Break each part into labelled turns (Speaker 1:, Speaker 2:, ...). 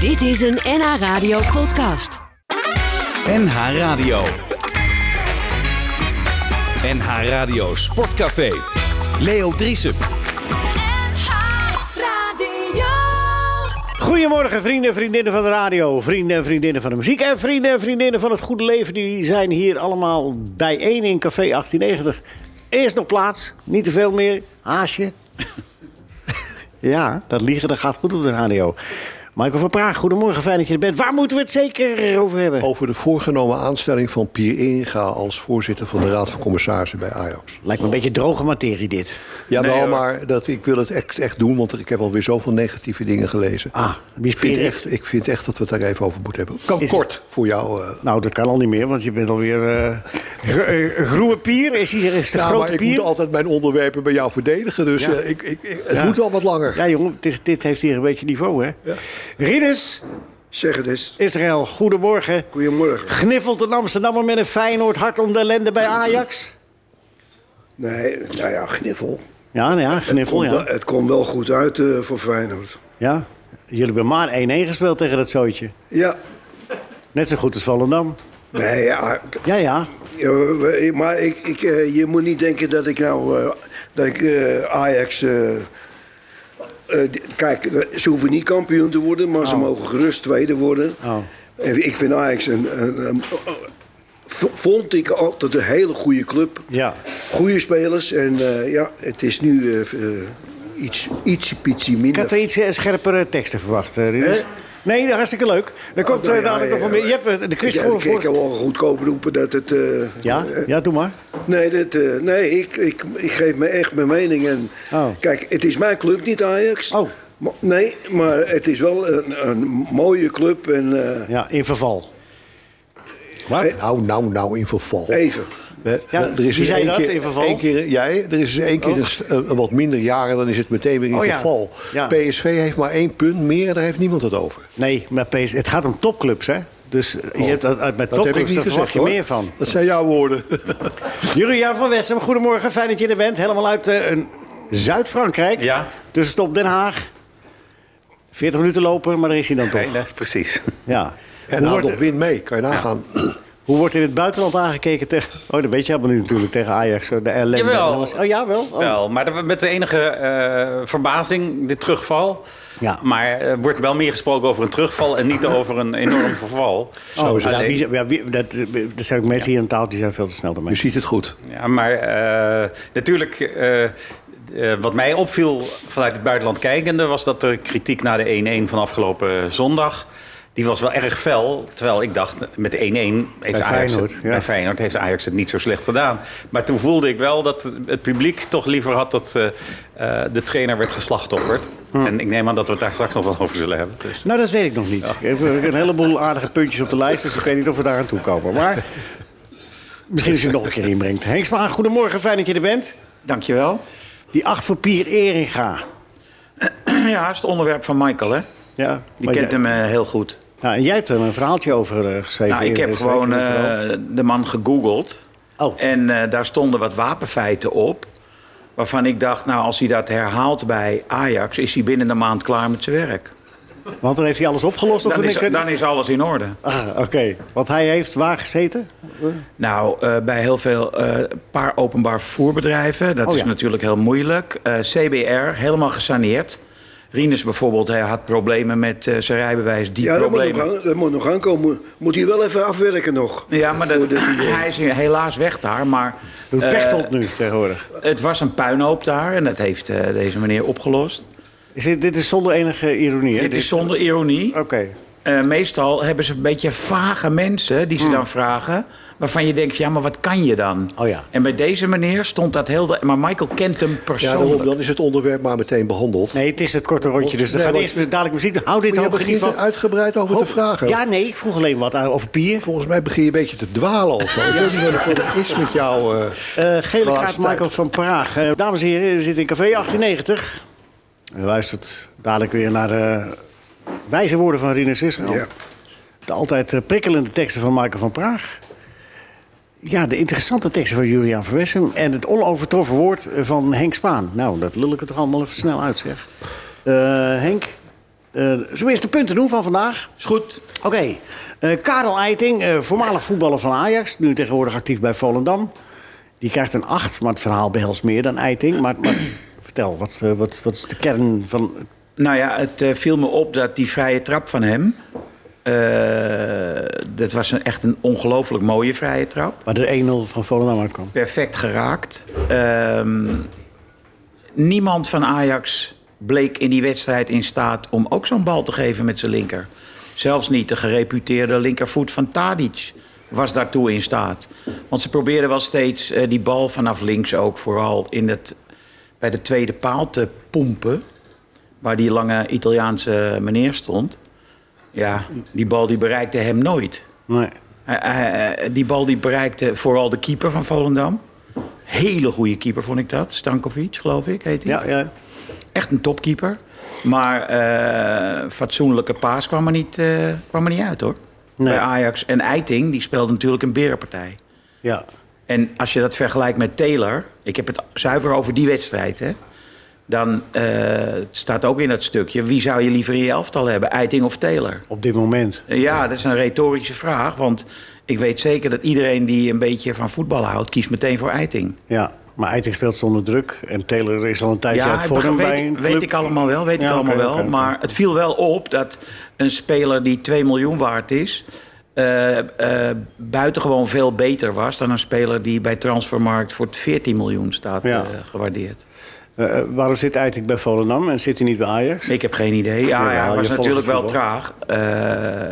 Speaker 1: Dit is een NH Radio podcast.
Speaker 2: NH Radio. NH Radio Sportcafé. Leo Driessen.
Speaker 1: Radio.
Speaker 3: Goedemorgen vrienden en vriendinnen van de radio, vrienden en vriendinnen van de muziek en vrienden en vriendinnen van het goede leven. Die zijn hier allemaal bijeen in Café 1890. Eerst nog plaats, niet te veel meer, haasje. ja, dat liegen dat gaat goed op de radio. Michael van Praag, goedemorgen, fijn dat je er bent. Waar moeten we het zeker over hebben?
Speaker 4: Over de voorgenomen aanstelling van Pier Inga als voorzitter van de Raad van Commissarissen bij Ajax.
Speaker 3: Lijkt me een beetje droge materie dit.
Speaker 4: Jawel, maar dat, ik wil het echt, echt doen, want ik heb alweer zoveel negatieve dingen gelezen.
Speaker 3: Ah, wie is
Speaker 4: ik, vind
Speaker 3: Pier-
Speaker 4: echt, ik vind echt dat we het daar even over moeten hebben. Kan
Speaker 3: Is-
Speaker 4: kort voor jou. eh.
Speaker 3: Nou, dat kan al niet meer, want je bent alweer... eh gro- eh, groene pier, is, hier, is de
Speaker 4: Ja,
Speaker 3: grote
Speaker 4: maar ik
Speaker 3: pier.
Speaker 4: moet altijd mijn onderwerpen bij jou verdedigen, dus eh, ik, ik, ik- het
Speaker 3: Ja.
Speaker 4: moet al wat langer.
Speaker 3: Ja jongen, het is- dit heeft hier een beetje niveau, hè? Ja. Rinus,
Speaker 5: Zeg het eens.
Speaker 3: Israël, goedemorgen.
Speaker 5: Goedemorgen.
Speaker 3: Gniffelt een Amsterdammer met een Feyenoord hart om de ellende bij Ajax?
Speaker 5: Nee, nou ja, gniffel.
Speaker 3: Ja, nou ja, gniffel,
Speaker 5: Komt wel-
Speaker 3: ja.
Speaker 5: het komt wel goed uit eh, voor Feyenoord.
Speaker 3: ja. Jullie hebben maar 1-1 gespeeld tegen dat zootje.
Speaker 5: Ja.
Speaker 3: Net zo goed als Volendam.
Speaker 5: Nee, ja. ah, k-
Speaker 3: Ja, ja.
Speaker 5: ja, we- Maar ik, ik, eh, je moet niet denken dat ik nou... eh, dat ik eh, Ajax... eh, eh, d- kijk, eh, ze hoeven niet kampioen te worden, maar ze mogen gerust tweede worden.
Speaker 3: Oh.
Speaker 5: En ik vind Ajax een... een- een- v- vond ik altijd een hele goede club.
Speaker 3: Ja.
Speaker 5: Goede spelers. En eh, ja, het is nu eh, v- eh, iets, ietsje pietsie
Speaker 3: Ik
Speaker 5: minder.
Speaker 3: had er iets eh, scherpere teksten verwacht, eh, Rinus.
Speaker 5: Hè?
Speaker 3: Nee, hartstikke leuk. Dan
Speaker 4: Oh,
Speaker 3: komt
Speaker 5: Nou
Speaker 3: eh,
Speaker 5: ja,
Speaker 3: dadelijk
Speaker 5: ja,
Speaker 3: nog
Speaker 5: ja.
Speaker 3: een... Je hebt eh, de quiz
Speaker 5: Ik-
Speaker 3: gewoon
Speaker 5: Ik kan
Speaker 3: voor...
Speaker 5: wel goedkoop roepen dat het... eh,
Speaker 3: Ja, ja, doe maar.
Speaker 5: Nee, dit, eh, nee ik, ik, ik geef me echt mijn mening. En,
Speaker 3: Oh.
Speaker 5: Kijk, het is mijn club, niet Ajax.
Speaker 3: Oh.
Speaker 5: Ma- nee, maar het is wel een, een mooie club. En, eh,
Speaker 3: Ja, in verval.
Speaker 5: eh,
Speaker 4: Nou, nou, nou, in verval.
Speaker 5: even.
Speaker 4: Eh,
Speaker 3: Ja,
Speaker 4: er is
Speaker 3: wie
Speaker 4: eens
Speaker 3: zei
Speaker 4: één
Speaker 3: dat,
Speaker 4: keer,
Speaker 3: in verval?
Speaker 4: één keer- jij, er is eens één keer een, st- een- een wat minder jaren, dan is het meteen weer in
Speaker 3: Oh ja.
Speaker 4: verval.
Speaker 3: Ja.
Speaker 4: PSV heeft maar één punt meer, daar heeft niemand het over.
Speaker 3: Nee, maar PS, het gaat om topclubs, hè? Dus je hebt, dat- uit- bij
Speaker 4: Oh. Dat heb ik niet
Speaker 3: topclubs daar
Speaker 4: gezegd,
Speaker 3: verwacht je
Speaker 4: hoor.
Speaker 3: meer van.
Speaker 4: Dat zijn jouw woorden.
Speaker 3: Julian van Wessem, goedemorgen. Fijn dat je er bent. Helemaal uit eh, een Zuid-Frankrijk.
Speaker 6: Ja.
Speaker 3: Tussenstop Den Haag. 40 minuten lopen, maar daar is hij dan toch.
Speaker 6: Nee, dat is precies.
Speaker 3: Ja.
Speaker 4: En
Speaker 3: hoe,
Speaker 4: haal nog
Speaker 3: wordt,
Speaker 4: win mee, kan je nagaan.
Speaker 3: hoe wordt in het buitenland aangekeken tegen... Oh, dat weet je helemaal niet natuurlijk, tegen Ajax. eh, De ellende.
Speaker 6: Jawel.
Speaker 3: Oh, ja, wel? Oh.
Speaker 6: Wel, maar dat- met de enige eh, verbazing, dit terugval.
Speaker 3: Ja.
Speaker 6: Maar er wordt wel meer gesproken over een terugval en niet over een enorm verval.
Speaker 3: Oh, ja,
Speaker 6: Alleen-
Speaker 3: wie- ja, wie- dat, eh, er zijn ook mensen hier aan tafel die zijn veel te snel
Speaker 4: Je
Speaker 3: ermee.
Speaker 4: ziet het goed.
Speaker 6: Ja, maar eh, natuurlijk, eh, eh, wat mij opviel vanuit het buitenland kijkende... was dat de kritiek na de 1-1 van afgelopen zondag... die was wel erg fel. Terwijl ik dacht, met 1-1 heeft, Ajax het-
Speaker 3: Feyenoord, ja.
Speaker 6: bij Feyenoord heeft Ajax het niet zo slecht gedaan. Maar toen voelde ik wel dat het publiek toch liever had... dat eh, eh, de trainer werd geslachtofferd.
Speaker 3: Hm.
Speaker 6: En ik neem aan dat we het daar straks nog wat over zullen hebben. Dus.
Speaker 3: Nou, dat weet ik nog niet. Ik heb eh, een heleboel aardige puntjes op de lijst, dus ik weet niet of we daar aan toe komen. Maar misschien als je het nog een keer inbrengt. Henk Spaan, goedemorgen. Fijn dat je er bent.
Speaker 7: Dankjewel.
Speaker 3: Die acht voor Pier Eringa.
Speaker 7: Ja, is het onderwerp van Michael, hè?
Speaker 3: Ja,
Speaker 7: Die
Speaker 3: maar
Speaker 7: kent
Speaker 3: jij-
Speaker 7: hem eh, heel goed.
Speaker 3: Ja, en jij hebt er een verhaaltje over eh, geschreven.
Speaker 7: Nou, ik
Speaker 3: eerder
Speaker 7: heb
Speaker 3: deze week
Speaker 7: gewoon
Speaker 3: in het
Speaker 7: eh,
Speaker 3: Parool.
Speaker 7: de man gegoogeld.
Speaker 3: Oh.
Speaker 7: En eh, daar stonden wat wapenfeiten op. Waarvan ik dacht, nou, als hij dat herhaalt bij Ajax... is hij binnen een maand klaar met zijn werk.
Speaker 3: Want dan heeft hij alles opgelost? Of
Speaker 7: Dan
Speaker 3: een
Speaker 7: is,
Speaker 3: keer-
Speaker 7: dan is alles in orde.
Speaker 3: Ah, Oké, want hij heeft waar gezeten?
Speaker 7: Nou, eh, bij heel veel eh, paar openbaar vervoerbedrijven. Dat
Speaker 3: Oh,
Speaker 7: is
Speaker 3: ja.
Speaker 7: natuurlijk heel moeilijk. Eh, CBR, helemaal gesaneerd. Rinus bijvoorbeeld, hij had problemen met eh, zijn rijbewijs. Die
Speaker 5: Ja, dat moet,
Speaker 7: problemen.
Speaker 5: nog aan, dat moet nog aankomen. Moet hij wel even afwerken nog.
Speaker 7: Ja, maar dat-
Speaker 5: Voordat hij, eh,
Speaker 7: hij is helaas weg daar. Maar
Speaker 3: Doet
Speaker 7: eh,
Speaker 3: Pechtold nu tegenwoordig.
Speaker 7: het was een puinhoop daar en dat heeft eh, deze meneer opgelost.
Speaker 3: Is dit, dit is zonder enige ironie, hè?
Speaker 7: Dit is zonder ironie.
Speaker 3: Oké.
Speaker 7: Eh, meestal hebben ze een beetje vage mensen die ze dan vragen. Waarvan je denkt, ja, maar wat kan je dan?
Speaker 3: Hmm. Oh ja.
Speaker 7: En bij deze meneer stond dat heel... de- Maar Michael kent hem
Speaker 4: Ja, daarom,
Speaker 7: persoonlijk.
Speaker 4: dan is het onderwerp maar meteen behandeld.
Speaker 3: Nee, het is het korte rondje, dus dan
Speaker 4: Nee,
Speaker 3: gaan we
Speaker 4: want-
Speaker 3: eerst met- dadelijk muziek... Hou dit
Speaker 4: Maar je
Speaker 3: hoog in
Speaker 4: begint
Speaker 3: ieder
Speaker 4: er
Speaker 3: geval...
Speaker 4: uitgebreid over te vragen.
Speaker 3: Ja, nee, ik vroeg alleen wat aan- over Pier.
Speaker 4: Volgens mij begin je een beetje te dwalen of zo. Ik weet niet wat het is met jou. eh.
Speaker 3: Eh, gele kaart
Speaker 4: Laatste tijd.
Speaker 3: Michael van Praag. Eh, dames en heren, we zitten in Café 1890. U luistert dadelijk weer naar de wijze woorden van Rinus Israël.
Speaker 5: Ja.
Speaker 3: De altijd eh, prikkelende teksten van Michael van Praag. Ja, de interessante teksten van Julian van Wessem. En het onovertroffen woord eh, van Henk Spaan. Nou, dat lul ik er toch allemaal even snel uit, zeg. Eh, Henk, eh tenminste, de punten doen van vandaag.
Speaker 7: Is goed.
Speaker 3: Oké, eh, Karel Eiting, eh, voormalig voetballer van Ajax, nu tegenwoordig actief bij Volendam. Die krijgt een 8, maar het verhaal behelst meer dan Eiting. Maar, maar vertel, wat, eh, wat, wat is de kern van.
Speaker 7: Nou ja, het eh, viel me op dat die vrije trap van hem... eh, dat was een, echt een ongelooflijk mooie vrije trap.
Speaker 3: waar de 1-0 van Volendam uitkwam?
Speaker 7: perfect geraakt. Ehm, niemand van Ajax bleek in die wedstrijd in staat om ook zo'n bal te geven met zijn linker. Zelfs niet de gereputeerde linkervoet van Tadic was daartoe in staat. Want ze probeerden wel steeds eh, die bal vanaf links ook vooral in het, bij de tweede paal te pompen. Waar die lange Italiaanse meneer stond. Ja, die bal die bereikte hem nooit.
Speaker 3: Nee.
Speaker 7: Eh, eh, die bal die bereikte vooral de keeper van Volendam. Hele goede keeper vond ik dat. Stankovic, geloof ik, heet hij.
Speaker 3: Ja, ja.
Speaker 7: Echt een topkeeper. Maar eh, fatsoenlijke paas kwam er niet, eh, kwam er niet uit, hoor.
Speaker 3: Nee.
Speaker 7: Bij Ajax. En Eiting, die speelde natuurlijk een berenpartij.
Speaker 3: ja.
Speaker 7: En als je dat vergelijkt met Taylor... Ik heb het zuiver over die wedstrijd, hè. Dan eh, het staat ook in dat stukje... Wie zou je liever in je elftal hebben, Eiting of Taylor?
Speaker 3: Op dit moment.
Speaker 7: Ja, dat is een retorische vraag. Want ik weet zeker dat iedereen die een beetje van voetbal houdt, kiest meteen voor Eiting.
Speaker 3: Ja. Maar Eiting speelt zonder druk. En Taylor is al een tijdje uit
Speaker 7: ik
Speaker 3: vorm
Speaker 7: begrijp-
Speaker 3: bij
Speaker 7: weet,
Speaker 3: een
Speaker 7: weet
Speaker 3: club.
Speaker 7: ik allemaal wel, weet
Speaker 3: Ja,
Speaker 7: ik
Speaker 3: oké,
Speaker 7: allemaal wel.
Speaker 3: oké, oké.
Speaker 7: Maar het viel wel op dat een speler die 2 miljoen waard is... eh, eh, buitengewoon veel beter was dan een speler die bij Transfermarkt voor 14 miljoen staat
Speaker 3: Ja.
Speaker 7: eh, gewaardeerd.
Speaker 3: Eh, eh, waarom zit Eiting bij Volendam en zit hij niet bij Ajax?
Speaker 7: Ik heb geen idee. Ja,
Speaker 3: Jawel,
Speaker 7: hij
Speaker 3: je
Speaker 7: was
Speaker 3: volgt
Speaker 7: natuurlijk
Speaker 3: het
Speaker 7: wel
Speaker 3: voetbal.
Speaker 7: traag. Eh,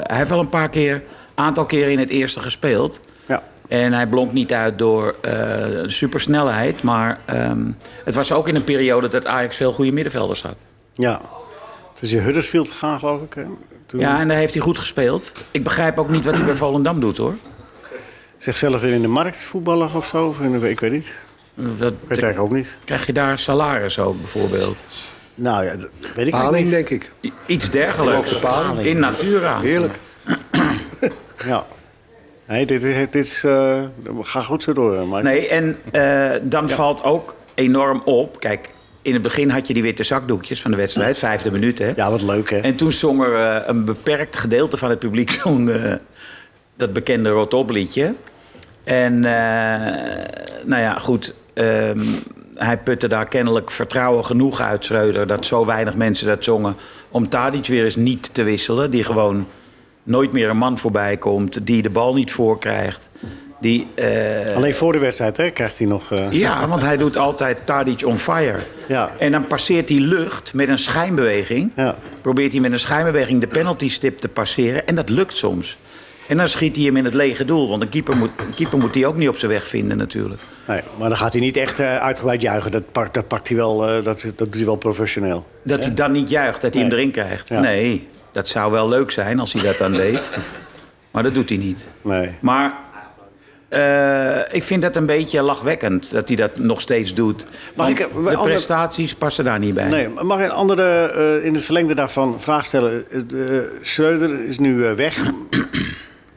Speaker 7: hij heeft wel een paar keer, aantal keren in het eerste gespeeld.
Speaker 3: Ja.
Speaker 7: En hij blonk niet uit door eh, supersnelheid. Maar ehm, het was ook in een periode dat Ajax veel goede middenvelders had.
Speaker 3: Ja. Het is in Huddersfield gegaan, geloof ik. hè? Toen
Speaker 7: Ja, en daar heeft hij goed gespeeld. Ik begrijp ook niet wat hij bij Volendam doet, hoor.
Speaker 3: zichzelf weer in de markt voetballen of zo. Of in de- ik weet niet.
Speaker 7: Dat,
Speaker 3: Ik weet het eigenlijk ook niet.
Speaker 7: krijg je daar salaris ook, bijvoorbeeld?
Speaker 3: Nou ja, dat weet ik eigenlijk
Speaker 4: Paling,
Speaker 3: niet.
Speaker 4: denk ik.
Speaker 7: I- Iets dergelijks.
Speaker 4: Ook de paling.
Speaker 7: In natura.
Speaker 4: Heerlijk.
Speaker 3: Ja. Nee, dit is... Dit is eh, ga goed zo door, maar
Speaker 7: Nee, en eh, dan valt ook enorm op... Kijk, in het begin had je die witte zakdoekjes van de wedstrijd. Vijfde minuut, hè?
Speaker 3: Ja, wat leuk, hè?
Speaker 7: En toen zong er eh, een beperkt gedeelte van het publiek zo'n, eh, dat bekende rotop liedje. En eh, nou ja, goed. ehm, hij putte daar kennelijk vertrouwen genoeg uit, Schreuder... dat zo weinig mensen dat zongen om Tadic weer eens niet te wisselen. Die gewoon nooit meer een man voorbij komt, die de bal niet voor krijgt. Die, eh,
Speaker 3: Alleen voor de wedstrijd, hè, krijgt hij nog... eh,
Speaker 7: ja, want hij doet altijd Tadic on fire.
Speaker 3: Ja.
Speaker 7: En dan passeert hij lucht met een schijnbeweging.
Speaker 3: Ja.
Speaker 7: Probeert hij met een schijnbeweging de penaltystip te passeren. En dat lukt soms. En dan schiet hij hem in het lege doel. Want een keeper moet, een keeper moet die ook niet op zijn weg vinden natuurlijk.
Speaker 3: Nee, maar dan gaat hij niet echt eh, uitgebreid juichen. Dat, pakt, dat, pakt hij wel, eh, dat, dat doet hij wel professioneel.
Speaker 7: Dat hij dan niet juicht, dat hij hem
Speaker 3: Nee.
Speaker 7: erin krijgt.
Speaker 3: Ja.
Speaker 7: Nee, dat zou wel leuk zijn als hij dat dan deed. Maar dat doet hij niet.
Speaker 3: Nee.
Speaker 7: Maar eh, ik vind dat een beetje lachwekkend dat hij dat nog steeds doet. Want
Speaker 3: ik, eh,
Speaker 7: de
Speaker 3: ander-
Speaker 7: prestaties passen daar niet bij.
Speaker 3: Nee, maar mag ik een andere eh, in het verlengde daarvan vraag stellen? Eh, eh, Schreuder is nu eh, weg.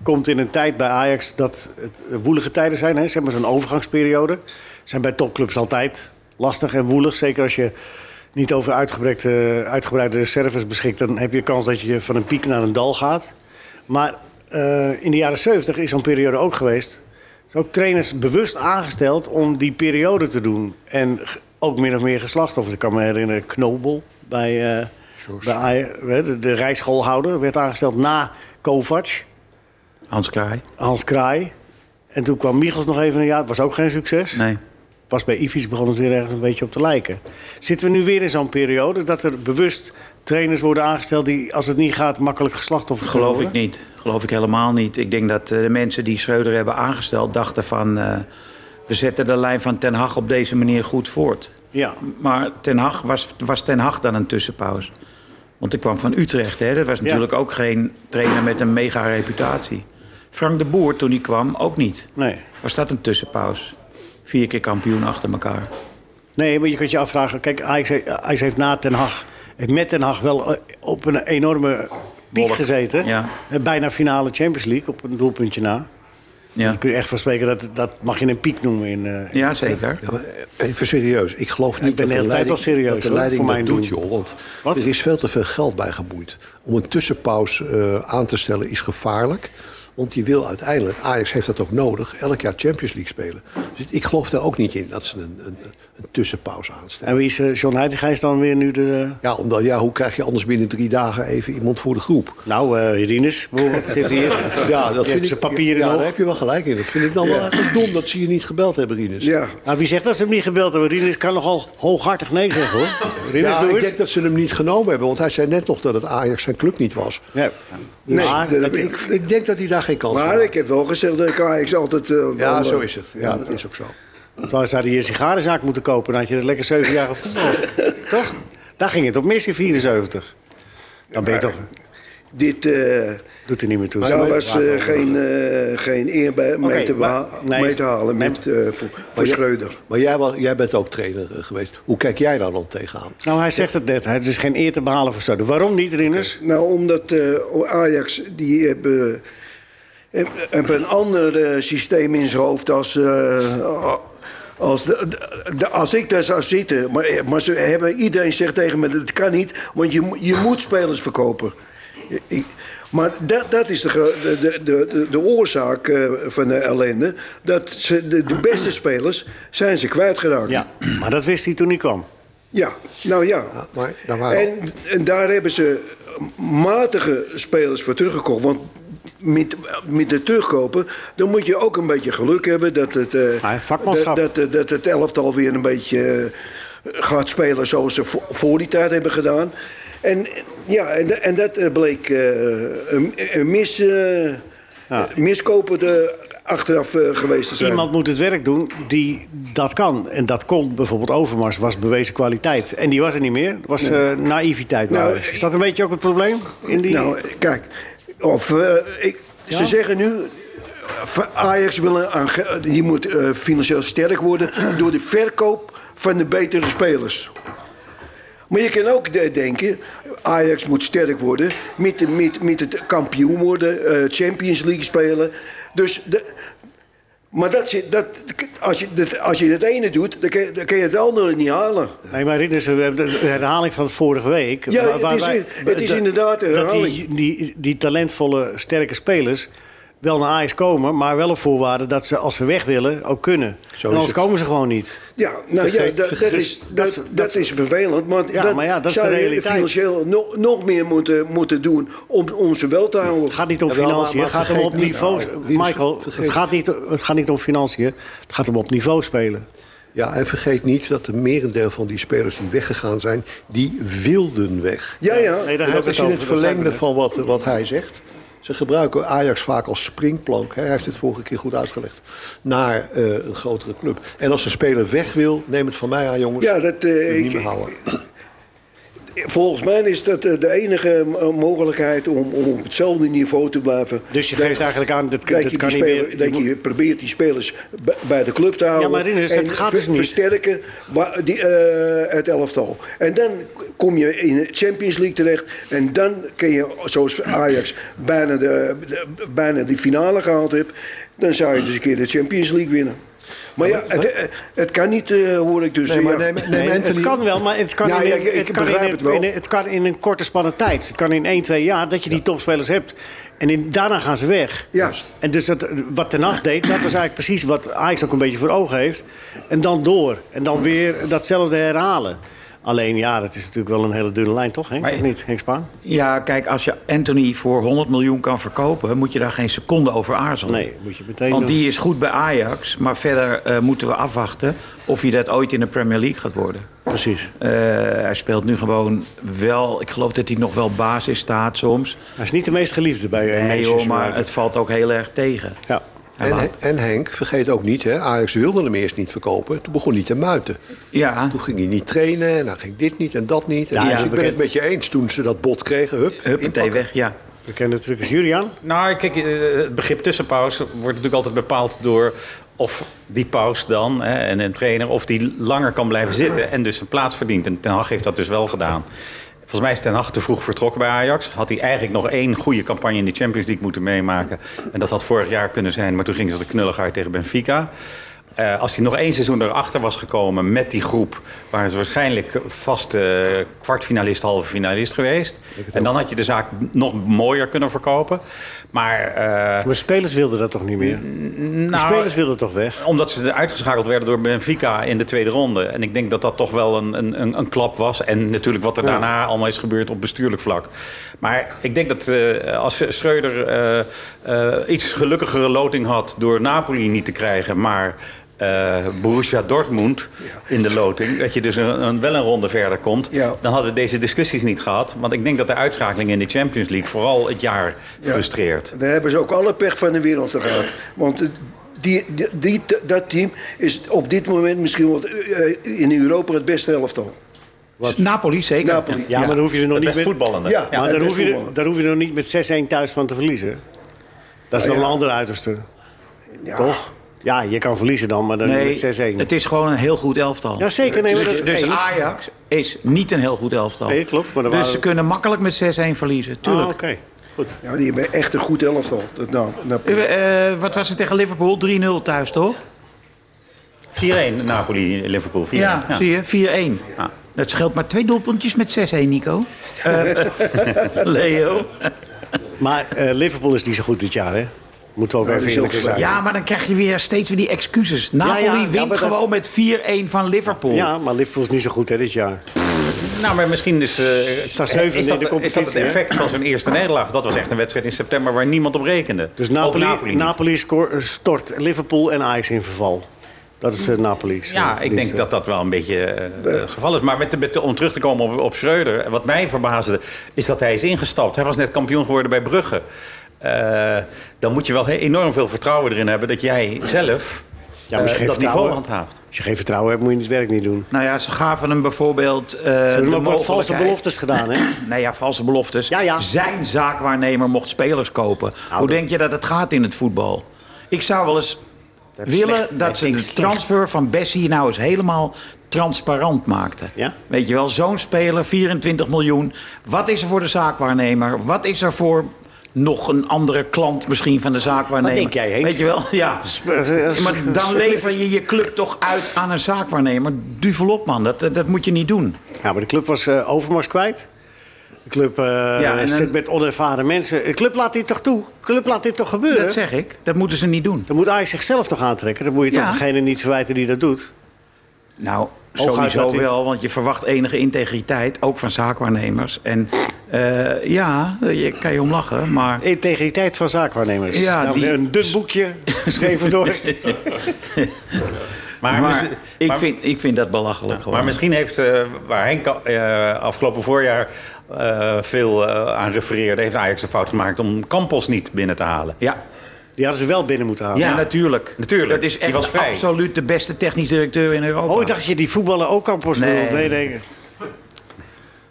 Speaker 3: Komt in een tijd bij Ajax dat het woelige tijden zijn. Hè? Zeg maar zo'n overgangsperiode. Zijn bij topclubs altijd lastig en woelig. Zeker als je niet over uitgebreide, uitgebreide reserves beschikt. Dan heb je kans dat je van een piek naar een dal gaat. Maar eh, in de jaren 70 is zo'n periode ook geweest. Er zijn ook trainers bewust aangesteld om die periode te doen. En g- ook min of meer geslachtoffers. Ik kan me herinneren, Knobel bij, eh bij Aj- hè, de, de Rijksschoolhouder werd aangesteld na Kovac,
Speaker 7: Hans Kraai?
Speaker 3: Hans Kraai. En toen kwam Michels nog even een jaar. Het was ook geen succes.
Speaker 7: Nee.
Speaker 3: Pas bij Ivies begon het weer ergens een beetje op te lijken. Zitten we nu weer in zo'n periode dat er bewust trainers worden aangesteld... die als het niet gaat makkelijk geslachtoffers
Speaker 7: Geloof
Speaker 3: worden?
Speaker 7: ik niet. Geloof ik helemaal niet. Ik denk dat eh, de mensen die Schreuder hebben aangesteld dachten van... eh, we zetten de lijn van Ten Hag op deze manier goed voort.
Speaker 3: Ja,
Speaker 7: Maar Ten Hag was, was Ten Hag dan een tussenpauze. Want ik kwam van Utrecht. Hè? Dat was natuurlijk ook geen trainer met een mega reputatie. Frank de Boer, toen hij kwam, ook niet.
Speaker 3: nee.
Speaker 7: Was dat een tussenpauze? Vier keer kampioen achter elkaar.
Speaker 3: Nee, maar je kunt je afvragen. Kijk, Ajax, heeft- Ajax heeft na Ten Hag, heeft met Ten Hag wel eh, op een enorme piek
Speaker 7: Wolk,
Speaker 3: gezeten.
Speaker 7: ja.
Speaker 3: Eh, Bijna finale Champions League op een doelpuntje na.
Speaker 7: Ja.
Speaker 3: Dus daar kun je echt van spreken, dat, dat mag je een piek noemen. In, eh,
Speaker 7: Ja, zeker.
Speaker 4: Ja, maar even serieus. Ik geloof niet
Speaker 3: ik ben
Speaker 4: dat
Speaker 3: de hele
Speaker 4: leiding-
Speaker 3: tijd wel serieus,
Speaker 4: dat de
Speaker 3: hoor,
Speaker 4: leiding
Speaker 3: voor
Speaker 4: dat
Speaker 3: mijn
Speaker 4: doet,
Speaker 3: doen.
Speaker 4: joh. Want
Speaker 3: Wat?
Speaker 4: er is veel te veel geld bij geboeid. Om een tussenpauze eh, aan te stellen is gevaarlijk. Want je wil uiteindelijk, Ajax heeft dat ook nodig, elk jaar Champions League spelen. Dus ik geloof daar ook niet in dat ze een, een, een tussenpauze aanstellen.
Speaker 3: En wie is eh, John Heitingeis dan weer nu de... eh,
Speaker 4: Ja, omdat, ja, hoe krijg je anders binnen drie dagen even iemand voor de groep?
Speaker 3: nou, eh Irines bijvoorbeeld zit hier.
Speaker 4: Ja, dat
Speaker 3: Die heeft
Speaker 4: vind ik,
Speaker 3: zijn papieren
Speaker 4: ja,
Speaker 3: nog.
Speaker 4: daar heb je wel gelijk in. Dat vind ik dan wel echt dom dat ze je niet gebeld hebben, Rinus.
Speaker 5: Ja,
Speaker 3: Nou, wie zegt dat ze hem niet gebeld hebben? Rinus kan nogal hooghartig nee zeggen, hoor. Rinus,
Speaker 4: Ja,
Speaker 3: doe
Speaker 4: ik
Speaker 3: het.
Speaker 4: denk dat ze hem niet genomen hebben. Want hij zei net nog dat het Ajax zijn club niet was.
Speaker 3: Ja.
Speaker 5: Nee,
Speaker 3: Maar
Speaker 5: dat
Speaker 3: dat-
Speaker 5: heb
Speaker 4: Ik, ik denk dat hij daar geen kans
Speaker 5: maar
Speaker 4: had.
Speaker 5: ik heb wel gezegd dat ik Ajax altijd... eh, wel,
Speaker 4: Ja,
Speaker 5: eh,
Speaker 4: zo is het. Ja, dat is ook zo.
Speaker 3: Dan zou hij een sigarenzaak moeten kopen. Dan had je dat lekker zeven jaar gevoetbald. toch? Daar ging het op mis in 74. Dan ben je toch...
Speaker 5: Dit eh,
Speaker 3: Doet er niet meer toe.
Speaker 4: Nou,
Speaker 5: daar was eh, geen, eh, geen eer bij, mee, te
Speaker 3: maar-
Speaker 5: beha-
Speaker 3: nee,
Speaker 5: mee te halen
Speaker 3: nee.
Speaker 5: met, eh, voor, voor
Speaker 4: jij-
Speaker 5: Schreuder.
Speaker 4: Maar jij, was, jij bent ook trainer eh, geweest. Hoe kijk jij daar dan tegenaan?
Speaker 3: Nou, hij zegt het net. Het is geen eer te behalen voor Stade. Waarom niet, Rinus?
Speaker 5: Nou, omdat eh, Ajax, die hebben, hebben- hebben een ander eh, systeem in zijn hoofd als... eh, als, de, de- de- als ik daar zou zitten, maar, eh, maar ze hebben, iedereen zegt tegen me, dat kan niet, want je, mo- je moet spelers verkopen. Ik- maar dat, dat is de, gro- de, de, de, de- de oorzaak eh, van de ellende, dat ze, de, de beste spelers zijn ze kwijtgeraakt.
Speaker 3: Ja, maar dat wist hij toen hij kwam.
Speaker 5: Ja, nou ja.
Speaker 4: Ja, maar daar waren-
Speaker 5: en, en daar hebben ze matige spelers voor teruggekocht. Want met, met het terugkopen, dan moet je ook een beetje geluk hebben dat het, eh,
Speaker 3: Ah, vakmanschap.
Speaker 5: dat, dat, dat het elftal weer een beetje eh, gaat spelen zoals ze vo- voor die tijd hebben gedaan. En, ja, en, da- en dat eh, bleek eh, een, een mis, eh, miskopen eh, achteraf eh, geweest te zijn.
Speaker 3: Iemand moet het werk doen die dat kan. En dat kon bijvoorbeeld Overmars, was bewezen kwaliteit. En die was er niet meer. Dat was eh, naïviteit. bij
Speaker 5: Nou,
Speaker 3: Ajax. is dat een beetje ook het probleem? In die...
Speaker 5: Nou, kijk, of, eh, ik,
Speaker 3: Ja?
Speaker 5: ze zeggen nu... eh, Ajax wil een, aan ge- je moet eh, financieel sterk worden door de verkoop van de betere spelers. Maar je kan ook de- denken, Ajax moet sterk worden met, de- met, met het kampioen worden, eh, Champions League spelen. Dus de, maar dat, zit- dat, als, je, dat, als je het ene doet, dan kun je, dan kun je het andere niet halen.
Speaker 3: Nee, maar Ridders, we hebben de herhaling van vorige week.
Speaker 5: Ja, het is- het is
Speaker 3: dat-
Speaker 5: inderdaad een
Speaker 3: dat die,
Speaker 5: herhaling.
Speaker 3: die, die talentvolle, sterke spelers wel naar Ajax komen... maar wel op voorwaarde dat ze, als ze weg willen, ook kunnen.
Speaker 4: Zo
Speaker 3: En
Speaker 4: is
Speaker 3: anders
Speaker 4: het.
Speaker 3: komen ze gewoon niet.
Speaker 5: Ja, nou ja,
Speaker 4: Vergeet-
Speaker 5: dat, dat,
Speaker 4: vergeet-
Speaker 5: is, dat,
Speaker 3: dat-
Speaker 5: dat, is vervelend. Want
Speaker 3: Ja,
Speaker 5: dat
Speaker 3: maar ja, dat is de
Speaker 5: zou je
Speaker 3: realiteit.
Speaker 5: financieel nog, nog meer moeten, moeten doen om, om ze wel te houden.
Speaker 3: Het gaat niet om
Speaker 4: Jawel, maar-
Speaker 3: financiën,
Speaker 4: maar
Speaker 3: het gaat om
Speaker 4: vergeet
Speaker 3: op
Speaker 4: niet-
Speaker 3: niveau...
Speaker 4: nou, Rieders,
Speaker 3: Michael, het
Speaker 4: vergeet-
Speaker 3: gaat, niet, het gaat niet om financiën, het gaat om op niveau spelen.
Speaker 4: Ja, en vergeet niet dat een merendeel van die spelers die weggegaan zijn... die wilden weg.
Speaker 5: Ja, ja.
Speaker 3: Nee, daar
Speaker 4: En
Speaker 3: hebben
Speaker 4: dat
Speaker 3: we
Speaker 4: is
Speaker 3: het
Speaker 4: in
Speaker 3: over.
Speaker 4: het
Speaker 3: dat zijn we
Speaker 4: verlengde
Speaker 3: net.
Speaker 4: van wat, wat hij zegt. Ze gebruiken Ajax vaak als springplank. hè. Hij heeft het vorige keer goed uitgelegd. Naar eh, een grotere club. En als een speler weg wil, neem het van mij aan, jongens.
Speaker 5: Ja, dat, eh,
Speaker 4: Wil je
Speaker 5: ik-
Speaker 4: niet meer houden.
Speaker 5: Volgens mij is dat eh, de enige eh, mogelijkheid om, om op hetzelfde niveau te blijven.
Speaker 3: Dus je geeft eigenlijk aan, dat,
Speaker 5: Dat,
Speaker 3: dat
Speaker 5: je,
Speaker 3: kan
Speaker 5: die
Speaker 3: niet
Speaker 5: speler-
Speaker 3: meer...
Speaker 5: dat je probeert die spelers b- bij de club te houden.
Speaker 3: maar Rinus, dat
Speaker 5: en
Speaker 3: gaat dus niet.
Speaker 5: versterken wa- die, eh, het elftal. En dan kom je in de Champions League terecht. En dan kun je, zoals Ajax bijna de, de- bijna de finale gehaald hebt... dan zou je dus een keer de Champions League winnen. Maar ja, het, eh, het kan niet, eh, hoor ik dus.
Speaker 4: Nee,
Speaker 5: eh,
Speaker 4: maar
Speaker 5: ja.
Speaker 4: neem, neem
Speaker 3: Nee,
Speaker 4: Anthony-
Speaker 3: het kan wel, maar het kan,
Speaker 5: Ja,
Speaker 3: in,
Speaker 5: ja,
Speaker 3: een-
Speaker 5: ik- ik
Speaker 3: het kan in,
Speaker 5: begrijp het wel.
Speaker 3: een- in, een- het kan in een korte spanne tijd. Het kan in 1, 2 jaar dat je die topspelers hebt. En in, daarna gaan ze weg.
Speaker 5: Juist.
Speaker 3: En dus dat, wat Ten Hag deed, dat was eigenlijk precies wat Ajax ook een beetje voor ogen heeft. En dan door. En dan weer datzelfde herhalen. Alleen ja, dat is natuurlijk wel een hele dunne lijn, toch Henk?
Speaker 6: Maar-
Speaker 3: Of niet, Henk Spaan?
Speaker 7: Ja, kijk, als je Anthony voor 100 miljoen kan verkopen, moet je daar geen seconde over aarzelen.
Speaker 3: Nee, moet je meteen eh,
Speaker 7: Want
Speaker 3: doen.
Speaker 7: die is goed bij Ajax, maar verder eh, moeten we afwachten of hij dat ooit in de Premier League gaat worden.
Speaker 3: Precies.
Speaker 7: Eh, hij speelt nu gewoon wel, ik geloof dat hij nog wel basis staat soms.
Speaker 3: Hij is niet de meest geliefde bij eh,
Speaker 7: Nee
Speaker 3: Manchester
Speaker 7: joh, maar
Speaker 3: United.
Speaker 7: het valt ook heel erg tegen.
Speaker 3: Ja.
Speaker 7: Hij
Speaker 4: En,
Speaker 7: laat-
Speaker 4: en Henk, vergeet ook niet, hè, Ajax wilde hem eerst niet verkopen. Toen begon hij te muiten.
Speaker 7: Ja,
Speaker 4: Toen ging hij niet trainen en dan ging dit niet en dat niet. En
Speaker 3: Ja,
Speaker 4: dus
Speaker 3: ja,
Speaker 4: ik ben
Speaker 3: bekend.
Speaker 4: het met je eens toen ze dat bod kregen. Hup,
Speaker 7: huppatee weg, ja.
Speaker 3: Bekende truc is Julian.
Speaker 6: Nou, kijk, eh, het begrip tussenpauze wordt natuurlijk altijd bepaald door of die pauze dan hè, en een trainer of die langer kan blijven zitten en dus een plaats verdient. En Ten Hag heeft dat dus wel gedaan. Volgens mij is Ten Hag te vroeg vertrokken bij Ajax. Had hij eigenlijk nog één goede campagne in de Champions League moeten meemaken. En dat had vorig jaar kunnen zijn, maar toen ging ze er knullig uit tegen Benfica. Eh, als hij nog één seizoen erachter was gekomen met die groep... waren ze waarschijnlijk vaste kwartfinalist, halve finalist geweest. En dan had je de zaak nog mooier kunnen verkopen. Maar eh,
Speaker 3: Maar spelers wilden dat toch niet meer? De
Speaker 6: nou,
Speaker 3: spelers wilden toch weg?
Speaker 6: omdat ze er uitgeschakeld werden door Benfica in de tweede ronde. En ik denk dat dat toch wel een, een, een, een klap was. En natuurlijk wat er daarna allemaal is gebeurd op bestuurlijk vlak. Maar ik denk dat eh, als Schreuder eh, eh, iets gelukkigere loting had... door Napoli niet te krijgen, maar... eh, Borussia Dortmund in de loting, dat je dus een, een- wel een ronde verder komt,
Speaker 5: Ja.
Speaker 6: dan hadden we deze discussies niet gehad. Want ik denk dat de uitschakeling in de Champions League vooral het jaar
Speaker 5: Ja.
Speaker 6: frustreert.
Speaker 5: Daar hebben ze ook alle pech van de wereld gehad. Want eh, die, die, die- dat team is op dit moment misschien wel eh, in Europa het beste elftal.
Speaker 7: Napoli zeker.
Speaker 5: Napoli.
Speaker 3: Ja, maar dan hoef je er nog
Speaker 6: Het
Speaker 3: niet
Speaker 6: best
Speaker 3: met...
Speaker 6: voetballende.
Speaker 5: Ja.
Speaker 3: maar
Speaker 5: het
Speaker 3: daar,
Speaker 5: best
Speaker 3: hoef je,
Speaker 5: voetballen.
Speaker 3: daar hoef je er nog niet met 6-1 thuis van te verliezen. Dat
Speaker 5: Nou
Speaker 4: Oh,
Speaker 3: is nog een ander uiterste,
Speaker 5: Ja.
Speaker 3: toch? Ja, je kan verliezen dan, maar dan
Speaker 7: Nee,
Speaker 3: niet met 6-1.
Speaker 7: het is gewoon een heel goed elftal.
Speaker 3: Ja, zeker. Nee, maar
Speaker 7: Dus,
Speaker 3: dat-
Speaker 7: dus
Speaker 3: eens.
Speaker 7: Ajax is niet een heel goed elftal.
Speaker 3: Nee, klopt, maar er
Speaker 7: dus
Speaker 3: waren-
Speaker 7: ze kunnen makkelijk met 6-1 verliezen.
Speaker 3: Ah,
Speaker 7: Tuurlijk.
Speaker 3: Oké, goed.
Speaker 5: Ja, die hebben echt een goed elftal. Dat nou, Napoli.
Speaker 7: Eh, eh, wat was het tegen Liverpool? 3-0 thuis, toch?
Speaker 6: 4-1 Napoli, Liverpool 4-1.
Speaker 7: Ja,
Speaker 6: Ja.
Speaker 7: zie je, 4-1.
Speaker 6: Ja.
Speaker 7: Dat scheelt maar twee doelpuntjes met 6-1, Nico. Eh, Leo.
Speaker 3: Maar eh, Liverpool is niet zo goed dit jaar, hè? Moeten
Speaker 7: Nou,
Speaker 3: we ook even
Speaker 5: die is ook
Speaker 3: eerlijk zijn.
Speaker 7: Ja, maar dan krijg je weer steeds weer die excuses. Napoli
Speaker 3: ja, ja,
Speaker 7: wint
Speaker 3: maar dat-
Speaker 7: gewoon met 4-1 van Liverpool.
Speaker 3: Ja, maar Liverpool is niet zo goed hè, dit jaar.
Speaker 6: Nou, maar misschien is, eh,
Speaker 3: Staat zevende
Speaker 6: is, dat,
Speaker 3: in de
Speaker 6: is dat
Speaker 3: competitie,
Speaker 6: het
Speaker 3: hè?
Speaker 6: effect van zijn eerste nederlaag. Dat was echt een wedstrijd in september waar niemand op rekende.
Speaker 3: Dus
Speaker 6: Ook
Speaker 3: Napoli,
Speaker 6: Napoli
Speaker 3: Napoli,
Speaker 6: niet.
Speaker 3: scoor- stort Liverpool en Ajax in verval. Dat is eh, Napoli's. eh,
Speaker 6: ja, ik
Speaker 3: verdienste.
Speaker 6: denk dat dat wel een beetje eh, het geval is. Maar met, met, om terug te komen op, op Schreuder, wat mij verbaasde, is dat hij is ingestapt. Hij was net kampioen geworden bij Brugge. Eh, dan moet je wel he- enorm veel vertrouwen erin hebben dat jij zelf
Speaker 3: Ja, maar ze
Speaker 6: eh, dat
Speaker 3: geven
Speaker 6: niveau
Speaker 3: vertrouwen.
Speaker 6: handhaaft.
Speaker 3: Als je geen vertrouwen hebt, moet je het werk niet doen.
Speaker 7: Nou ja, ze gaven hem bijvoorbeeld. eh
Speaker 3: Ze hebben
Speaker 7: de
Speaker 3: ook wat valse
Speaker 7: mogelijkheid-
Speaker 3: beloftes gedaan, hè?
Speaker 7: Nou ja, valse beloftes.
Speaker 3: Ja, Nou, ja.
Speaker 7: Zijn zaakwaarnemer mocht spelers kopen. Hoe denk je dat het gaat in het voetbal? Ik zou wel eens willen
Speaker 3: slecht.
Speaker 7: dat
Speaker 3: Dat
Speaker 7: ze
Speaker 3: vind
Speaker 7: de
Speaker 3: ik slecht.
Speaker 7: transfer van Bessie nou eens helemaal transparant maakten.
Speaker 3: Ja?
Speaker 7: Weet je wel, zo'n speler, 24 miljoen. Wat is er voor de zaakwaarnemer? Wat is er voor nog een andere klant misschien van de zaakwaarnemer?
Speaker 3: Wat denk jij, Henk?
Speaker 7: Weet je wel, ja.
Speaker 3: eh,
Speaker 7: Maar dan lever je je club toch uit aan een zaakwaarnemer. Duvel op, man. Dat, dat moet je niet doen.
Speaker 3: Ja, maar de club was eh, Overmars kwijt. De club eh,
Speaker 7: en
Speaker 3: zit
Speaker 7: dan-
Speaker 3: met onervaren mensen. De club laat dit toch toe? De club laat dit toch gebeuren?
Speaker 7: Dat zeg ik. Dat moeten ze niet doen.
Speaker 3: Dan moet Ajax zichzelf toch aantrekken? Dan moet je
Speaker 7: Ja.
Speaker 3: toch degene niet verwijten die dat doet?
Speaker 7: Nou,
Speaker 3: Hooguit
Speaker 7: sowieso
Speaker 3: dat hij-
Speaker 7: wel, want je verwacht enige integriteit, ook van zaakwaarnemers. En eh, ja, je kan je om lachen, maar
Speaker 3: Integriteit van zaakwaarnemers.
Speaker 7: Ja,
Speaker 3: Nou,
Speaker 7: die-
Speaker 3: Een dun boekje, geschreven door...
Speaker 6: Maar,
Speaker 7: maar ik,
Speaker 6: maar-
Speaker 7: vind, ik vind dat belachelijk gewoon.
Speaker 6: Maar misschien heeft, eh, waar Henk al- eh, afgelopen voorjaar eh, veel eh, aan refereerde... heeft Ajax de fout gemaakt om Campos niet binnen te halen.
Speaker 7: Ja,
Speaker 3: Die hadden ze wel binnen moeten halen.
Speaker 7: ja, natuurlijk.
Speaker 6: Natuurlijk,
Speaker 7: Dat is
Speaker 6: die
Speaker 7: echt
Speaker 6: was vrij.
Speaker 7: absoluut de beste technisch directeur in Europa.
Speaker 3: Oh, ik dacht je die voetballer ook Campos
Speaker 7: Nee.
Speaker 3: bedoelt. Nee, nee.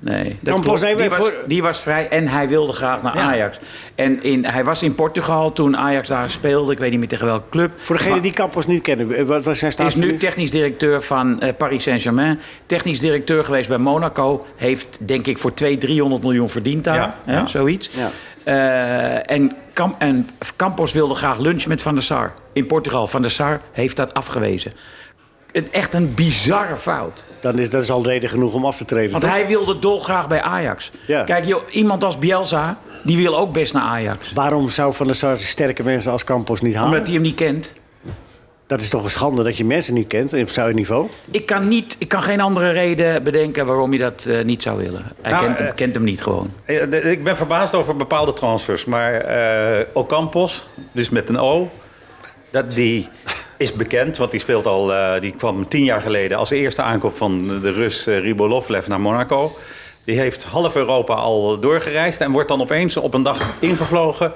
Speaker 7: Nee, dat klopt.
Speaker 3: Campos, nee,
Speaker 7: die,
Speaker 3: maar
Speaker 7: was,
Speaker 3: voor-
Speaker 7: die was vrij en hij wilde graag naar Ajax. En in, hij was in Portugal toen Ajax daar speelde. Ik weet niet meer tegen welke club.
Speaker 3: Voor degene
Speaker 7: Maar-
Speaker 3: die Campos niet kennen, eh, wat was zijn
Speaker 7: Hij
Speaker 3: staat?
Speaker 7: is nu technisch directeur van eh, Paris Saint-Germain. Technisch directeur geweest bij Monaco. Heeft denk ik voor 200, 300 miljoen verdiend daar.
Speaker 6: Ja,
Speaker 7: hè,
Speaker 6: ja.
Speaker 7: Zoiets.
Speaker 3: Ja.
Speaker 7: Eh, en, Cam- en Campos wilde graag lunch met Van der Sar. In Portugal. Van der Sar heeft dat afgewezen. Een- Echt een bizarre fout.
Speaker 3: Dan is dat is al reden genoeg om af te treden.
Speaker 7: Want
Speaker 3: toch?
Speaker 7: hij wilde dolgraag bij Ajax.
Speaker 3: Ja.
Speaker 7: Kijk, joh, iemand als Bielsa, die wil ook best naar Ajax.
Speaker 3: Waarom zou Van der Sar sterke mensen als Campos niet halen?
Speaker 7: Omdat hij hem niet kent.
Speaker 3: Dat is toch een schande dat je mensen niet kent op zo'n niveau?
Speaker 7: Ik kan, niet, ik kan geen andere reden bedenken waarom hij dat eh, niet zou willen. Hij
Speaker 6: Nou,
Speaker 7: kent, hem,
Speaker 6: eh,
Speaker 7: kent hem niet gewoon.
Speaker 6: Eh, de- Ik ben verbaasd over bepaalde transfers. Maar eh Ocampos, dus met een O, dat, die is bekend. Want die, speelt al, eh, die kwam tien jaar geleden als eerste aankoop van de Rus eh, Ribolovlev naar Monaco. Die heeft half Europa al doorgereisd en wordt dan opeens op een dag ingevlogen.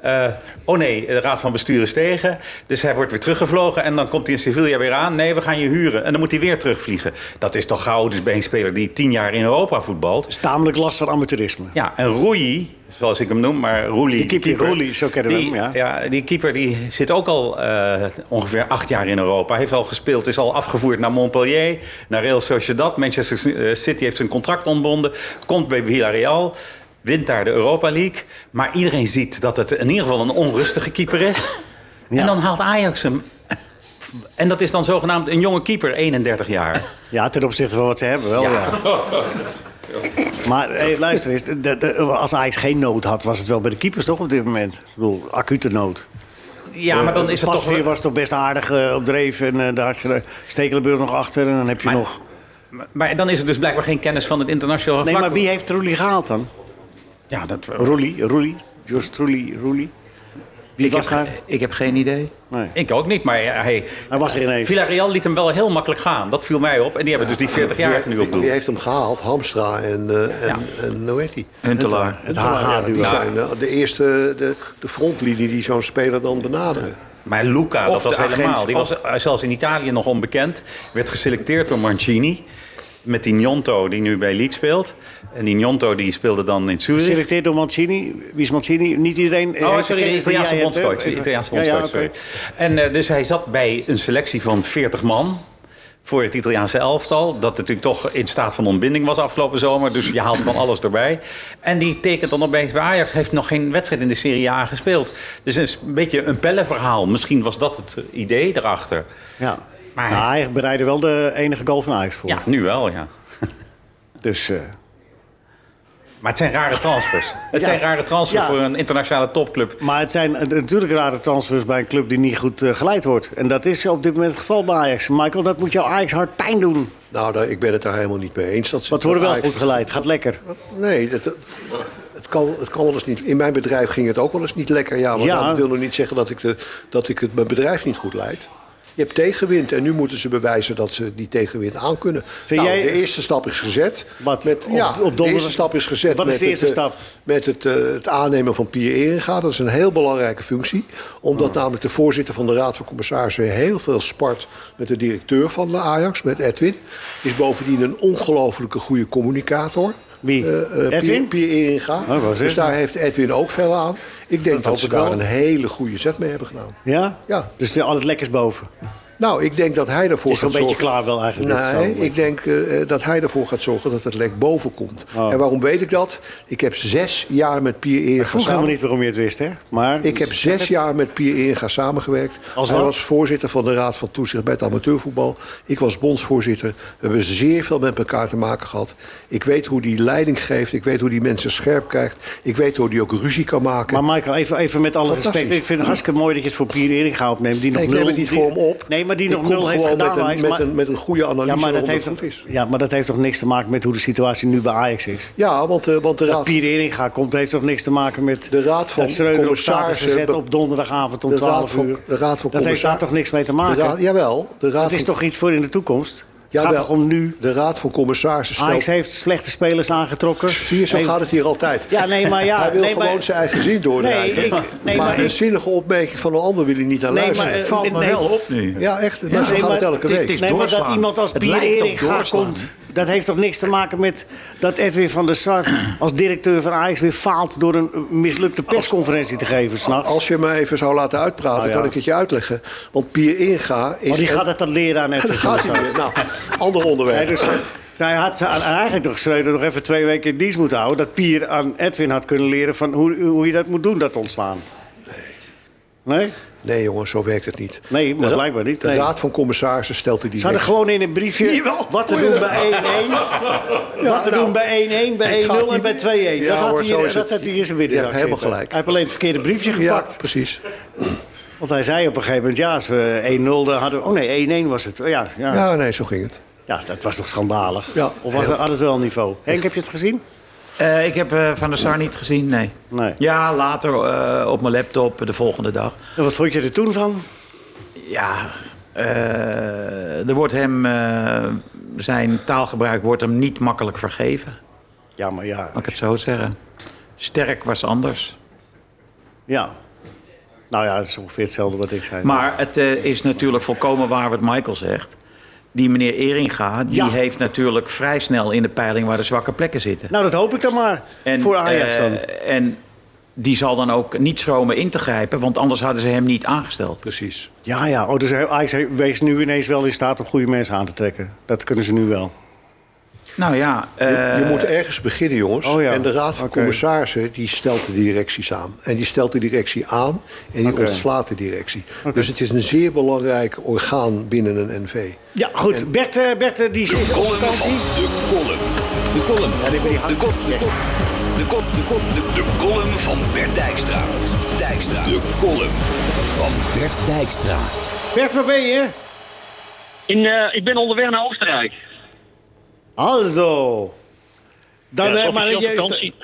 Speaker 6: Eh, oh nee, de raad van bestuur is tegen. Dus hij wordt weer teruggevlogen. En dan komt hij in Sevilla weer aan. Nee, we gaan je huren. En dan moet hij weer terugvliegen. Dat is toch gauw dus bij een speler die tien jaar in Europa voetbalt.
Speaker 3: is tamelijk last van amateurisme.
Speaker 6: Ja, en Roei, zoals ik hem noem, maar Roelie.
Speaker 3: Die keeper, Roelie, zo kennen we
Speaker 6: die,
Speaker 3: hem,
Speaker 6: die keeper die zit ook al eh, ongeveer acht jaar in Europa. Heeft al gespeeld, is al afgevoerd naar Montpellier, naar Real Sociedad. Manchester eh, City heeft zijn contract ontbonden. Komt bij Villarreal, wint daar de Europa League. Maar iedereen ziet dat het in ieder geval een onrustige keeper is. En dan haalt Ajax hem. En dat is dan zogenaamd een jonge keeper, 31 jaar.
Speaker 3: Ja, ten opzichte van wat ze hebben wel, ja. Maar hey, luister eens, de- de- als Ajax geen nood had, was het wel bij de keepers toch op dit moment? Ik bedoel, acute nood.
Speaker 6: Ja, maar dan is het toch...
Speaker 3: Pasveer was toch best aardig eh, op dreef en eh, daar had je eh, Stekelenburg nog achter en dan heb je
Speaker 6: Maar-
Speaker 3: nog...
Speaker 6: Maar dan is er dus blijkbaar geen kennis van het internationale
Speaker 3: Nee,
Speaker 6: vlak.
Speaker 3: maar wie heeft Roelie gehaald dan?
Speaker 6: Ja, dat...
Speaker 3: Roelie, Roelie, Just Roelie, Roelie. Wie
Speaker 7: Ik heb,
Speaker 3: was
Speaker 7: ge-
Speaker 3: daar?
Speaker 7: ik heb geen idee.
Speaker 3: Nee,
Speaker 6: Ik ook niet, maar hij...
Speaker 3: hij was er ineens.
Speaker 6: Villarreal liet hem wel heel makkelijk gaan. Dat viel mij op. En die hebben dus die 40 jaar nu
Speaker 4: Wie,
Speaker 6: op
Speaker 4: wie
Speaker 6: doel.
Speaker 4: heeft hem gehaald? Hamstra en, eh en, en hoe heet die?
Speaker 7: Huntelaar.
Speaker 3: Het
Speaker 4: Ja, die
Speaker 3: HH-duo.
Speaker 4: zijn eh, de eerste de, de frontlinie die zo'n speler dan benaderen.
Speaker 6: Maar Luca,
Speaker 7: Of
Speaker 6: dat was
Speaker 7: de agent,
Speaker 6: helemaal... Die
Speaker 7: of-
Speaker 6: was eh, zelfs in Italië nog onbekend. Werd geselecteerd door Mancini. Met die Njonto die nu bij Leeds speelt. En die Njonto die speelde dan in Zurich.
Speaker 3: Geselecteerd door Mancini. Wie is Mancini? Niet iedereen. eh, heeft
Speaker 6: Oh,
Speaker 3: de
Speaker 6: sorry, de
Speaker 3: kennis die
Speaker 6: Italiaanse
Speaker 3: jij hebt, hè?
Speaker 6: bondscoach. De
Speaker 3: Even-
Speaker 6: Italiaanse
Speaker 3: Ja, ja,
Speaker 6: bondscoach,
Speaker 3: oké.
Speaker 6: sorry. En eh, dus hij zat bij een selectie van 40 man voor het Italiaanse elftal. Dat natuurlijk toch in staat van ontbinding was afgelopen zomer. Dus je haalt van alles erbij. En die tekent dan opeens bij Ajax. Heeft nog geen wedstrijd in de Serie A gespeeld. Dus het is een beetje een pellenverhaal. Misschien was dat het eh, idee erachter.
Speaker 3: Ja.
Speaker 6: Maar-
Speaker 3: Nou, hij bereidde wel de enige goal van Ajax voor.
Speaker 6: Ja, nu wel, ja.
Speaker 3: Dus, eh,
Speaker 6: Maar het zijn rare transfers. Het
Speaker 3: Ja.
Speaker 6: zijn rare transfers
Speaker 3: Ja.
Speaker 6: voor een internationale topclub.
Speaker 3: maar het zijn eh, natuurlijk rare transfers bij een club die niet goed eh, geleid wordt. En dat is op dit moment het geval bij Ajax. Michael, dat moet jouw Ajax hard pijn doen.
Speaker 4: Nou, daar, ik ben het daar helemaal niet mee eens. Dat ze-
Speaker 3: Wat worden
Speaker 4: dat
Speaker 3: wel
Speaker 4: Ajax-
Speaker 3: goed geleid. Gaat lekker.
Speaker 4: Nee, dat, het, kan, het kan wel eens niet. In mijn bedrijf ging het ook wel eens niet lekker. Ja, maar
Speaker 3: Ja.
Speaker 4: dat wil nog niet zeggen dat ik, de, dat ik het, mijn bedrijf niet goed leid. Je hebt tegenwind en nu moeten ze bewijzen dat ze die tegenwind aankunnen.
Speaker 3: Vind
Speaker 4: nou,
Speaker 3: jij-
Speaker 4: De eerste stap is gezet.
Speaker 3: Wat?
Speaker 4: Met,
Speaker 3: Op-
Speaker 4: ja,
Speaker 3: op donderdag-
Speaker 4: de eerste stap is gezet.
Speaker 3: Wat is
Speaker 4: met
Speaker 3: de eerste
Speaker 4: het, eh,
Speaker 3: stap?
Speaker 4: Met het, eh, het aannemen van Pier Eringa. Dat is een heel belangrijke functie. Omdat namelijk de voorzitter van de Raad van Commissarissen heel veel spart met de directeur van de Ajax, met Edwin. Is bovendien een ongelofelijke goede communicator.
Speaker 3: Wie?
Speaker 4: Eh, eh,
Speaker 3: Edwin? Oh,
Speaker 4: Pier- Pier Eringa.
Speaker 3: wou zeggen.
Speaker 4: dus daar heeft Edwin ook veel aan. Ik denk dat,
Speaker 3: hoop
Speaker 4: ze
Speaker 3: ik
Speaker 4: daar
Speaker 3: wel.
Speaker 4: een hele goede zet mee hebben gedaan.
Speaker 3: Ja?
Speaker 4: Ja.
Speaker 3: Dus er- al het lekkers boven.
Speaker 4: Nou, ik denk dat hij ervoor
Speaker 3: Het is wel
Speaker 4: gaat
Speaker 3: een beetje
Speaker 4: zorgen.
Speaker 3: klaar wel eigenlijk. dit
Speaker 4: Nee,
Speaker 3: zo.
Speaker 4: ik denk eh, dat hij ervoor gaat zorgen dat het lek boven komt.
Speaker 3: Oh.
Speaker 4: En waarom weet ik dat? Ik heb zes jaar met Pier Eringa
Speaker 3: Ik vroeg
Speaker 4: samen-
Speaker 3: helemaal niet waarom je het wist, hè? Maar
Speaker 4: Ik heb zes jaar met Pier Eringa samengewerkt.
Speaker 3: Als
Speaker 4: Hij
Speaker 3: wat?
Speaker 4: was voorzitter van de Raad van Toezicht bij het amateurvoetbal. Ik was bondsvoorzitter. We hebben zeer veel met elkaar te maken gehad. Ik weet hoe die leiding geeft. Ik weet hoe die mensen scherp krijgt. Ik weet hoe die ook ruzie kan maken.
Speaker 3: Maar Michael, even, even met alle
Speaker 4: Fantastisch.
Speaker 3: respect. Ik vind het hartstikke mooi dat je het voor Pier Eringa opneemt. Die nog
Speaker 4: Nee, ik
Speaker 3: nul,
Speaker 4: neem het niet
Speaker 3: die-
Speaker 4: voor hem op.
Speaker 3: Nee, maar die
Speaker 4: Ik
Speaker 3: nog
Speaker 4: kom
Speaker 3: nul heeft
Speaker 4: gewoon
Speaker 3: gedaan.
Speaker 4: met
Speaker 3: Ajax,
Speaker 4: een, met,
Speaker 3: maar-
Speaker 4: een, met een goede analyse
Speaker 3: ja, maar dat
Speaker 4: waarom
Speaker 3: heeft,
Speaker 4: goed is.
Speaker 3: ja, maar dat heeft toch niks te maken met hoe de situatie nu bij Ajax is?
Speaker 4: Ja, want, eh, want de,
Speaker 3: Dat
Speaker 4: raad,
Speaker 3: Pier Eringa komt heeft toch niks te maken met
Speaker 4: De Raad van
Speaker 3: dat Schreuder op status
Speaker 4: Commissarissen
Speaker 3: gezet
Speaker 4: be-
Speaker 3: op donderdagavond om
Speaker 4: de raad
Speaker 3: 12
Speaker 4: van,
Speaker 3: uur.
Speaker 4: de raad van
Speaker 3: Dat heeft daar
Speaker 4: Commissarissen...
Speaker 3: toch niks mee te
Speaker 4: de
Speaker 3: maken?
Speaker 4: raad, jawel, de raad
Speaker 3: dat is
Speaker 4: van-
Speaker 3: toch iets voor in de toekomst? Het
Speaker 4: jawel,
Speaker 3: gaat toch om nu? Ah,
Speaker 4: De raad van Commissarissen
Speaker 3: Ajax
Speaker 4: stelt...
Speaker 3: heeft slechte spelers aangetrokken.
Speaker 4: Zie je, zo
Speaker 3: Heeft-
Speaker 4: gaat het hier altijd.
Speaker 3: Ja, nee, maar ja.
Speaker 4: hij wil
Speaker 3: nee, maar-
Speaker 4: gewoon zijn eigen zin doordrijven.
Speaker 3: Nee, ik-
Speaker 4: maar,
Speaker 3: nee, maar
Speaker 4: een
Speaker 3: ik-
Speaker 4: zinnige opmerking van een ander wil hij niet aan
Speaker 3: Nee,
Speaker 4: luisteren.
Speaker 3: maar, eh,
Speaker 7: Valt me
Speaker 3: nee.
Speaker 7: wel op nu.
Speaker 4: ja, echt. Maar
Speaker 3: Ja,
Speaker 4: zo
Speaker 3: nee,
Speaker 4: gaat
Speaker 3: maar
Speaker 4: het elke
Speaker 7: dit-
Speaker 4: week.
Speaker 7: dit-
Speaker 3: Nee, maar dat
Speaker 7: doorslaan.
Speaker 3: iemand als
Speaker 7: Het
Speaker 3: Pier
Speaker 7: lijkt op
Speaker 3: Eringa
Speaker 7: doorslaan.
Speaker 3: komt... dat heeft toch niks te maken met dat Edwin van der Sar... als directeur van Ajax weer faalt... door een mislukte persconferentie te geven s'nachts.
Speaker 4: Nou, Als je mij even zou laten uitpraten,
Speaker 3: Nou ja.
Speaker 4: kan ik het je uitleggen. Want Pier Inga is...
Speaker 3: Maar die
Speaker 4: een-
Speaker 3: gaat het dan leren aan
Speaker 4: Dan
Speaker 3: Edwin van der
Speaker 4: gaat hij
Speaker 3: Sar.
Speaker 4: weer. Nou, ander onderwerp.
Speaker 3: Nee, dus, zij had ze- eigenlijk toch Schreuder nog even twee weken in dienst moeten houden... dat Pier aan Edwin had kunnen leren van hoe, hoe je dat moet doen, dat ontslaan. Nee. Nee?
Speaker 4: Nee, jongens, zo werkt het niet.
Speaker 3: Nee, maar
Speaker 4: De ra-
Speaker 3: blijkbaar niet, nee.
Speaker 4: De Raad van Commissarissen stelt er die
Speaker 3: Ze hadden
Speaker 4: wet.
Speaker 3: gewoon in een briefje wat te doen bij 1-1. wat te
Speaker 4: nou,
Speaker 3: doen bij 1-1, bij
Speaker 4: ik ga
Speaker 3: 1-0 en
Speaker 4: niet-
Speaker 3: bij 2-1.
Speaker 4: Ja,
Speaker 3: dat, had
Speaker 4: hoor,
Speaker 3: hij,
Speaker 4: zo is
Speaker 3: dat
Speaker 4: het.
Speaker 3: had hij in zijn binnenzak
Speaker 4: Je hebt helemaal
Speaker 3: zitten.
Speaker 4: gelijk.
Speaker 3: Hij heeft alleen het verkeerde briefje
Speaker 4: Ja,
Speaker 3: gepakt.
Speaker 4: precies.
Speaker 3: Want hij zei op een gegeven moment, ja, als we 1-0 dan hadden... we- Oh nee, 1-1 was het. Oh, ja, ja. Ja.
Speaker 4: Ja, nee, zo ging het.
Speaker 3: dat was toch schandalig?
Speaker 4: Ja,
Speaker 3: of was
Speaker 4: heel.
Speaker 3: had het wel een niveau? Henk, heb je het gezien?
Speaker 7: Eh, ik heb eh, Van der Sar niet gezien, nee.
Speaker 3: Nee.
Speaker 7: Ja, later eh, op mijn laptop eh, de volgende dag.
Speaker 3: En wat vond je er toen van?
Speaker 7: Ja, eh, er wordt hem, eh, zijn taalgebruik wordt hem niet makkelijk vergeven.
Speaker 3: Ja, maar ja.
Speaker 7: Mag ik het zo zeggen? Sterk was anders.
Speaker 3: ja. Nou ja, dat is ongeveer hetzelfde wat ik zei.
Speaker 7: Maar het eh, is natuurlijk volkomen waar wat Michael zegt. Die meneer Eringa, die
Speaker 3: Ja.
Speaker 7: heeft natuurlijk vrij snel in de peiling waar de zwakke plekken zitten.
Speaker 3: nou, dat hoop ik dan maar. voor Ajax
Speaker 7: eh,
Speaker 3: dan.
Speaker 7: en die zal dan ook niet schromen in te grijpen, want anders hadden ze hem niet aangesteld.
Speaker 4: Precies.
Speaker 3: Ja, ja. Oh, dus Ajax he- wees nu ineens wel in staat om goede mensen aan te trekken. Dat kunnen ze nu wel.
Speaker 7: Nou ja,
Speaker 4: Je,
Speaker 7: eh,
Speaker 4: je moet ergens beginnen, jongens.
Speaker 3: oh ja,
Speaker 4: En de Raad van
Speaker 3: oké.
Speaker 4: Commissarissen die stelt de directie samen. En die stelt de directie aan en die
Speaker 3: Oké.
Speaker 4: ontslaat de directie. Dus het is een zeer belangrijk orgaan binnen een NV.
Speaker 3: Ja, goed. Bert, eh, Bert eh, die is
Speaker 2: De
Speaker 3: op
Speaker 2: column van
Speaker 3: vakantie.
Speaker 2: de column. De column. De kop, de kop, de kop. De kop, de kop, de De column van Bert Dijkstra. Dijkstra. De column van Bert Dijkstra.
Speaker 3: Bert, waar ben je?
Speaker 8: In, eh, ik ben onderweg naar Oostenrijk.
Speaker 3: Also. Dan,
Speaker 8: Ja,
Speaker 3: eh, maar
Speaker 8: officieel
Speaker 3: je is-
Speaker 8: vakantie.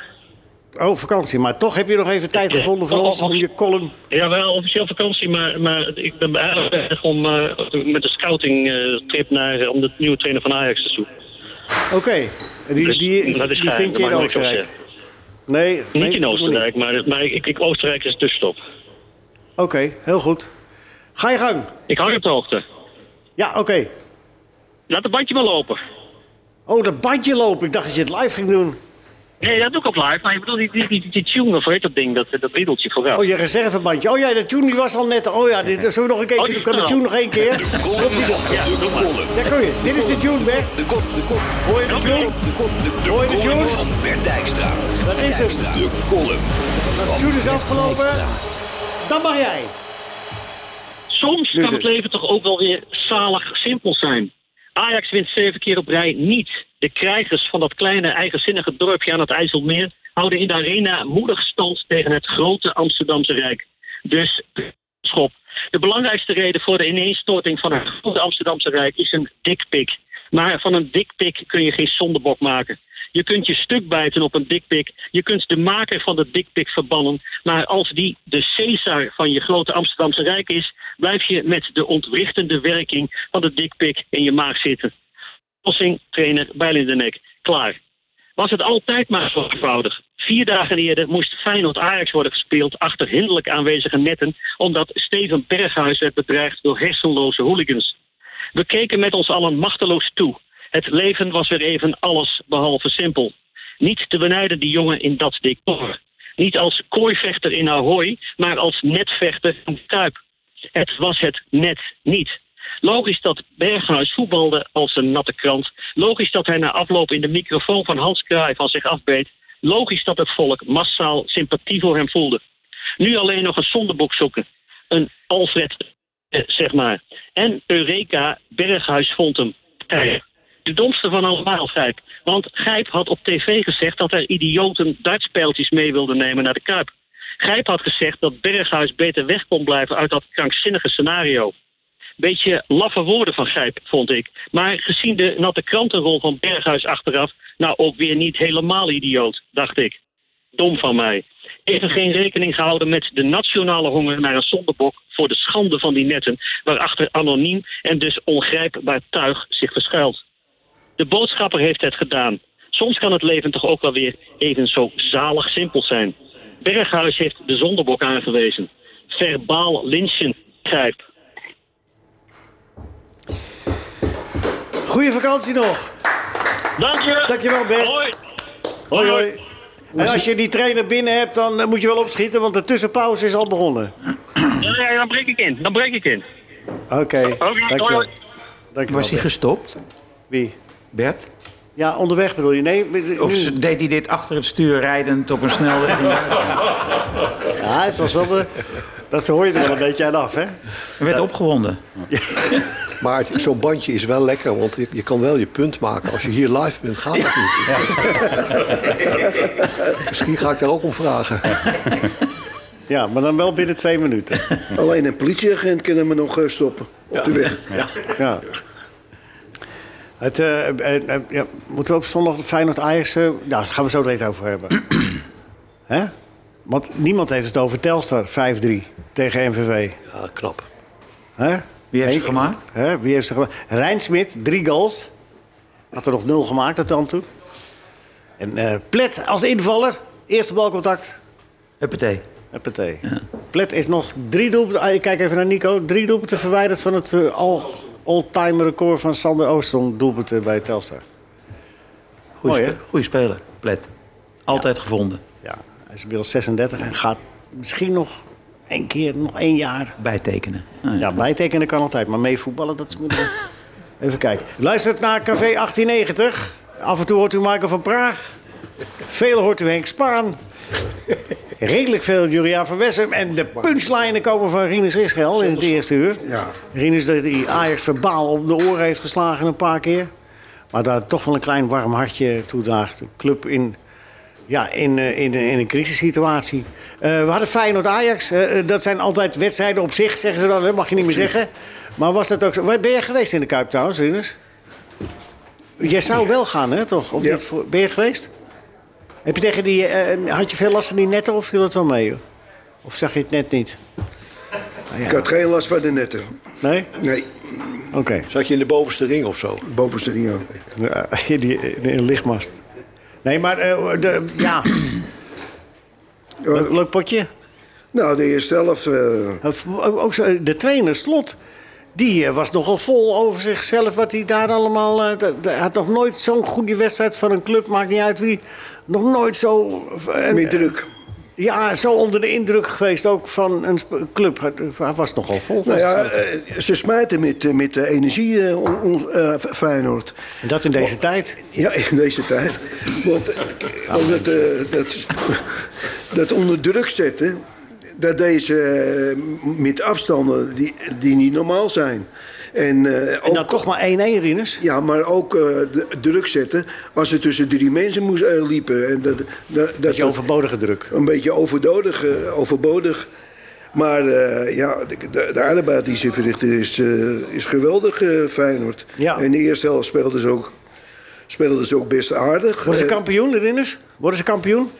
Speaker 3: Oh, vakantie. Maar toch heb je nog even tijd gevonden voor
Speaker 8: Oh,
Speaker 3: ons
Speaker 8: oh, oh.
Speaker 3: om je column...
Speaker 8: Jawel, officieel vakantie, maar, maar ik ben eigenlijk bezig om eh, met een scouting eh, trip naar, om de nieuwe trainer van Ajax te zoeken.
Speaker 3: Oké. Die,
Speaker 8: Dus
Speaker 3: die, die,
Speaker 8: dat is geheim,
Speaker 3: vind
Speaker 8: dat mag
Speaker 3: je in
Speaker 8: ik nog
Speaker 3: Oostenrijk.
Speaker 8: zeggen.
Speaker 3: Nee, nee,
Speaker 8: Niet in
Speaker 3: dat moet
Speaker 8: Oostenrijk, maar, maar ik, ik, Oostenrijk is tussenstop.
Speaker 3: Oké, heel goed. Ga je gang.
Speaker 8: Ik hang op de hoogte.
Speaker 3: Ja, oké.
Speaker 8: Laat het bandje maar lopen.
Speaker 3: Oh, dat bandje lopen. Ik dacht dat je het live ging doen.
Speaker 8: Nee, dat doe ik op live, maar ik bedoel die, die, die, die tune, of hoe heet dat ding, dat, dat riedeltje vooruit.
Speaker 3: Oh, je reservebandje. Oh ja, de tune die was al net. Oh ja, dit, zullen we nog een keer...
Speaker 8: Oh, die is
Speaker 3: kan de
Speaker 8: er al.
Speaker 3: tune nog één keer?
Speaker 2: De column van
Speaker 8: Ja,
Speaker 2: de
Speaker 8: doe maar.
Speaker 2: column.
Speaker 3: Daar kun je. Dit is de tune, Bert.
Speaker 2: De kop, de kop.
Speaker 3: Hoor je de
Speaker 2: De
Speaker 3: tune?
Speaker 2: kop, de kop, de, de
Speaker 3: Hoor je de
Speaker 2: column
Speaker 3: tune?
Speaker 2: van Bert Dijkstra.
Speaker 3: Dat is hem.
Speaker 2: De column van
Speaker 3: tune is
Speaker 2: Bert
Speaker 3: afgelopen.
Speaker 2: Dijkstra.
Speaker 3: Dan mag jij.
Speaker 8: Soms
Speaker 3: Nu
Speaker 8: kan het
Speaker 3: dus.
Speaker 8: leven toch ook wel weer zalig simpel zijn. Ajax wint zeven keer op rij niet. De krijgers van dat kleine eigenzinnige dorpje aan het IJsselmeer houden in de arena moedig stand tegen het grote Amsterdamse Rijk. Dus schop. De belangrijkste reden voor de ineenstorting van het grote Amsterdamse Rijk is een dikpik. Maar van een dikpik kun je geen zondebok maken. Je kunt je stuk bijten op een dikpik. Je kunt de maker van de dikpik verbannen. Maar als die de Caesar van je grote Amsterdamse Rijk is, blijf je met de ontwrichtende werking van de dikpik in je maag zitten. Oplossing, trainer Bijlindenek. Klaar. Was het altijd maar zo eenvoudig? Vier dagen eerder moest Feyenoord Ajax worden gespeeld achter hinderlijk aanwezige netten, omdat Steven Berghuis werd bedreigd door hersenloze hooligans. We keken met ons allen machteloos toe. Het leven was weer even alles behalve simpel. Niet te benijden die jongen in dat decor. Niet als kooivechter in Ahoy, maar als netvechter in de Kuip. Het was het net niet. Logisch dat Berghuis voetbalde als een natte krant. Logisch dat hij na afloop in de microfoon van Hans Kraai van zich afbeet. Logisch dat het volk massaal sympathie voor hem voelde. Nu alleen nog een zondebok zoeken. Een Alfred, eh, zeg maar. En Eureka, Berghuis vond hem. Gijp. De domste van allemaal, Gijp. Want Gijp had op tv gezegd dat er idioten dartspijltjes mee wilden nemen naar de Kuip. Gijp had gezegd dat Berghuis beter weg kon blijven uit dat krankzinnige scenario. Beetje laffe woorden van Gijp, vond ik. Maar gezien de natte krantenrol van Berghuis achteraf... nou ook weer niet helemaal idioot, dacht ik. Dom van mij. Even geen rekening gehouden met de nationale honger naar een zondebok... voor de schande van die netten... waarachter anoniem en dus ongrijpbaar tuig zich verschuilt. De boodschapper heeft het gedaan. Soms kan het leven toch ook wel weer even zo zalig simpel zijn. Berghuis heeft de zondebok aangewezen. Verbaal lynchen, Gijp.
Speaker 3: Goeie vakantie nog.
Speaker 8: Dank je.
Speaker 3: Dankjewel, Bert.
Speaker 8: Hoi.
Speaker 3: Hoi, hoi. En als je die trainer binnen hebt, dan eh, moet je wel opschieten, want de tussenpauze is al begonnen.
Speaker 8: Ja, ja, dan breek ik in. Dan breek ik in.
Speaker 3: Oké, dankjewel.
Speaker 8: hoi, hoi.
Speaker 3: Dankjewel,
Speaker 7: was hij
Speaker 3: Bert.
Speaker 7: gestopt,
Speaker 3: Wie?
Speaker 7: Bert?
Speaker 3: Ja, onderweg bedoel je? Nee, nu-
Speaker 7: Of ze- deed hij dit achter het stuur rijdend op een snelweg?
Speaker 3: ja, het was wel de... Dat hoor je er wel een beetje aan af, hè?
Speaker 7: Hij werd opgewonden.
Speaker 4: Maar het- zo'n bandje is wel lekker, want je, je kan wel je punt maken. Als je hier live bent, gaat dat niet. Misschien ga ik daar ook om vragen.
Speaker 3: Ja, maar dan wel binnen twee minuten. Oh,
Speaker 5: Alleen een politieagent kan me nog eh, stoppen op de weg.
Speaker 3: Ja. Het, eh, eh, eh, ja, moeten we op zondag Feyenoord Ajax... eh, ja, daar gaan we zo direct over hebben. Hè? Want niemand heeft het over Telstar 5-3 tegen MVV.
Speaker 4: Ja, knap.
Speaker 3: Hè?
Speaker 7: Wie heeft ze
Speaker 3: Henk-
Speaker 7: gemaakt?
Speaker 3: Hè? Wie heeft ze gemaakt? Rijn Smit, drie goals. Had er nog nul gemaakt tot dan toe. En eh, Plet als invaller. Eerste balcontact.
Speaker 7: Eh, Huppatee.
Speaker 3: Huppatee. Plet is nog drie doelpunten... ah, ik kijk even naar Nico. Drie doelpunten verwijderd van het eh, al all-time record van Sander Oostrom. Doelpunten bij Telstar.
Speaker 7: Goeie,
Speaker 3: Mooi,
Speaker 7: spe- goeie speler, Plet. Altijd gevonden.
Speaker 3: Ja, hij is inmiddels 36 en gaat misschien nog één keer, nog één jaar.
Speaker 7: Bijtekenen. Ah, ja.
Speaker 3: Ja, bijtekenen kan altijd, maar mee voetballen, dat is... moeilijk. Even kijken. Luistert naar Café 1890. Af en toe hoort u Michael van Praag. Veel hoort u Henk Spaan. Redelijk veel Julia van Wessem. En de punchlinen komen van Rinus Israël in het eerste uur.
Speaker 5: Ja.
Speaker 3: Rinus dat die Ajax verbaal op de oren heeft geslagen een paar keer. Maar daar toch wel een klein warm hartje toedraagt. Een club in, ja, in, eh, in, in een crisissituatie. Eh we hadden Feyenoord-Ajax. Eh, eh, dat zijn altijd wedstrijden op zich, zeggen ze dan. Dat mag je niet meer zeggen. Maar was dat ook zo? Waar ben je geweest in de Kuip trouwens, Rinus? Jij zou wel gaan, hè, toch? Of
Speaker 5: Ja.
Speaker 3: niet voor- ben je geweest? Heb je tegen die, eh, had je veel last van die netten of viel dat wel mee? Joh? Of zag je het net niet?
Speaker 5: Ik had geen last van de netten.
Speaker 3: Nee?
Speaker 5: Nee,
Speaker 3: Oké.
Speaker 4: Zat je in de bovenste ring of zo?
Speaker 5: bovenste niet aan.
Speaker 3: Ja, in die, in een lichtmast. Nee, maar eh, de, ja, leuk, leuk potje.
Speaker 5: Nou, de eerste helft. eh,
Speaker 3: Of- Ook, ook zo, de trainer, Slot, die eh, was nogal vol over zichzelf. Wat hij daar allemaal... eh, de- de- Hij had nog nooit zo'n goede wedstrijd van een club. Maakt niet uit wie. Nog nooit zo... eh,
Speaker 5: meer druk.
Speaker 3: Ja, zo onder de indruk geweest ook van een sp- club. Hij- Hij was nogal vol.
Speaker 5: Nou ja, eh, ze smijten met, eh, met de energie eh, on- on- eh, F- Feyenoord.
Speaker 3: En dat in deze tijd.
Speaker 5: Ja, in deze tijd. Want, eh, want dat, eh, dat, dat onder druk zetten, dat deze eh, met afstanden die, die niet normaal zijn. En, eh,
Speaker 3: En
Speaker 5: ook,
Speaker 3: dan toch maar 1-1, Rinus.
Speaker 5: Ja, maar ook eh, de- druk zetten als ze tussen drie mensen moest, eh, liepen. En dat, dat, dat,
Speaker 3: Dat je overbodige druk.
Speaker 5: Een beetje overdodig, eh, overbodig. Maar eh, ja, de, de, de arbeid die ze verrichten is, eh, is geweldig, eh, Feyenoord.
Speaker 3: Ja.
Speaker 5: En de eerste helft speelden ze ook, speelden ze ook best aardig.
Speaker 3: Worden ze
Speaker 5: Eh,
Speaker 3: kampioen, Rinus? Worden ze kampioen?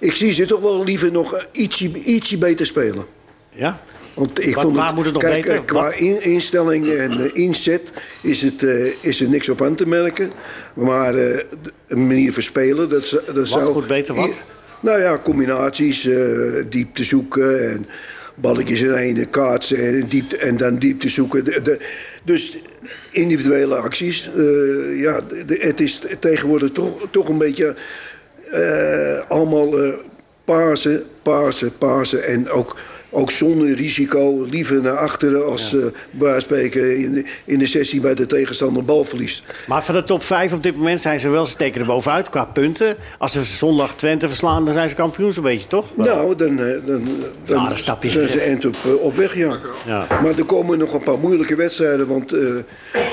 Speaker 5: ik zie ze toch wel liever nog eh, ietsje, ietsje beter spelen.
Speaker 3: Ja.
Speaker 5: Want ik
Speaker 3: Wat-
Speaker 5: vond
Speaker 3: waar moet het nog
Speaker 5: kijk,
Speaker 3: beter?
Speaker 5: eh, Qua
Speaker 3: Wat?
Speaker 5: in- instelling en eh, inzet is, het, eh, is er niks op aan te merken. Maar eh, de een manier van spelen, dat, zou- dat zou...
Speaker 3: moet beter, wat?
Speaker 5: nou ja, combinaties, eh, diepte zoeken en balletjes in ene kaatsen en, diepte, en dan diepte zoeken. De- de- dus individuele acties, eh, ja, de- de- het is tegenwoordig toch, toch een beetje eh, allemaal eh pasen, pasen, pasen. En ook, ook zonder risico, liever naar achteren als eh bij wijze van spreken in, de- in de sessie bij de tegenstander bal verliest.
Speaker 3: Maar van de top 5 op dit moment zijn ze wel, ze steken er bovenuit qua punten. Als ze zondag Twente verslaan, dan zijn ze kampioen zo'n beetje, toch?
Speaker 5: Nou, dan, eh, dan, dan
Speaker 3: Zware stapjes
Speaker 5: zijn ze
Speaker 3: gezet.
Speaker 5: eind op, eh, op weg, ja.
Speaker 3: Ja.
Speaker 5: Maar er komen nog een paar moeilijke wedstrijden, want eh,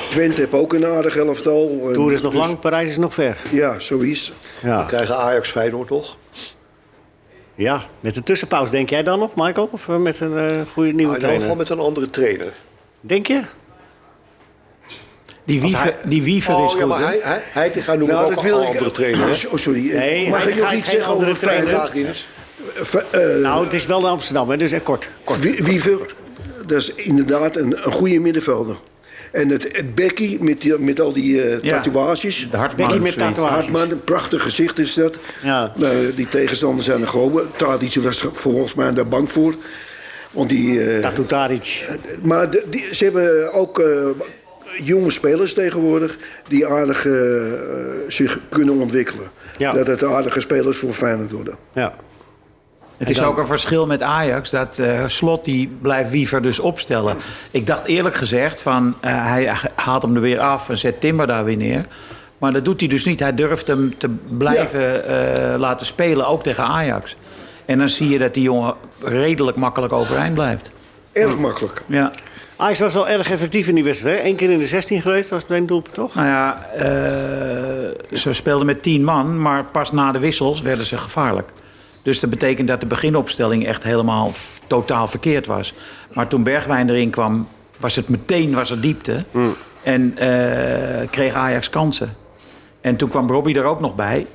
Speaker 5: Twente heeft ook een aardig elftal. En
Speaker 3: Tour is nog
Speaker 5: dus-
Speaker 3: lang, Parijs is nog ver.
Speaker 5: Ja, zoiets.
Speaker 3: Ja.
Speaker 4: We krijgen Ajax Feyenoord nog.
Speaker 3: ja, met een tussenpauze denk jij dan nog, Michael? Of eh, met een eh,
Speaker 4: Maar
Speaker 3: goede nieuwe
Speaker 4: in ieder
Speaker 3: trainer?
Speaker 4: geval met een andere trainer.
Speaker 3: Denk je?
Speaker 7: Die wiever, die wiever is
Speaker 4: Oh
Speaker 7: goed,
Speaker 4: ja, maar
Speaker 7: hè?
Speaker 4: hij, hij, hij gaat noemen ook een andere trainer. hè?
Speaker 5: Oh, sorry. eh,
Speaker 3: Nee,
Speaker 5: Mag
Speaker 3: hij
Speaker 5: ik nog
Speaker 3: gaat
Speaker 5: iets
Speaker 3: geen
Speaker 5: zeggen
Speaker 3: andere
Speaker 5: over
Speaker 3: trainer.
Speaker 5: Feyenoord?
Speaker 4: Graag, Rinus.
Speaker 5: Eh,
Speaker 3: Nou, het is wel naar Amsterdam, hè, dus eh, kort.
Speaker 5: Wie- Wiever, dat is inderdaad een, een goede middenvelder. En het, het Becky met, die, met al die eh,
Speaker 7: Ja.
Speaker 5: tatoeages.
Speaker 7: De hartman.
Speaker 3: Becky
Speaker 7: of
Speaker 3: met
Speaker 7: zoiets.
Speaker 3: tatoeages.
Speaker 5: Hartman, een prachtig gezicht is dat.
Speaker 3: Ja.
Speaker 5: Eh, die tegenstanders zijn er gewoon. Tadic was volgens mij daar bang voor. Want die, eh,
Speaker 3: Tatu Tadic.
Speaker 5: maar de- die, ze hebben ook eh, jonge spelers tegenwoordig die aardig eh, eh, zich kunnen ontwikkelen.
Speaker 3: Ja.
Speaker 5: Dat het aardige spelers voor Feyenoord worden.
Speaker 3: Ja.
Speaker 7: Het is
Speaker 3: dan?
Speaker 7: ook een verschil met Ajax dat eh, Slot die blijft Wiever dus opstellen. Ik dacht eerlijk gezegd van eh, hij haalt hem er weer af en zet Timber daar weer neer. Maar dat doet hij dus niet. Hij durft hem te blijven eh, laten spelen, ook tegen Ajax. En dan zie je dat die jongen redelijk makkelijk overeind blijft.
Speaker 5: Erg makkelijk.
Speaker 7: Ja.
Speaker 3: Ajax was wel erg effectief in die wedstrijd, hè? Eén keer in de 16 geweest, was het een doelpunt, toch?
Speaker 7: Nou ja, eh, ze speelden met tien man, maar pas na de wissels werden ze gevaarlijk. Dus dat betekent dat de beginopstelling echt helemaal f- totaal verkeerd was. Maar toen Bergwijn erin kwam, was het meteen was er diepte.
Speaker 5: Hmm.
Speaker 7: En eh, kreeg Ajax kansen. En toen kwam Robbie er ook nog bij.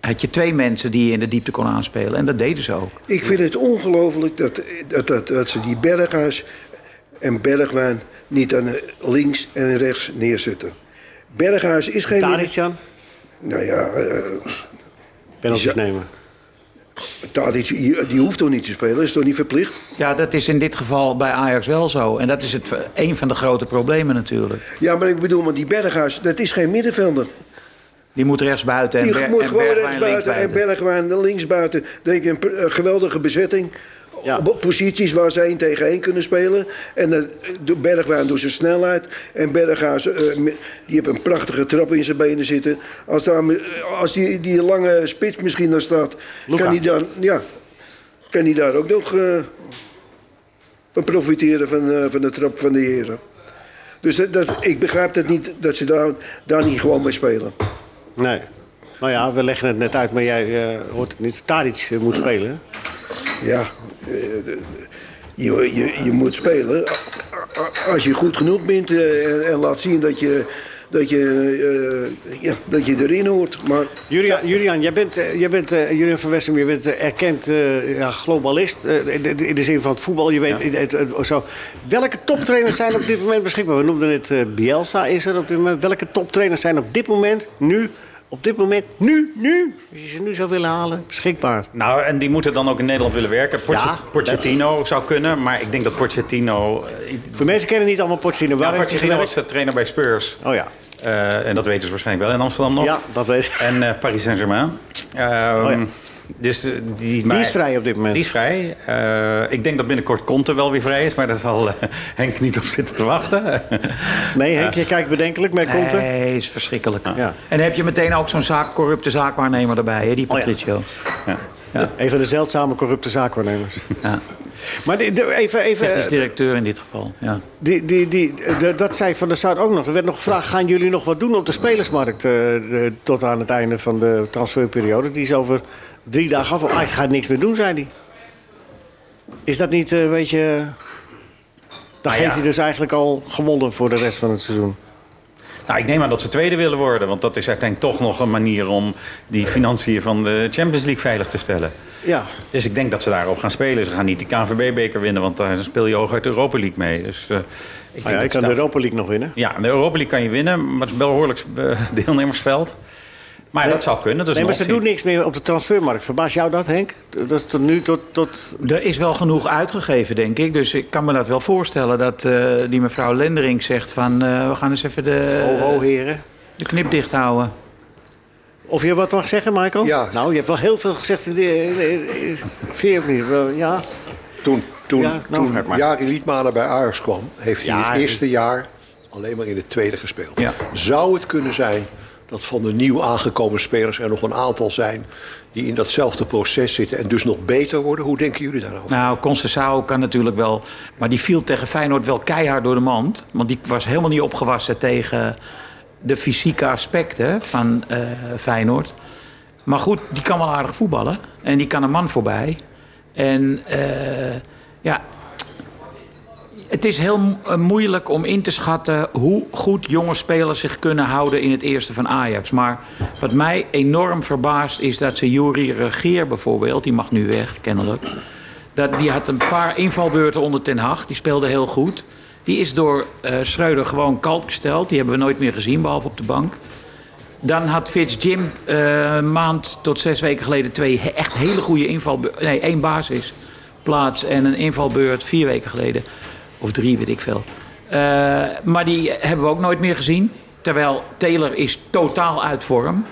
Speaker 7: Had je twee mensen die je in de diepte kon aanspelen. En dat deden ze ook.
Speaker 5: Ik vind het ongelooflijk dat, dat, dat, dat ze die Berghuis en Bergwijn niet aan de links en rechts neerzetten. Berghuis is geen.
Speaker 3: Tadic, Jan?
Speaker 5: Nou ja, eh,
Speaker 3: Penalties
Speaker 5: Ja.
Speaker 3: nemen.
Speaker 5: Tadic, die die hoeft toch niet te spelen? Is toch niet verplicht?
Speaker 7: Ja, dat is in dit geval bij Ajax wel zo. En dat is het, eh, een van de grote problemen natuurlijk.
Speaker 5: Ja, maar ik bedoel, maar die Berghuis, dat is geen middenvelder.
Speaker 7: Die moet rechts buiten en,
Speaker 5: Die
Speaker 7: Ber-
Speaker 5: moet
Speaker 7: en
Speaker 5: gewoon
Speaker 7: Bergwijn
Speaker 5: rechtsbuiten en
Speaker 7: linksbuiten.
Speaker 5: Bergwijn linksbuiten. Denk ik, een pr- een geweldige bezetting.
Speaker 3: Ja.
Speaker 5: Op posities waar ze één tegen één kunnen spelen. En eh, de Bergwijn door zijn snelheid. En Berghuis, eh, me- die heeft een prachtige trap in zijn benen zitten. Als, daar, me- als die, die lange spits misschien dan staat, kan hij dan, ja, kan die daar ook nog eh, van profiteren van, eh, van de trap van de heren. Dus dat, dat, ik begrijp dat niet, dat ze daar, daar niet gewoon mee spelen.
Speaker 3: Nee. Nou ja, we leggen het net uit, maar jij eh, hoort het niet. Tadic eh, moet spelen. hè?
Speaker 5: Ja, eh, je, je, je moet spelen. A- a- Als je goed genoeg bent eh, en, en laat zien dat je, dat, je, eh, ja, dat je erin hoort. Maar
Speaker 3: Julian, Julian, jij bent, eh, jij bent eh, Julian van Wessem, je bent eh, erkend eh, ja, globalist eh, in, de- in de zin van het voetbal. Je weet, het- het- het- zo. Welke toptrainers zijn op dit moment beschikbaar? We noemden het eh, Bielsa is er op dit moment. Welke toptrainers zijn op dit moment, nu, op dit moment, nu, nu, als je ze nu zou willen halen, beschikbaar?
Speaker 6: Nou, en die moeten dan ook in Nederland willen werken. Porce-
Speaker 3: Ja,
Speaker 6: Pochettino zou kunnen, maar ik denk dat Pochettino... eh,
Speaker 3: Voor mensen kennen niet allemaal Pochettino. Waar
Speaker 6: Ja,
Speaker 3: heeft hij
Speaker 6: Pochettino was
Speaker 3: gewerkt?
Speaker 6: eh, trainer bij Spurs.
Speaker 3: Oh ja.
Speaker 6: Eh, en dat weten ze waarschijnlijk wel in Amsterdam nog.
Speaker 3: Ja, dat weet ik.
Speaker 6: En eh, Paris Saint-Germain. Ehm,
Speaker 3: Oh ja.
Speaker 6: Dus eh, die,
Speaker 3: Die is vrij op dit moment.
Speaker 6: Die is vrij. Eh, ik denk dat binnenkort Conte wel weer vrij is, maar daar zal eh, Henk niet op zitten te wachten. Eh,
Speaker 3: Nee, Henk, je kijkt bedenkelijk, maar komt er.
Speaker 7: Nee, is verschrikkelijk.
Speaker 3: Ja.
Speaker 7: En dan heb je meteen ook zo'n zaak, corrupte zaakwaarnemer erbij, hè, die
Speaker 3: Oh ja.
Speaker 7: Patricio.
Speaker 3: Een van de zeldzame corrupte zaakwaarnemers.
Speaker 7: Ja.
Speaker 3: Maar die- de- even, eh, even,
Speaker 7: Technisch directeur in dit geval. Ja.
Speaker 3: Die, die, die, de- dat zei Van der Sar ook nog. Er werd nog gevraagd, gaan jullie nog wat doen op de spelersmarkt... eh, de- tot aan het einde van de transferperiode? Die is over drie dagen af. Ajax gaat niks meer doen, zei hij. Is dat niet eh, een beetje... Dan geef
Speaker 6: ja.
Speaker 3: je dus eigenlijk al gewonnen voor de rest van het seizoen.
Speaker 6: Nou, ik neem aan dat ze tweede willen worden, want dat is uiteindelijk toch nog een manier om die financiën van de Champions League veilig te stellen.
Speaker 3: Ja,
Speaker 6: Dus ik denk dat ze daarop gaan spelen. Ze gaan niet de KNVB-beker winnen, want daar speel je hooguit de Europa League mee. Dus, eh, ik
Speaker 3: ah, ja
Speaker 6: dat
Speaker 3: ik
Speaker 6: ze
Speaker 3: kan de
Speaker 6: daar-
Speaker 3: Europa League nog winnen.
Speaker 6: Ja, de Europa League kan je winnen, maar het is wel behoorlijk eh, deelnemersveld. Maar dat zou kunnen. Dus
Speaker 3: Nee, maar ze doen niks meer op de transfermarkt. Verbaast jou dat, Henk? Dat is tot nu tot... tot...
Speaker 7: Er is wel genoeg uitgegeven, denk ik. Dus ik kan me dat wel voorstellen dat eh, die mevrouw Lendering zegt van... eh, we gaan eens even de,
Speaker 3: Ho, ho, heren.
Speaker 7: de knip dicht houden.
Speaker 3: Of je wat mag zeggen, Michael?
Speaker 4: Ja.
Speaker 3: Nou, je hebt wel heel veel gezegd. in de- eh, eh, Vind je het niet? Wel, Ja.
Speaker 4: Toen, toen,
Speaker 3: Ja, nou,
Speaker 4: toen
Speaker 3: vraag maar.
Speaker 4: Jari Liedmanen bij Ajax kwam, heeft hij
Speaker 3: Ja,
Speaker 4: in het
Speaker 3: ik-
Speaker 4: eerste jaar alleen maar in het tweede gespeeld.
Speaker 7: Ja.
Speaker 4: Zou het kunnen zijn dat van de nieuw aangekomen spelers er nog een aantal zijn die in datzelfde proces zitten en dus nog beter worden? Hoe denken jullie daarover?
Speaker 7: Nou, Concessao kan natuurlijk wel. Maar die viel tegen Feyenoord wel keihard door de mand. Want die was helemaal niet opgewassen tegen de fysieke aspecten van eh, Feyenoord. Maar goed, die kan wel aardig voetballen. En die kan een man voorbij. En eh, ja. Het is heel mo- eh, moeilijk om in te schatten hoe goed jonge spelers zich kunnen houden in het eerste van Ajax. Maar wat mij enorm verbaast is dat ze Juri Regeer bijvoorbeeld, die mag nu weg kennelijk. Dat, die had een paar invalbeurten onder Ten Hag. Die speelde heel goed. Die is door eh Schreuder gewoon kalp gesteld. Die hebben we nooit meer gezien, behalve op de bank. Dan had Fitz Jim eh, een maand tot zes weken geleden twee he- echt hele goede invalbeurten. Nee, één basisplaats en een invalbeurt vier weken geleden. Of drie, weet ik veel. Eh, maar die hebben we ook nooit meer gezien. Terwijl Taylor is totaal uit vorm.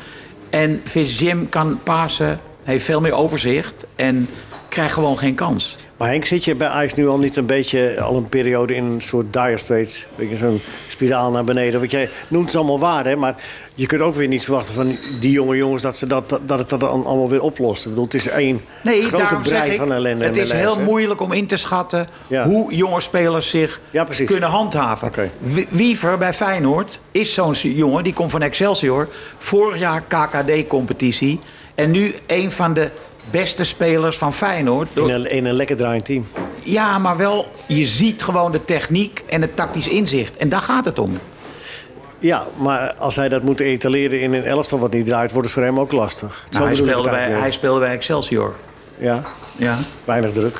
Speaker 7: En Fitz Jim kan pasen, heeft veel meer overzicht en krijgt gewoon geen kans.
Speaker 3: Maar Henk, zit je bij Ajax nu al niet een beetje, al een periode in een soort dire straits? Weet je, zo'n spiraal naar beneden. Want jij noemt het allemaal waar, hè? Maar je kunt ook weer niet verwachten van die jonge jongens dat, ze dat, dat, dat het dat dan allemaal weer oplost. Ik bedoel, het is één
Speaker 7: Nee,
Speaker 3: grote
Speaker 7: daarom zeg
Speaker 3: brei
Speaker 7: ik,
Speaker 3: van ellende.
Speaker 7: het
Speaker 3: en
Speaker 7: is
Speaker 3: malaise,
Speaker 7: heel
Speaker 3: hè?
Speaker 7: moeilijk om in te schatten
Speaker 3: Ja.
Speaker 7: hoe jonge spelers zich
Speaker 3: Ja, precies.
Speaker 7: kunnen handhaven.
Speaker 3: Oké.
Speaker 7: Wi- Wiever bij Feyenoord is zo'n s- jongen, die komt van Excelsior. Vorig jaar KKD-competitie. En nu een van de beste spelers van Feyenoord. Door-
Speaker 3: In een, in een lekker draaiend team.
Speaker 7: Ja, maar wel, je ziet gewoon de techniek en het tactisch inzicht. En daar gaat het om.
Speaker 3: Ja, maar als hij dat moet etaleren in een elftal wat niet draait, wordt het voor hem ook lastig. Zo
Speaker 7: Nou, hij,
Speaker 3: bedoel ik
Speaker 7: speelde
Speaker 3: het
Speaker 7: bij, hij
Speaker 3: eigenlijk
Speaker 7: speelde bij Excelsior.
Speaker 3: meer. Ja,
Speaker 7: Ja.
Speaker 3: weinig druk.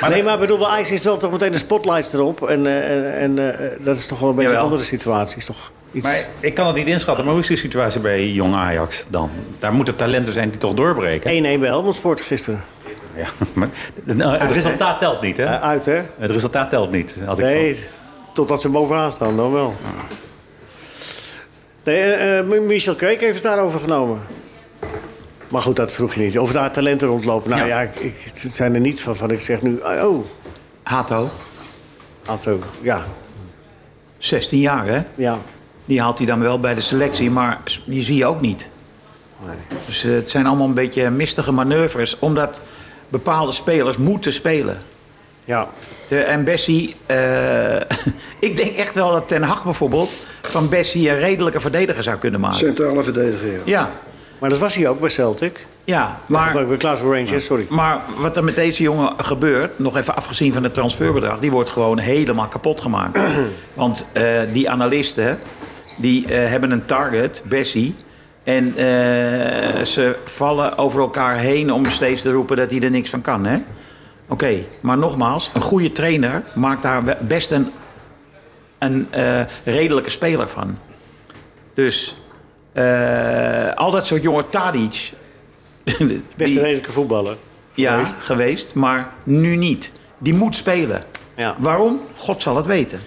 Speaker 3: Maar nee, maar bedoel, bij Ajax is wel toch meteen de spotlights erop. En, eh, en, en eh, dat is toch wel een beetje
Speaker 7: Jawel.
Speaker 3: andere situaties, toch? Iets.
Speaker 6: Maar ik kan het niet inschatten. Maar hoe is die situatie bij jong Ajax dan? Daar moeten talenten zijn die toch doorbreken.
Speaker 3: 1-1 bij Helmond Sport gisteren.
Speaker 6: Ja, maar, nou, het resultaat telt niet, hè?
Speaker 3: Eh, uit, hè?
Speaker 6: Het resultaat telt niet. Had ik
Speaker 3: Nee, totdat ze bovenaan staan, dan wel. Nee, eh, eh, Michel Kreek heeft het daarover genomen. Maar goed, dat vroeg je niet. Of daar talenten rondlopen. Nou
Speaker 7: Ja.
Speaker 3: ja, ik, ik- het zijn er niet van. van ik zeg nu, oh,
Speaker 7: Hato,
Speaker 3: Atto, ja,
Speaker 7: 16 jaar hè?
Speaker 3: ja.
Speaker 7: Die haalt hij dan wel bij de selectie, maar s- die zie je ook niet. Dus eh, het zijn allemaal een beetje mistige manoeuvres, omdat bepaalde spelers moeten spelen.
Speaker 3: Ja,
Speaker 7: De, en Bessie, eh, ik denk echt wel dat Ten Hag bijvoorbeeld van Bessie een redelijke verdediger zou kunnen maken.
Speaker 5: Centrale verdediger, ja.
Speaker 7: Ja,
Speaker 3: maar dat was hij ook bij Celtic.
Speaker 7: ja,
Speaker 3: Maar,
Speaker 7: maar,
Speaker 3: bij Glasgow Rangers, sorry.
Speaker 7: maar wat er met deze jongen gebeurt, nog even afgezien van het transferbedrag, die wordt gewoon helemaal kapot gemaakt. Want eh, die analisten, die eh, hebben een target, Bessie. En eh, ze vallen over elkaar heen om steeds te roepen dat hij er niks van kan. hè? Oké, maar nogmaals, een goede trainer maakt daar we- best een een eh, redelijke speler van. Dus eh, al dat soort jonge Tadic. die-
Speaker 3: Best een redelijke voetballer.
Speaker 7: ja,
Speaker 3: geweest.
Speaker 7: geweest. maar nu niet. Die moet spelen.
Speaker 3: Ja.
Speaker 7: Waarom? God zal het weten.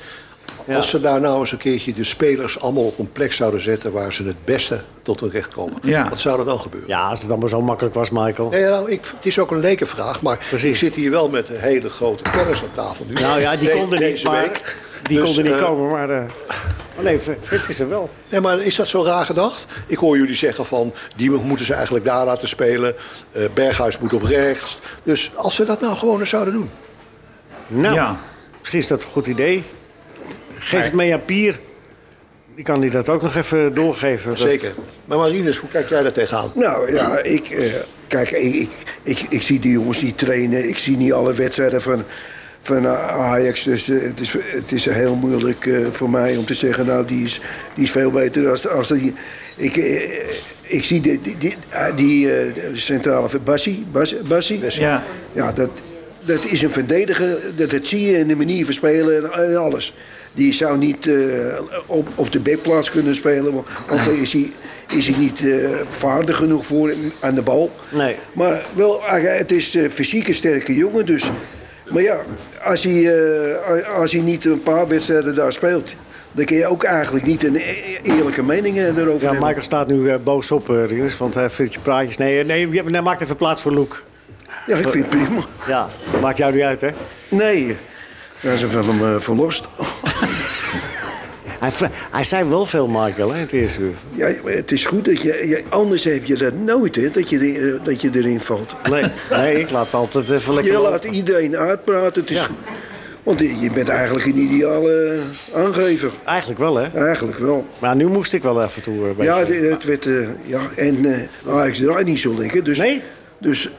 Speaker 4: Als ze daar nou eens een keertje de spelers allemaal op een plek zouden zetten waar ze het beste tot hun recht komen,
Speaker 7: Ja.
Speaker 4: wat zou er dan gebeuren?
Speaker 3: Ja, als het allemaal zo makkelijk was, Michael.
Speaker 4: Nee, nou, ik, het is ook een lekenvraag, maar
Speaker 3: Precies.
Speaker 4: ik zit hier wel met een hele grote kennis aan tafel nu.
Speaker 3: Nou ja, die
Speaker 4: De-
Speaker 3: konden niet,
Speaker 4: deze
Speaker 3: maar,
Speaker 4: week.
Speaker 3: die
Speaker 4: Dus,
Speaker 3: konden niet
Speaker 4: eh,
Speaker 3: komen, maar... eh, oh nee, Frits is er wel.
Speaker 4: Nee, maar is dat zo raar gedacht? Ik hoor jullie zeggen van, die moeten ze eigenlijk daar laten spelen. Eh, Berghuis moet op rechts. Dus als ze dat nou gewoon eens zouden doen.
Speaker 3: Nou,
Speaker 7: Ja.
Speaker 3: misschien is dat een goed idee. Geef het mee aan Pier. Die kan die dat ook nog even doorgeven. Dat-
Speaker 4: Zeker. Maar Marinus, hoe kijk jij daar tegenaan?
Speaker 5: Nou ja, ik, eh, kijk, ik, ik, ik, ik zie die jongens die trainen. Ik zie niet alle wedstrijden van, van eh, Ajax. Dus eh, het, is, het is heel moeilijk eh, voor mij om te zeggen... nou, die is, die is veel beter als, als die... Ik, eh, ik zie die, die, die, ah, die, eh, de centrale... ver- Bassi? Bassi? Bassi?
Speaker 7: Ja.
Speaker 5: Ja, dat, dat is een verdediger. Dat, dat zie je in de manier van spelen en, en alles. Die zou niet eh, op, op de backplaats kunnen spelen. Want want daar is hij, is hij niet eh, vaardig genoeg voor aan de bal.
Speaker 3: Nee.
Speaker 5: Maar wel, eh, het is eh, fysiek een sterke jongen. Dus. Maar ja, als hij, eh, als hij niet een paar wedstrijden daar speelt... dan kun je ook eigenlijk niet een e- eerlijke mening eh, daarover
Speaker 3: Ja,
Speaker 5: hebben.
Speaker 3: Michael staat nu eh, boos op, eh, Rinus, want hij vindt je praatjes. Nee, eh, nee, je- nee, maak even plaats voor Luke.
Speaker 5: Ja, ik vind het prima.
Speaker 3: Ja, maakt jou niet uit, hè?
Speaker 5: Nee, daar is van hem eh, verlost.
Speaker 3: Hij, vra- hij zei wel veel, Michael, hè, het eerste uur.
Speaker 5: Ja, het is goed dat je, je- Anders heb je dat nooit, hè, dat je, er- dat je erin valt.
Speaker 3: Nee, nee, ik laat altijd even lekker
Speaker 5: Je
Speaker 3: lopen.
Speaker 5: laat iedereen uitpraten. Het is,
Speaker 3: Ja.
Speaker 5: Want je bent eigenlijk een ideale eh, aangever.
Speaker 3: Eigenlijk wel, hè?
Speaker 5: Eigenlijk wel.
Speaker 3: Maar nu moest ik wel even toe. eh, bij
Speaker 5: Ja,
Speaker 3: je.
Speaker 5: de- het werd, eh, ja en eh Ajax draait niet zo lekker. Dus,
Speaker 3: Nee?
Speaker 5: Dus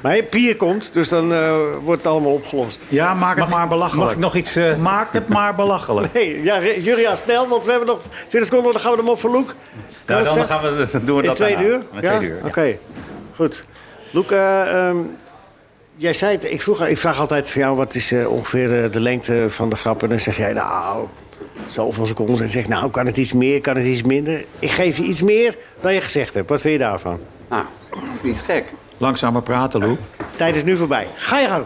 Speaker 3: Maar hey, Pier komt, dus dan eh, wordt het allemaal opgelost.
Speaker 7: Ja, maak het maar belachelijk.
Speaker 6: Mag ik nog iets... eh,
Speaker 7: Maak het maar belachelijk.
Speaker 3: Hey, ja, Re- Julia, snel, want we hebben nog 20 seconden, dan gaan we hem op voor Luke.
Speaker 6: nou, dan
Speaker 3: Rustig.
Speaker 6: gaan we, doen we
Speaker 3: In
Speaker 6: dat
Speaker 3: twee
Speaker 6: daarna.
Speaker 3: uur?
Speaker 6: Met
Speaker 3: ja?
Speaker 6: twee uur, ja.
Speaker 3: Oké, goed. Loek, eh, ehm, jij zei het, ik, vroeg, ik vraag altijd van jou wat is eh, ongeveer eh, de lengte van de grap. En dan zeg jij nou, zoveel seconden. En dan zeg ik, nou, kan het iets meer, kan het iets minder? Ik geef je iets meer dan je gezegd hebt. Wat vind je daarvan?
Speaker 9: Nou, niet gek.
Speaker 7: Langzamer praten, Lou.
Speaker 3: Tijd is nu voorbij. Ga je gang.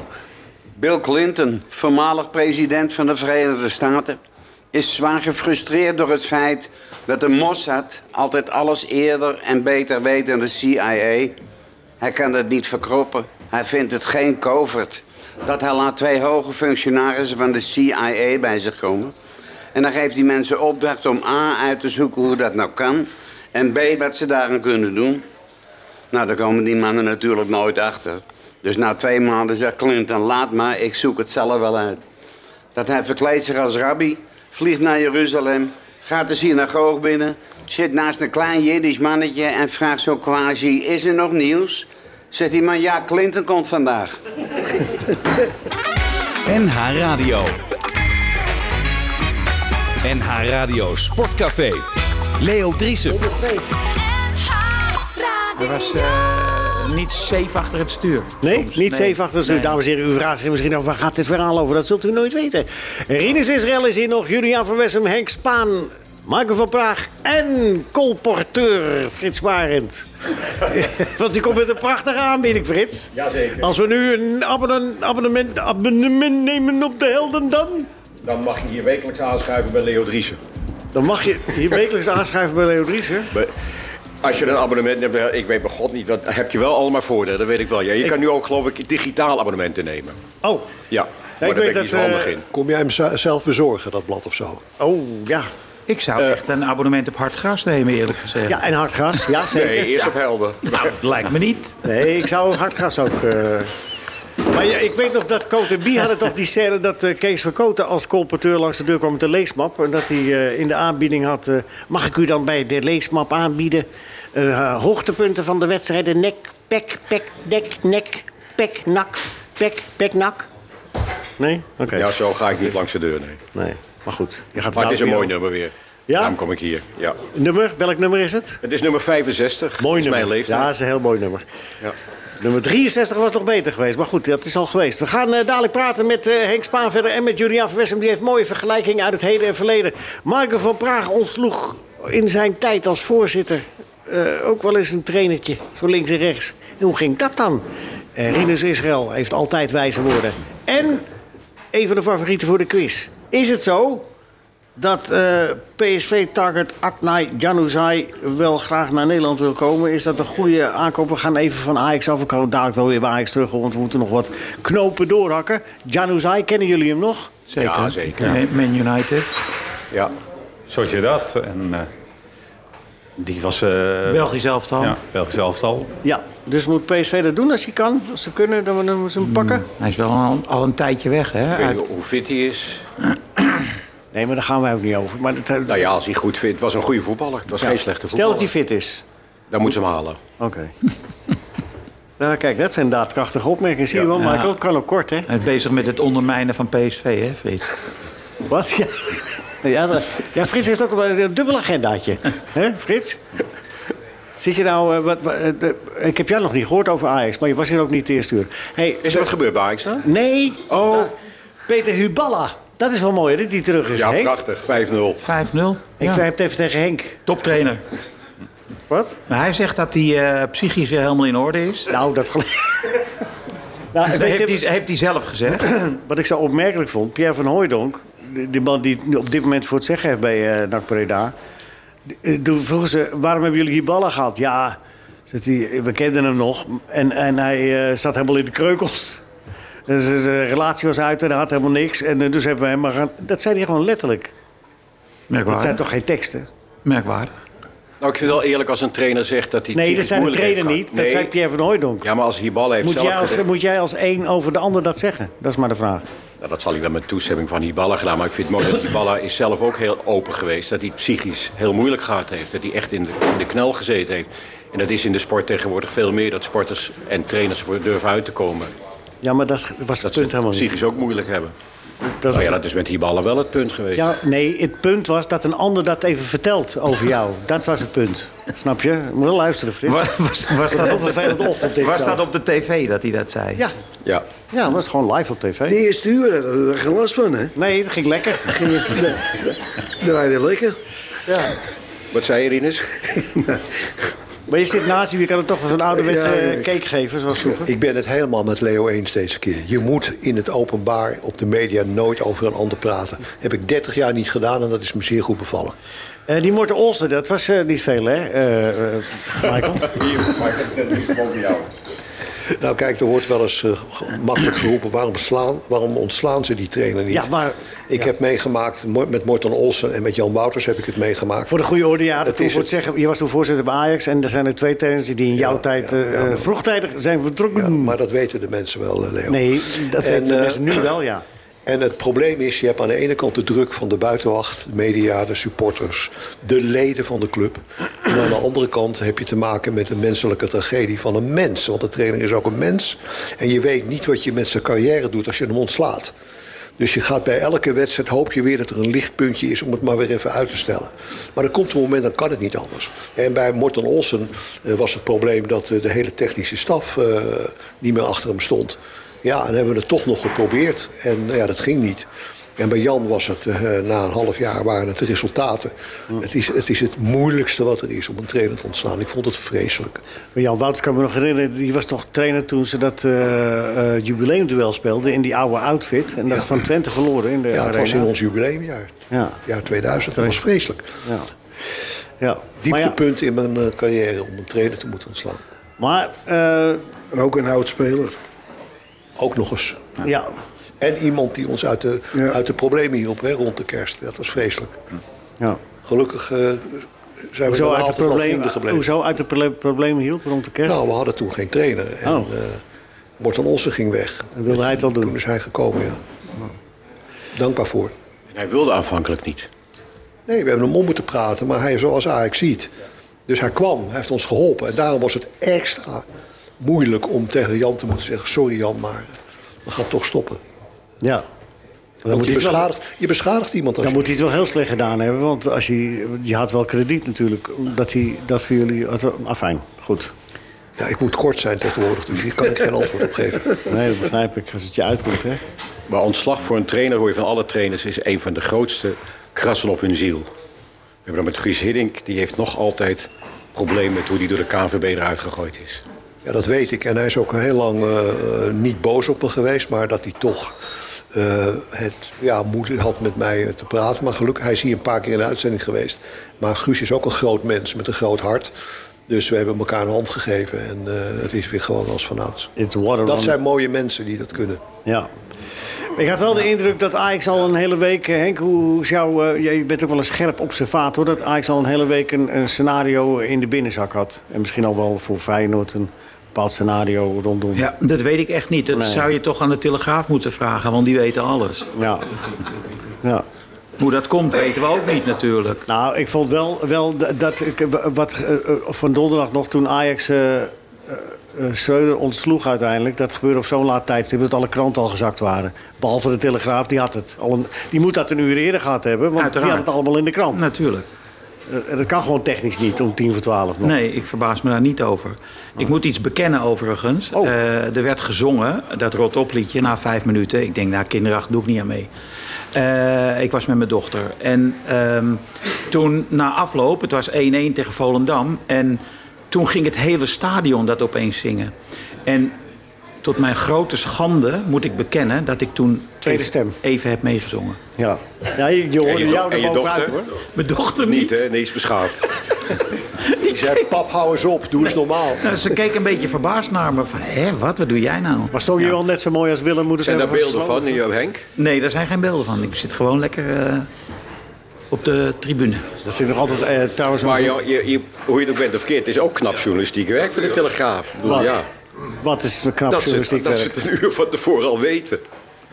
Speaker 9: Bill Clinton, voormalig president van de Verenigde Staten, is zwaar gefrustreerd door het feit dat de Mossad altijd alles eerder en beter weet dan de CIA. Hij kan dat niet verkroppen. Hij vindt het geen covert dat hij laat twee hoge functionarissen van de CIA bij zich komen. En dan geeft hij mensen opdracht om A uit te zoeken hoe dat nou kan en B wat ze daaraan kunnen doen. Nou, daar komen die mannen natuurlijk nooit achter. Dus na twee maanden zegt Clinton, laat maar, ik zoek het zelf wel uit. Dat hij verkleedt zich als rabbi, vliegt naar Jeruzalem, gaat de synagoog binnen... zit naast een klein Jiddisch mannetje en vraagt zo quasi, is er nog nieuws? Zegt die man, ja, Clinton komt vandaag.
Speaker 2: NH Radio. NH Radio Sportcafé. Leo Driessen.
Speaker 7: Er was eh, niet safe achter het stuur.
Speaker 3: Nee,
Speaker 7: Soms.
Speaker 3: niet
Speaker 7: Nee.
Speaker 3: 7 achter de stuur.
Speaker 7: Nee.
Speaker 3: Dames en heren, u vraagt zich misschien af waar gaat dit verhaal over? Dat zult u nooit weten. Rinus Israël is hier nog, Julian van Wessem, Henk Spaan, Michael van Praag en colporteur Frits Barend. Want die komt met een prachtige aanbieding, Frits.
Speaker 10: Jazeker.
Speaker 3: Als we nu een abonnement, abonnement, abonnement nemen op de helden dan...
Speaker 10: Dan mag je hier wekelijks aanschuiven bij Leo Driessen.
Speaker 3: Dan mag je hier wekelijks aanschrijven bij Leo Driessen.
Speaker 10: Bij- Als je een abonnement hebt, eh, ik weet bij God niet, wat heb je wel allemaal voordelen, dat weet ik wel. Ja, je kan nu ook geloof ik digitaal abonnementen nemen.
Speaker 3: Oh,
Speaker 10: Ja, maar
Speaker 3: weet
Speaker 10: daar ben ik
Speaker 3: dat,
Speaker 10: niet zo handig
Speaker 3: eh,
Speaker 10: in.
Speaker 4: Kom jij hem za- zelf bezorgen, dat blad of zo?
Speaker 3: oh ja.
Speaker 7: Ik zou echt een abonnement op Hartgras nemen, eerlijk gezegd.
Speaker 3: Ja, en hardgas. Ja, zeker.
Speaker 10: Nee, eerst op helden.
Speaker 7: Nou, dat lijkt me niet.
Speaker 3: Nee, ik zou hardgas ook. eh. Maar ja, ik weet nog dat Cote en Bie hadden toch die scène dat eh, Kees van Koten als colporteur langs de deur kwam met de leesmap. En dat hij eh, in de aanbieding had: eh, mag ik u dan bij de leesmap aanbieden eh, hoogtepunten van de wedstrijden? Nek, pek, pek, nek, nek, pek, nak, pek, pek, nak. Nee? Oké.
Speaker 10: Ja, zo ga ik niet langs de deur, nee.
Speaker 3: Nee. Maar goed, je gaat
Speaker 10: Maar het is een
Speaker 3: nou
Speaker 10: mooi
Speaker 3: weer-
Speaker 10: nummer weer.
Speaker 3: Ja?
Speaker 10: Daarom kom ik hier. Ja.
Speaker 3: nummer. Welk nummer is het?
Speaker 10: Het is nummer 65.
Speaker 3: Mooi
Speaker 10: is
Speaker 3: nummer.
Speaker 10: mijn leeftijd.
Speaker 3: Ja, is een heel mooi nummer.
Speaker 10: Ja.
Speaker 3: Nummer 63 was nog beter geweest. Maar goed, dat is al geweest. We gaan eh, dadelijk praten met eh, Henk Spaan verder en met Julian van Wessem. Die heeft mooie vergelijkingen uit het heden en verleden. Marco van Praag ontsloeg in zijn tijd als voorzitter eh, ook wel eens een trainertje. Zo links en rechts. En hoe ging dat dan? Eh Rinus Israël heeft altijd wijze woorden. En een van de favorieten voor de quiz. Is het zo dat eh, PSV-target Aknai Januzaj wel graag naar Nederland wil komen. Is dat een goede aankoop? We gaan even van Ajax af. Ik hou dadelijk wel weer bij Ajax terug, want we moeten nog wat knopen doorhakken. Januzaj, kennen jullie hem nog?
Speaker 7: Zeker.
Speaker 10: Ja, zeker.
Speaker 7: Man- Man United.
Speaker 10: Ja.
Speaker 6: Zoals je dat. En eh, die was... eh
Speaker 7: Belgisch elftal.
Speaker 6: Ja, Belgisch elftal.
Speaker 3: Ja, dus moet PSV dat doen als hij kan? Als ze kunnen, dan moeten ze hem pakken.
Speaker 7: Mm, Hij is wel al, al een tijdje weg, hè?
Speaker 10: Ik weet
Speaker 7: Uit-
Speaker 10: niet hoe fit hij is.
Speaker 3: Nee, maar daar gaan wij ook niet over. Maar dat-
Speaker 10: Nou ja, als hij goed fit... Het was een goede voetballer. Het was geen slechte
Speaker 3: stel
Speaker 10: voetballer.
Speaker 3: dat hij fit is.
Speaker 10: Dan moeten ze hem halen.
Speaker 3: Oké. nou, kijk, dat zijn daadkrachtige opmerkingen. Zie je wel, Michael? Het kan ook kort, hè?
Speaker 7: Hij is bezig met het ondermijnen van PSV, hè, Frits?
Speaker 3: Wat? Ja. Ja, dat- ja, Eh, Frits heeft ook een een dubbel agendaatje. hè, Frits? Zit je nou... eh, wat, wat- eh, eh, ik heb jou nog niet gehoord over Ajax, maar je was hier ook niet de eerste uur. Hey,
Speaker 10: Is er wat gebeurd bij Ajax dan?
Speaker 3: nee. Oh. Peter Huballa. Dat is wel mooi, hè, dat hij terug is,
Speaker 10: Ja,
Speaker 3: Henk.
Speaker 10: prachtig. 5-0.
Speaker 7: 5-0.
Speaker 3: Ik
Speaker 7: Ja.
Speaker 3: heb het even tegen Henk.
Speaker 7: Toptrainer.
Speaker 3: Wat?
Speaker 7: Maar hij zegt dat hij eh, psychisch weer helemaal in orde is.
Speaker 3: Nou, dat geloof nou,
Speaker 7: Dat
Speaker 3: weet
Speaker 7: heeft,
Speaker 3: je-
Speaker 7: hij, heeft hij zelf gezegd.
Speaker 3: Wat ik zo opmerkelijk vond, Pierre van Hooijdonk... die die man die het nu op dit moment voor het zeggen heeft bij eh NAC Breda... die- eh, toen vroegen ze, waarom hebben jullie die ballen gehad? Ja, zegt hij, we kenden hem nog en, en hij eh, zat helemaal in de kreukels. Dus eh, zijn relatie was uit en hij had helemaal niks. En eh, dus hebben we hem maar gaan... Dat zei hij gewoon letterlijk. Dat zijn
Speaker 7: Merkwaardig.
Speaker 3: toch geen teksten?
Speaker 7: Merkwaardig.
Speaker 10: Nou, ik vind het wel eerlijk als een trainer zegt dat hij het
Speaker 3: Nee, dat
Speaker 10: psychisch
Speaker 3: zijn de
Speaker 10: moeilijk heeft
Speaker 3: trainer niet.
Speaker 10: gehad.
Speaker 3: Dat
Speaker 10: Nee.
Speaker 3: zei Pierre van Hooijdonk.
Speaker 10: Ja, maar als hij ballen heeft
Speaker 3: moet,
Speaker 10: zelf
Speaker 3: jij als,
Speaker 10: gezet-
Speaker 3: moet jij als één over de ander dat zeggen? Dat is maar de vraag.
Speaker 10: Nou, dat zal hij wel met toestemming van Hiballa gedaan. Maar ik vind het mooi dat Hiballa is zelf ook heel open geweest. Dat hij het psychisch heel moeilijk gehad heeft. Dat hij echt in de, in de knel gezeten heeft. En dat is in de sport tegenwoordig veel meer. Dat sporters en trainers ervoor durven uit te komen.
Speaker 3: Ja, maar dat was het
Speaker 10: Dat
Speaker 3: punt
Speaker 10: ze het
Speaker 3: helemaal niet.
Speaker 10: psychisch ook moeilijk hebben.
Speaker 3: Dat
Speaker 10: Nou ja, dat is met Hiballa wel het punt geweest.
Speaker 3: Ja, nee, het punt was dat een ander dat even vertelt over jou. Dat was het punt. Snap je? Je Moet wel luisteren, Frits.
Speaker 7: Was, was, was dat
Speaker 3: Heel
Speaker 7: op
Speaker 3: vervelend ochtend dit
Speaker 7: was
Speaker 3: zo.
Speaker 7: dat op de tv dat hij dat zei?
Speaker 3: Ja,
Speaker 10: Ja.
Speaker 3: ja, dat was gewoon live op
Speaker 5: De
Speaker 3: tv.
Speaker 5: eerste uur daar hadden we er geen last van, hè?
Speaker 3: Nee, dat ging lekker.
Speaker 5: Draaide lekker.
Speaker 10: Wat zei je, Rinus?
Speaker 3: Maar je zit naast hem, je kan het toch wel zo'n ouderwetse
Speaker 5: Ja,
Speaker 3: eh,
Speaker 5: ik-
Speaker 3: cake geven, zoals vroeger.
Speaker 4: Ik ben het helemaal met Leo eens deze keer. Je moet in het openbaar, op de media, nooit over een ander praten. Heb ik 30 jaar niet gedaan en dat is me zeer goed bevallen.
Speaker 3: Eh, die Morten Olsen, dat was eh, niet veel, hè, eh, eh, Michael?
Speaker 10: Hier, maar ik heb het niet boven jou.
Speaker 4: Nou kijk, er wordt wel eens eh, ge- makkelijk geroepen... Waarom, slaan, waarom ontslaan ze die trainer niet?
Speaker 3: Ja, maar-
Speaker 4: ik heb meegemaakt, mo- met Morten Olsen en met Jan Wouters heb ik het meegemaakt.
Speaker 3: Voor de goede orde, ja. Dat
Speaker 4: Dat
Speaker 3: toen
Speaker 4: is
Speaker 3: voor het
Speaker 4: het.
Speaker 3: zeggen, je was toen voorzitter bij Ajax... en er zijn er twee trainers die in jouw
Speaker 4: Ja,
Speaker 3: tijd
Speaker 4: ja,
Speaker 3: eh,
Speaker 4: ja, maar-
Speaker 3: vroegtijdig zijn vertrokken.
Speaker 4: Ja, maar dat weten de mensen wel, eh, Leo.
Speaker 3: Nee, dat
Speaker 4: En,
Speaker 3: weten de
Speaker 4: eh,
Speaker 3: mensen nu wel, ja.
Speaker 4: En het probleem is, je hebt aan de ene kant de druk van de buitenwacht, de media, de supporters, de leden van de club. En aan de andere kant heb je te maken met een menselijke tragedie van een mens. Want de trainer is ook een mens. En je weet niet wat je met zijn carrière doet als je hem ontslaat. Dus je gaat bij elke wedstrijd, hoop je weer dat er een lichtpuntje is om het maar weer even uit te stellen. Maar er komt een moment, dan kan het niet anders. En bij Morten Olsen eh, was het probleem dat eh, de hele technische staf eh, niet meer achter hem stond. Ja, en hebben we het toch nog geprobeerd. En nou ja, dat ging niet. En bij Jan was het, eh, na een half jaar waren het de resultaten. Het, is, het is het moeilijkste wat er is om een trainer te ontslaan. Ik vond het vreselijk.
Speaker 3: Maar Jan Wouters kan me nog herinneren, die was toch trainer toen ze dat eh, eh, jubileumduel speelden in die oude outfit. En dat
Speaker 4: Ja.
Speaker 3: van Twente verloren in de
Speaker 4: Ja, het was
Speaker 3: arena.
Speaker 4: in ons jubileumjaar.
Speaker 3: Ja.
Speaker 4: Jaar 2000. Dat was vreselijk.
Speaker 3: Ja. Ja. Maar, ja,
Speaker 4: Dieptepunt in mijn eh, carrière om een trainer te moeten ontslaan.
Speaker 3: maar eh,
Speaker 5: En ook een oudspeler.
Speaker 4: Ook nog eens.
Speaker 3: ja,
Speaker 4: En iemand die ons uit de,
Speaker 5: Ja.
Speaker 4: uit de problemen hielp hè, rond de kerst. Dat was vreselijk.
Speaker 3: ja.
Speaker 4: Gelukkig eh, zijn we dan
Speaker 3: Hoezo, uit de
Speaker 4: altijd wel
Speaker 3: probleem,
Speaker 4: vrienden gebleven.
Speaker 3: hoezo uit de proble- problemen hielp rond de kerst?
Speaker 4: Nou, we hadden toen geen trainer. En
Speaker 3: Oh.
Speaker 4: eh, Morten Olsen ging weg.
Speaker 3: Dan wilde hij het wel doen. Oh.
Speaker 4: Toen is hij gekomen, ja. Dankbaar voor.
Speaker 10: En hij wilde aanvankelijk niet.
Speaker 4: Nee, we hebben hem om moeten praten, maar hij is zoals Ajax ziet. Dus hij kwam, hij heeft ons geholpen. En daarom was het extra moeilijk om tegen Jan te moeten zeggen... sorry Jan, maar we gaan toch stoppen.
Speaker 3: ja. Dan
Speaker 4: Want
Speaker 3: moet,
Speaker 4: je
Speaker 3: hij het wel,
Speaker 4: beschadigt, je beschadigt iemand als
Speaker 3: dan
Speaker 4: je...
Speaker 3: moet hij het wel heel slecht gedaan hebben, want als hij, je had wel krediet natuurlijk. Dat hij dat voor jullie. Afijn, goed.
Speaker 4: Ja, ik moet kort zijn tegenwoordig, dus hier kan ik geen antwoord op geven.
Speaker 3: Nee, dat begrijp ik. Als het je uitkomt, hè?
Speaker 10: Maar ontslag voor een trainer, hoor je van alle trainers, is een van de grootste krassen op hun ziel. We hebben dat met Guus Hiddink, die heeft nog altijd problemen met hoe die door de KNVB eruit gegooid is.
Speaker 4: Ja, dat weet ik. En hij is ook heel lang eh, eh, niet boos op me geweest, maar dat hij toch eh, het ja, moeilijk had met mij eh, te praten. Maar gelukkig, hij is hier een paar keer in de uitzending geweest. Maar Guus is ook een groot mens met een groot hart. Dus we hebben elkaar een hand gegeven en eh, het is weer gewoon als vanouds.
Speaker 3: It's water on-
Speaker 4: Dat zijn mooie mensen die dat kunnen.
Speaker 3: Ja. Ik had wel de indruk dat Ajax al een hele week... eh, Henk, hoe hoe is jouw... eh, jij bent ook wel een scherp observator... dat Ajax al een hele week een, een scenario in de binnenzak had. En misschien al wel voor Feyenoord een bepaald scenario rondom.
Speaker 7: Ja, dat weet ik echt niet. Dat
Speaker 3: Nee.
Speaker 7: zou je toch aan de Telegraaf moeten vragen, want die weten alles.
Speaker 3: Ja. ja.
Speaker 7: Hoe dat komt, weten we ook niet natuurlijk.
Speaker 3: Nou, ik vond wel, wel d- dat... Ik, eh, wat, eh, eh, van donderdag nog toen Ajax... eh, eh, eh, Schreuder ontsloeg uiteindelijk. Dat gebeurde op zo'n laat tijdstip dat alle kranten al gezakt waren. Behalve de Telegraaf, die had het. Al een, die moet dat een uur eerder gehad hebben, want die
Speaker 7: Uiteraard.
Speaker 3: had het allemaal in de krant.
Speaker 7: Natuurlijk.
Speaker 3: Eh, Dat kan gewoon technisch niet om tien voor twaalf nog.
Speaker 7: Nee, ik verbaas me daar niet over. Ik moet iets bekennen overigens.
Speaker 3: Oh.
Speaker 7: Eh, er werd gezongen, dat rot op liedje, na vijf minuten. Ik denk, nou, kinderachtig doe ik niet aan mee. Eh, ik was met mijn dochter. En ehm, toen, na afloop, het was 1-1 tegen Volendam. En toen ging het hele stadion dat opeens zingen. En tot mijn grote schande moet ik bekennen dat ik toen...
Speaker 3: Tweede
Speaker 7: even-
Speaker 3: stem.
Speaker 7: Even heb meegezongen.
Speaker 3: Ja. ja, je, je hoorde
Speaker 10: En je, do-
Speaker 3: jou
Speaker 10: en
Speaker 3: er
Speaker 10: je
Speaker 3: bovenuit
Speaker 10: dochter?
Speaker 3: hoor.
Speaker 7: Mijn dochter
Speaker 10: Niet, hè? Nee, is beschaafd.
Speaker 4: Die zei, pap, hou eens op, doe eens normaal.
Speaker 7: Nou, ze keek een beetje verbaasd naar me. Van, hé, wat? Wat doe jij nou?
Speaker 3: Maar zong je
Speaker 7: Ja.
Speaker 3: wel net zo mooi als Willem moet het
Speaker 10: Zijn daar
Speaker 3: hebben
Speaker 10: beelden
Speaker 3: gesloten?
Speaker 10: van, in jouw Henk?
Speaker 7: Nee, daar zijn geen beelden van. Ik zit gewoon lekker eh, op de tribune.
Speaker 3: Dat vind ik nog altijd eh, trouwens...
Speaker 10: Maar
Speaker 3: een-
Speaker 10: jou- je, je, hoe je het ook bent of verkeerd, het is ook knap journalistiek werk voor de Telegraaf. Ik bedoel,
Speaker 3: Wat?
Speaker 10: ja,
Speaker 3: Wat is het knap
Speaker 10: dat, ze, dat
Speaker 3: journalistiek
Speaker 10: ze
Speaker 3: werk.
Speaker 10: het een uur van tevoren al weten.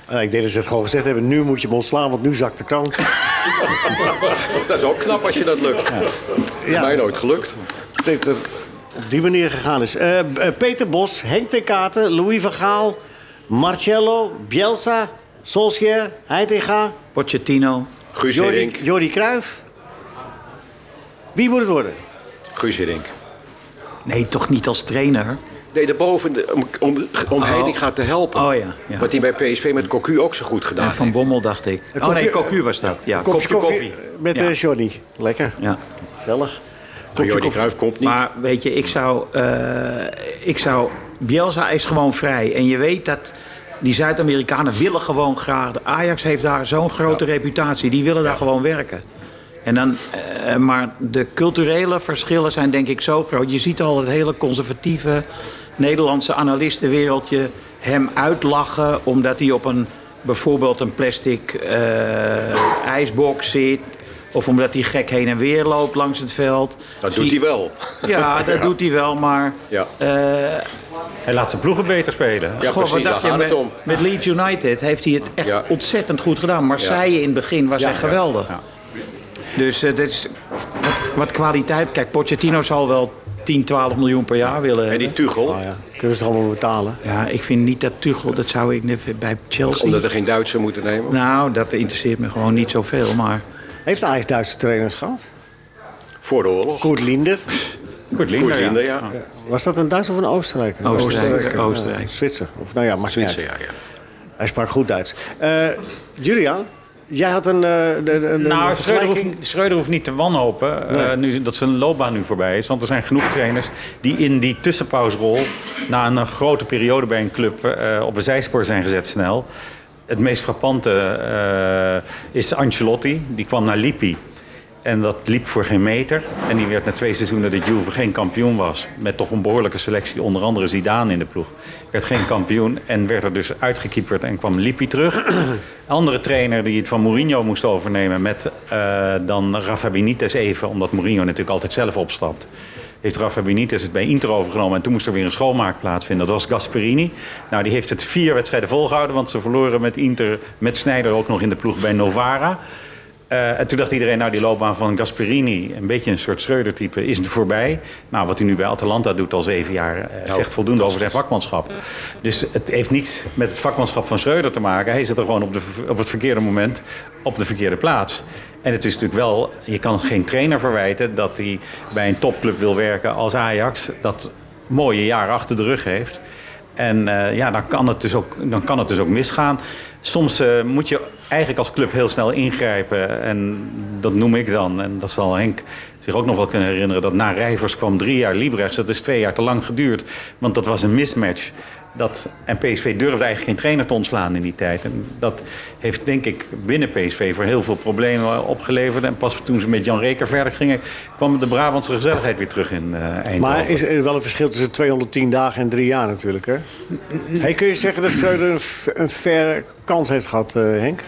Speaker 3: Eh, ik denk dat ze het gewoon gezegd hebben. Nu moet je me ontslaan, want nu zakt de krant.
Speaker 10: Dat is ook knap als je dat lukt.
Speaker 3: Ja,
Speaker 10: Mij
Speaker 3: dat-
Speaker 10: nooit gelukt.
Speaker 3: Ik denk dat het op die manier gegaan is. Eh, B- eh, Peter Bos, Henk ten Katen, Louis van Gaal, Marcello, Bielsa, Solskjaer, Heitinga,
Speaker 7: Pochettino.
Speaker 10: Guus
Speaker 3: Jordi,
Speaker 10: Hiddink.
Speaker 3: Jordi Cruijff. Wie moet het worden?
Speaker 10: Guus Hiddink.
Speaker 7: Nee, toch niet als trainer?
Speaker 10: Nee, daarboven, de- om, om, om Heitinga te helpen.
Speaker 7: Oh ja, ja.
Speaker 10: Wat hij bij PSV met Cocu ook zo goed gedaan
Speaker 7: En Van
Speaker 10: heeft.
Speaker 7: Bommel, dacht ik.
Speaker 3: Een
Speaker 7: Oh nee,
Speaker 3: kopje-
Speaker 7: Cocu was dat. Ja,
Speaker 3: Kopje koffie. Met
Speaker 7: ja.
Speaker 3: eh, Johnny. Lekker.
Speaker 7: ja.
Speaker 3: Gezellig.
Speaker 10: Maar Jordi Ah, Cruijff komt niet.
Speaker 7: Maar weet je, ik zou, eh, ik zou... Bielsa is gewoon vrij. En je weet dat die Zuid-Amerikanen willen gewoon graag... Ajax heeft daar zo'n grote reputatie. Die willen daar gewoon werken. En dan, eh, maar de culturele verschillen zijn denk ik zo groot. Je ziet al het hele conservatieve Nederlandse analistenwereldje... hem uitlachen omdat hij op een bijvoorbeeld een plastic eh, ijsbox zit... of omdat hij gek heen en weer loopt langs het veld.
Speaker 10: dat
Speaker 7: Zie-
Speaker 10: doet hij wel.
Speaker 7: ja, dat doet hij wel, maar... eh,
Speaker 10: Ja.
Speaker 6: Hij laat zijn ploegen beter spelen.
Speaker 10: Ja,
Speaker 7: Goh,
Speaker 10: precies,
Speaker 7: wat
Speaker 10: daar
Speaker 7: dacht je,
Speaker 10: gaat het
Speaker 7: met,
Speaker 10: om.
Speaker 7: met Leeds United heeft hij het echt
Speaker 10: Ja.
Speaker 7: ontzettend goed gedaan. Marseille in het begin was hij geweldig. Dus eh, dat is wat, wat kwaliteit. Kijk, Pochettino zal wel 10, 12 miljoen per jaar willen
Speaker 10: En die
Speaker 7: hebben.
Speaker 10: Tuchel,
Speaker 3: Oh ja, kunnen ze het allemaal betalen.
Speaker 7: Ja, ik vind niet dat Tuchel, dat zou ik net bij Chelsea...
Speaker 10: omdat er geen Duitser moeten nemen.
Speaker 7: Nou, dat interesseert me gewoon niet zoveel, maar...
Speaker 3: Heeft Ajax Duitse trainers gehad?
Speaker 10: Voor de oorlog.
Speaker 3: Koert Linder.
Speaker 10: Goed Linder, ja.
Speaker 3: Was dat een Duitser of een Oostenrijker?
Speaker 7: Oostenrijk,
Speaker 3: Een
Speaker 7: Oostenrijk.
Speaker 3: Zwitser. Of, nou ja, mag niet
Speaker 10: Zwitser,
Speaker 3: uit.
Speaker 10: ja, ja.
Speaker 3: Hij sprak goed Duits. Eh Julia, Jij had een, eh, de- de- een
Speaker 6: Nou, Schreuder
Speaker 3: vergelijking.
Speaker 6: hoeft, Schreuder hoeft niet te wanhopen eh, nu, dat zijn loopbaan nu voorbij is. Want er zijn genoeg trainers die in die tussenpausrol... na een eh, grote periode bij een club eh, op een zijspoor zijn gezet snel. Het meest frappante eh, is Ancelotti. Die kwam naar Lippi. En dat liep voor geen meter. En die werd na twee seizoenen dat Juve geen kampioen was. Met toch een behoorlijke selectie. Onder andere Zidane in de ploeg. Werd geen kampioen en werd er dus uitgekieperd. En kwam Lippi terug. Een andere trainer die het van Mourinho moest overnemen. Met eh, dan Rafa Benitez even. Omdat Mourinho natuurlijk altijd zelf opstapt. Heeft Rafa Benitez het bij Inter overgenomen. En toen moest er weer een schoonmaak plaatsvinden. Dat was Gasperini. Nou, die heeft het vier wedstrijden volgehouden. Want ze verloren met Inter. Met Sneijder ook nog in de ploeg bij Novara. Eh, en toen dacht iedereen, nou die loopbaan van Gasperini, een beetje een soort Schreuder-type, is voorbij. Nou, wat hij nu bij Atalanta doet al zeven jaar, eh, zegt voldoende over zijn vakmanschap. Dus het heeft niets met het vakmanschap van Schreuder te maken. Hij zit er gewoon op, de, op het verkeerde moment op de verkeerde plaats. En het is natuurlijk wel, je kan geen trainer verwijten dat hij bij een topclub wil werken als Ajax, dat mooie jaar achter de rug heeft. En eh, ja, dan kan, het dus ook, dan kan het dus ook misgaan. Soms eh, moet je eigenlijk als club heel snel ingrijpen. En dat noem ik dan. En dat zal Henk zich ook nog wel kunnen herinneren. Dat na Rijvers kwam drie jaar Liebrechts. Dat is twee jaar te lang geduurd. Want dat was een mismatch. Dat, en PSV durfde eigenlijk geen trainer te ontslaan in die tijd. En dat heeft denk ik binnen PSV voor heel veel problemen opgeleverd. En pas toen ze met Jan Reker verder gingen... kwam de Brabantse gezelligheid weer terug in eh Eindhoven.
Speaker 3: Maar is er wel een verschil tussen 210 dagen en drie jaar natuurlijk, hè? Hey, kun je zeggen dat Schreuder een, f- een verre kans heeft gehad, eh, Henk?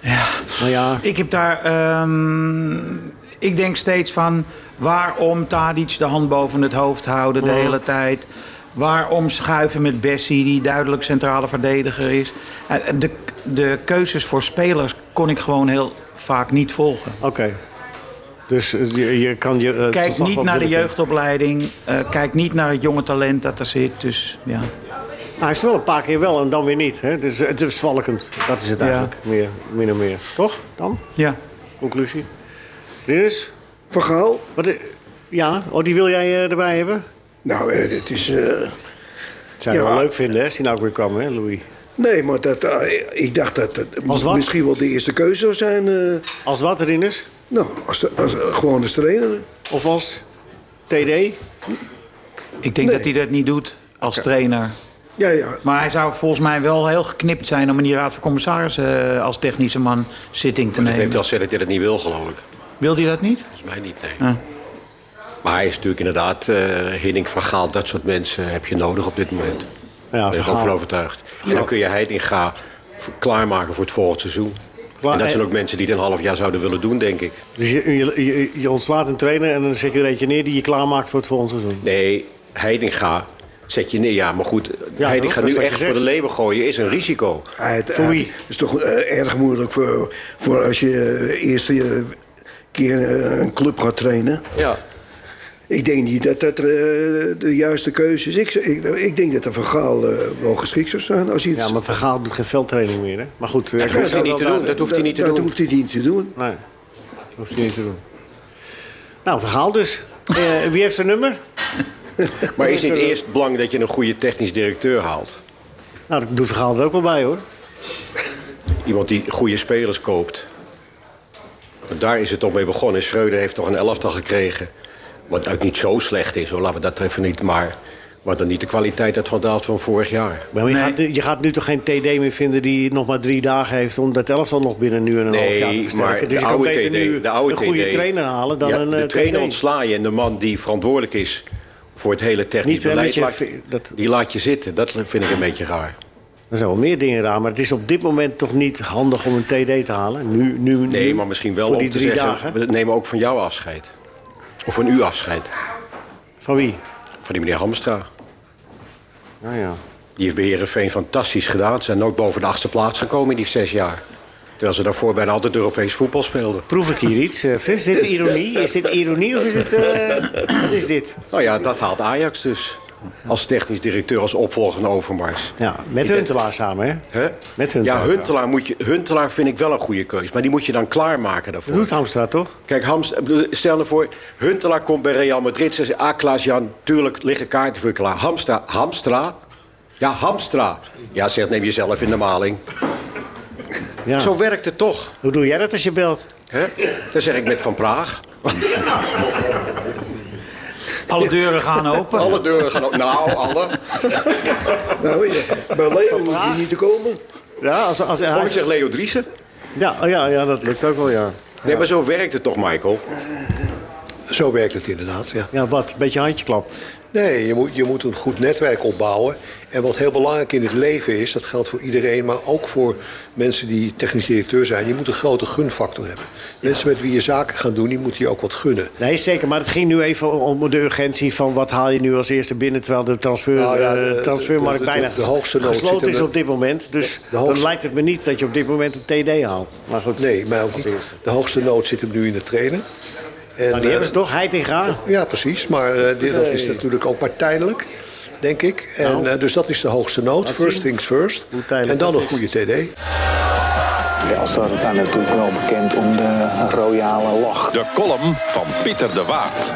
Speaker 3: Ja. Nou ja,
Speaker 7: Ik heb daar. ehm, ik denk steeds van. Waarom Tadic de hand boven het hoofd houden de
Speaker 3: Mhm.
Speaker 7: hele tijd? Waarom schuiven met Bessie, die duidelijk centrale verdediger is? Eh, De, de keuzes voor spelers kon ik gewoon heel vaak niet volgen.
Speaker 3: oké. Dus eh, je, je kan je... eh, het
Speaker 7: Kijk
Speaker 3: verslag
Speaker 7: niet
Speaker 3: wel
Speaker 7: naar de
Speaker 3: moeilijk
Speaker 7: jeugdopleiding. eh, kijk niet naar het jonge talent dat er zit. Dus ja.
Speaker 3: doen. Hij heeft wel een paar keer wel en dan weer niet, hè? Dus eh, het is zwalkend. Dat is het
Speaker 7: Ja.
Speaker 3: eigenlijk, meer, min of meer. Toch, dan?
Speaker 7: ja.
Speaker 3: Conclusie. Rinus,
Speaker 5: Van Gaal?
Speaker 3: wat... i- Ja, oh, die wil jij eh, erbij hebben?
Speaker 5: Nou, eh, het is... eh,
Speaker 3: Zou je
Speaker 5: Ja.
Speaker 3: wel leuk vinden, hè, als hij nou ook weer kwam, hè, Louis?
Speaker 5: nee, maar dat, eh, ik dacht dat dat
Speaker 3: Als wat?
Speaker 5: misschien wel de eerste keuze zou zijn. eh,
Speaker 3: Als wat, Rinus?
Speaker 5: nou, als, als, gewoon als trainer.
Speaker 3: Of als TD?
Speaker 7: Ik denk
Speaker 5: Nee.
Speaker 7: dat hij dat niet doet als trainer.
Speaker 5: Ja, ja.
Speaker 7: Maar hij zou volgens mij wel heel geknipt zijn om in die raad van commissarissen eh, als technische man zitting te
Speaker 10: Het heeft
Speaker 7: nemen.
Speaker 10: wel gezegd dat hij dat niet wil, geloof ik.
Speaker 7: Wil hij dat niet?
Speaker 10: Volgens mij niet, nee. Maar hij is natuurlijk inderdaad, eh Hiddink van Gaal, dat soort mensen heb je nodig op dit moment. Daar ben
Speaker 3: Van
Speaker 10: ik ook
Speaker 3: Gaal.
Speaker 10: van overtuigd. En dan kun je Heidinga voor- klaarmaken voor het volgend seizoen.
Speaker 3: Klaar-
Speaker 10: en dat zijn
Speaker 3: eh,
Speaker 10: ook mensen die het een half jaar zouden willen doen, denk ik.
Speaker 3: Dus je, je, je, je ontslaat een trainer en dan zet je er eentje neer die je klaarmaakt voor het volgende seizoen.
Speaker 10: Nee, Heidinga zet je neer. Ja, maar goed,
Speaker 3: Ja,
Speaker 10: Heidinga
Speaker 3: dat is
Speaker 10: nu
Speaker 3: wat je
Speaker 10: echt voor de
Speaker 3: zegt.
Speaker 10: leeuwen gooien is een risico.
Speaker 5: Hij- het-
Speaker 3: Voor
Speaker 5: hij-
Speaker 3: wie?
Speaker 5: Het is toch eh, erg moeilijk voor, voor als je eh, eerste eh, keer eh, een club gaat trainen.
Speaker 10: Ja.
Speaker 5: Ik denk niet dat dat eh, de juiste keuze is. Ik, ik, ik denk dat de Van Gaal eh, wel geschikt zou zijn. Als hij het-
Speaker 3: Ja, maar Van Gaal doet geen veldtraining meer, hè? Maar goed, dat
Speaker 10: hoeft hij niet te doen. Dat hoeft hij niet te
Speaker 5: dat
Speaker 10: doen.
Speaker 5: hoeft hij niet te doen.
Speaker 3: Nee, dat hoeft hij niet te doen. Nou, Van Gaal dus. Eh, wie heeft zijn nummer?
Speaker 10: Maar is niet eerst belangrijk dat je een goede technisch directeur haalt?
Speaker 3: Nou, dat doet Van Gaal er ook wel bij, hoor.
Speaker 10: Iemand die goede spelers koopt. Want daar is het toch mee begonnen. Schreuder heeft toch een elftal gekregen. Wat ook niet zo slecht is, hoor. laten we dat even niet. Maar wat dan niet de kwaliteit had van het elftal van vorig jaar.
Speaker 3: Maar je, gaat, je gaat nu toch geen TD meer vinden die nog maar drie dagen heeft... om dat elftal nog binnen nu en een
Speaker 10: Nee,
Speaker 3: half jaar te versterken.
Speaker 10: maar de
Speaker 3: dus je kan
Speaker 10: oude
Speaker 3: beter
Speaker 10: TD
Speaker 3: nu
Speaker 10: de oude
Speaker 3: een goede
Speaker 10: TD
Speaker 3: trainer halen dan
Speaker 10: Ja,
Speaker 3: een
Speaker 10: de
Speaker 3: eh,
Speaker 10: trainer
Speaker 3: TD.
Speaker 10: ontsla je en de man die verantwoordelijk is voor het hele technisch
Speaker 3: Niet, eh,
Speaker 10: beleid...
Speaker 3: met
Speaker 10: laat-
Speaker 3: je vi- dat-
Speaker 10: Die laat je zitten. Dat vind ik een beetje raar.
Speaker 3: Er zijn wel meer dingen raar, maar het is op dit moment toch niet handig om een TD te halen. Nu, nu,
Speaker 10: Nee,
Speaker 3: nu,
Speaker 10: maar misschien wel
Speaker 3: voor
Speaker 10: om
Speaker 3: die
Speaker 10: te
Speaker 3: drie
Speaker 10: zeggen...
Speaker 3: dagen.
Speaker 10: we nemen ook van jou afscheid. Of van u afscheid.
Speaker 3: Van wie?
Speaker 10: Van die meneer Hamstra.
Speaker 3: Nou ja.
Speaker 10: Die heeft bij Herenveen fantastisch gedaan. Ze zijn nooit boven de achtste plaats gekomen in die zes jaar. Terwijl ze daarvoor bijna altijd Europees voetbal speelden.
Speaker 3: Proef ik hier iets? eh, Frits? is dit ironie? Is dit ironie of is dit... eh, wat is dit?
Speaker 10: Nou ja, dat haalt Ajax dus. Als technisch directeur, als opvolger van Overmars.
Speaker 3: Ja, met Huntelaar samen, hè?
Speaker 10: Hè?
Speaker 3: Met Huntelaar.
Speaker 10: Ja, Huntelaar, moet je, Huntelaar vind ik wel een goede keus. Maar die moet je dan klaarmaken daarvoor.
Speaker 3: Dat doet Hamstra, toch?
Speaker 10: Kijk, Hams, ik bedoel, stel nou voor, Huntelaar komt bij Real Madrid. Ze zeggen, ah, Klaas-Jan, tuurlijk liggen kaarten voor je klaar. Hamstra, Hamstra? Ja, Hamstra. Ja, zegt, neem jezelf in de maling.
Speaker 3: Ja.
Speaker 10: Zo werkt het toch.
Speaker 3: Hoe doe jij dat als je belt?
Speaker 10: Hè? Dan zeg ik met Van Praag.
Speaker 7: Alle deuren gaan open.
Speaker 10: Alle deuren gaan open. Nou, alle.
Speaker 5: Nou, ja, bij Leo hoef je niet te komen.
Speaker 3: Ja, als, als,
Speaker 10: Oh,
Speaker 3: hij-
Speaker 10: ik zeg Leo Driessen.
Speaker 3: ja, oh ja, ja, dat lukt ook wel, ja.
Speaker 10: Nee, maar zo werkt het toch, Michael?
Speaker 4: Zo werkt het inderdaad, ja.
Speaker 3: Ja, wat? Beetje handjeklap.
Speaker 4: Nee, je moet, je moet een goed netwerk opbouwen. En wat heel belangrijk in het leven is, dat geldt voor iedereen, maar ook voor mensen die technisch directeur zijn, je moet een grote gunfactor hebben. Mensen met wie je zaken gaat doen, die moeten je ook wat gunnen.
Speaker 3: Nee, zeker. Maar het ging nu even om om de urgentie van wat haal je nu als eerste binnen... terwijl de, transfer,
Speaker 4: Nou ja, de-
Speaker 3: eh, transfermarkt
Speaker 4: de- de-
Speaker 3: bijna
Speaker 4: de- de hoogste nood zit
Speaker 3: gesloten
Speaker 4: hem
Speaker 3: is
Speaker 4: er-
Speaker 3: op dit moment. Dus
Speaker 4: de hoogste-
Speaker 3: dan lijkt het me niet dat je op dit moment een TD haalt. Maar goed,
Speaker 4: Nee, maar ook
Speaker 3: als
Speaker 4: niet.
Speaker 3: eerste.
Speaker 4: De hoogste nood zit hem nu in de trainer. En,
Speaker 3: Maar die
Speaker 4: eh,
Speaker 3: hebben ze toch, Heitinga?
Speaker 4: Ja, precies. Maar eh, dit- dat is natuurlijk ook maar tijdelijk, denk ik. En, eh, dus dat is de hoogste nood.
Speaker 3: Nou. Laat
Speaker 4: First
Speaker 3: zien
Speaker 4: things first.
Speaker 3: hoe tijdelijk
Speaker 4: En dan
Speaker 3: dat
Speaker 4: een
Speaker 3: is.
Speaker 4: goede TD.
Speaker 11: De Astor staat natuurlijk wel bekend om de royale lach.
Speaker 2: De column van Pieter de Waard.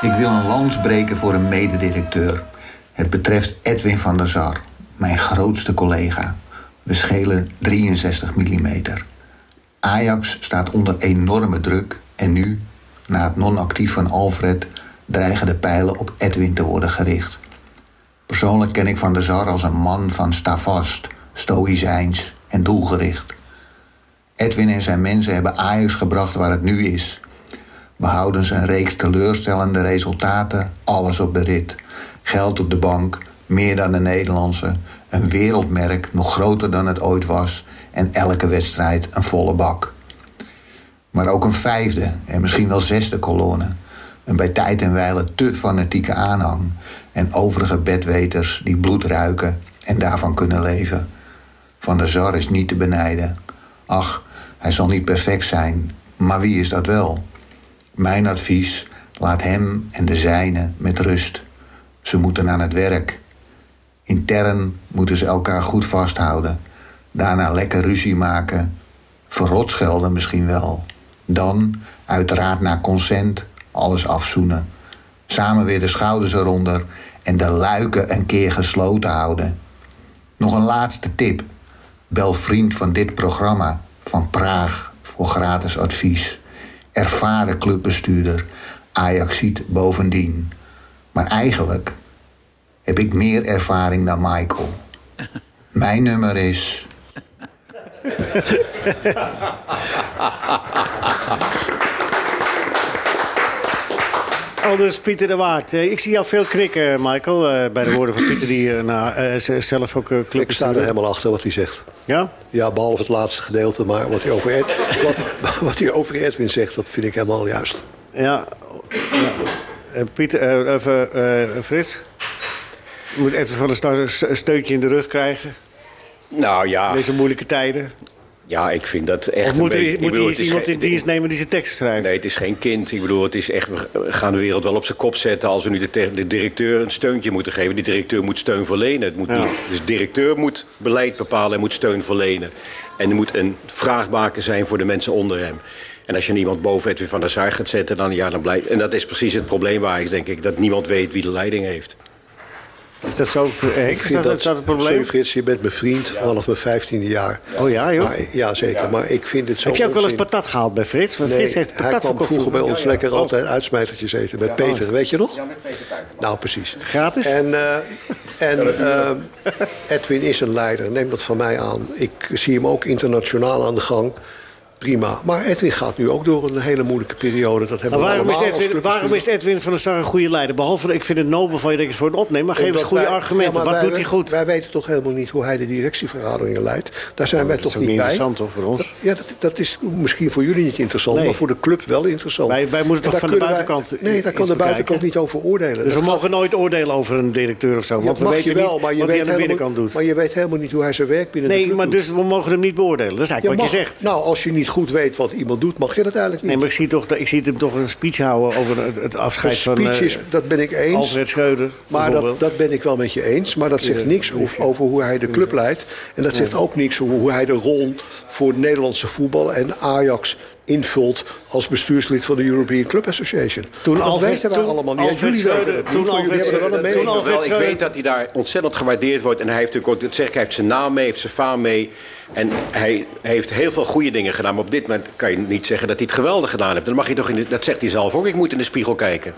Speaker 11: Ik wil een lans breken voor een mededirecteur. Het betreft Edwin van der Sar, mijn grootste collega. We schelen 63 mm. Ajax staat onder enorme druk en nu, na het non-actief van Alfred, dreigen de pijlen op Edwin te worden gericht. Persoonlijk ken ik van der Sar als een man van stavast, stoïcijns en doelgericht. Edwin en zijn mensen hebben Ajax gebracht waar het nu is, behouden ze een reeks teleurstellende resultaten, alles op de rit. Geld op de bank, meer dan de Nederlandse, een wereldmerk nog groter dan het ooit was en elke wedstrijd een volle bak. Maar ook een vijfde en misschien wel zesde kolonne. Een bij tijd en wijle te fanatieke aanhang. En overige bedweters die bloed ruiken en daarvan kunnen leven. Van der Zar is niet te benijden. Ach, hij zal niet perfect zijn, maar wie is dat wel? Mijn advies, laat hem en de zijne met rust. Ze moeten aan het werk. Intern moeten ze elkaar goed vasthouden. Daarna lekker ruzie maken. Verrotschelden misschien wel. Dan, uiteraard na consent, alles afzoenen. Samen weer de schouders eronder en de luiken een keer gesloten houden. Nog een laatste tip. Bel vriend van dit programma van Praag voor gratis advies. Ervaren clubbestuurder, Ajaxiet bovendien. Maar eigenlijk heb ik meer ervaring dan Michael. Mijn nummer is
Speaker 3: Aldus Pieter de Waard. Eh, Ik zie jou veel knikken, Michael, eh, bij de woorden van Pieter... die eh, nou, eh, z- zelf ook eh, club
Speaker 4: Ik sta er helemaal achter wat hij zegt.
Speaker 3: Ja?
Speaker 4: Ja, behalve het laatste gedeelte, maar wat hij over, Ed, wat, wat hij over Edwin zegt, dat vind ik helemaal juist.
Speaker 3: Ja. Ja. Eh, Pieter, eh, even, eh, Frits. Je moet even van de start een s- een steuntje in de rug krijgen.
Speaker 10: Nou ja,
Speaker 3: Deze moeilijke tijden.
Speaker 10: ja ik vind dat echt
Speaker 3: Of moet
Speaker 10: een beetje...
Speaker 3: er,
Speaker 10: ik
Speaker 3: moet
Speaker 10: bedoel,
Speaker 3: er
Speaker 10: het is
Speaker 3: eens iemand
Speaker 10: geen-
Speaker 3: in dienst nemen die zijn tekst schrijft?
Speaker 10: Nee, het is geen kind. Ik bedoel, het is echt, we gaan de wereld wel op zijn kop zetten als we nu de, te- de directeur een steuntje moeten geven. Die directeur moet steun verlenen. Het moet niet. Dus de directeur moet beleid bepalen en moet steun verlenen. En er moet een vraagbaken zijn voor de mensen onder hem. En als je nou iemand boven Edwin van der Sar gaat zetten, dan, ja, dan blijft... En dat is precies het probleem waar ik denk ik, dat niemand weet wie de leiding heeft.
Speaker 3: Is dat zo? voor Henk, is dat, is dat het probleem?
Speaker 4: Sorry Frits, je bent mijn vriend vanaf mijn vijftiende jaar.
Speaker 3: Oh ja, joh.
Speaker 4: Maar, ja, zeker. Maar ik vind het zo
Speaker 3: Heb je ook wel eens
Speaker 4: onzin.
Speaker 3: patat gehaald bij Frits? Want
Speaker 4: Nee,
Speaker 3: Frits heeft
Speaker 4: hij
Speaker 3: patat
Speaker 4: kwam
Speaker 3: verkocht.
Speaker 4: vroeger bij ons
Speaker 3: Ja, Oh. ja.
Speaker 4: lekker altijd uitsmijtertjes eten met Peter, weet je nog? Ja, met
Speaker 6: Peter
Speaker 4: Nou, precies.
Speaker 3: Gratis?
Speaker 4: En, eh, en eh, Edwin is een leider, neem dat van mij aan. Ik zie hem ook internationaal aan de gang. Prima. Maar Edwin gaat nu ook door een hele moeilijke periode. Dat hebben
Speaker 3: Maar
Speaker 4: we
Speaker 3: waarom is,
Speaker 4: allemaal als
Speaker 3: Edwin, waarom is
Speaker 4: clubbestuur.
Speaker 3: Edwin van der Sar een goede leider? Behalve, ik vind het nobel van je dat je het voor een opneemt. Maar geef eens
Speaker 4: Omdat
Speaker 3: goede
Speaker 4: wij- ja,
Speaker 3: argumenten.
Speaker 4: maar
Speaker 3: Wat
Speaker 4: wij-
Speaker 3: doet hij goed?
Speaker 4: Wij weten toch helemaal niet hoe hij de directievergaderingen leidt. Daar zijn wij
Speaker 3: Nou, dat is
Speaker 4: toch
Speaker 3: ook
Speaker 4: niet bij.
Speaker 3: niet interessant, hoor, voor ons.
Speaker 4: Dat- ja, dat, dat is misschien voor jullie niet interessant,
Speaker 3: Nee.
Speaker 4: maar voor de club wel interessant.
Speaker 3: Wij- wij moeten
Speaker 4: En
Speaker 3: toch
Speaker 4: daar
Speaker 3: van de
Speaker 4: kunnen wij-
Speaker 3: buitenkant
Speaker 4: nee, daar
Speaker 3: iets
Speaker 4: kan de
Speaker 3: bekijken.
Speaker 4: buitenkant niet over oordelen.
Speaker 3: Dus
Speaker 4: Dat
Speaker 3: we mogen nooit oordelen over een directeur of zo. Want
Speaker 4: dat
Speaker 3: we
Speaker 4: mag
Speaker 3: weten
Speaker 4: je wel,
Speaker 3: niet
Speaker 4: maar je,
Speaker 3: wat
Speaker 4: weet
Speaker 3: hij aan de
Speaker 4: helemaal,
Speaker 3: binnenkant doet.
Speaker 4: maar je weet helemaal niet hoe hij zijn werk binnen de
Speaker 3: Nee,
Speaker 4: club
Speaker 3: maar
Speaker 4: doet.
Speaker 3: dus we mogen hem niet beoordelen. Dat is
Speaker 4: Je
Speaker 3: eigenlijk wat je
Speaker 4: mag-
Speaker 3: zegt.
Speaker 4: Nou, als je niet goed weet wat iemand doet, mag je dat eigenlijk niet.
Speaker 3: Nee, maar ik zie, toch, dat- ik zie hem toch een speech houden over het, het
Speaker 4: Een
Speaker 3: afscheid van
Speaker 4: speech
Speaker 3: eh,
Speaker 4: is, dat ben ik eens.
Speaker 3: Alfred Schreuder.
Speaker 4: Maar dat,
Speaker 3: bijvoorbeeld.
Speaker 4: dat ben ik wel met je eens. Maar dat zegt niks over, over hoe hij de club leidt. En dat zegt ook niks over hoe hij de rol voor het Nederlandse voetbal en Ajax invult als bestuurslid van de European Club Association.
Speaker 3: Toen
Speaker 4: dat
Speaker 3: Alfred-
Speaker 4: weten wij
Speaker 3: toen
Speaker 4: allemaal niet.
Speaker 3: Alfred
Speaker 4: Jullie weten
Speaker 3: Schreuder-
Speaker 4: het niet,
Speaker 3: toen
Speaker 4: maar jullie
Speaker 3: Alfred
Speaker 4: hebben er wel een
Speaker 3: Schreuder-
Speaker 4: mening
Speaker 3: toen
Speaker 4: over.
Speaker 10: Wel, ik
Speaker 3: Alfred Schreuder-
Speaker 10: weet dat hij daar ontzettend gewaardeerd wordt. En hij heeft natuurlijk ook, dat zeg ik, hij heeft zijn naam mee, heeft zijn faam mee. En hij heeft heel veel goede dingen gedaan. Maar op dit moment kan je niet zeggen dat hij het geweldig gedaan heeft. Dan mag je toch in de- dat zegt hij zelf ook, ik moet in de spiegel kijken.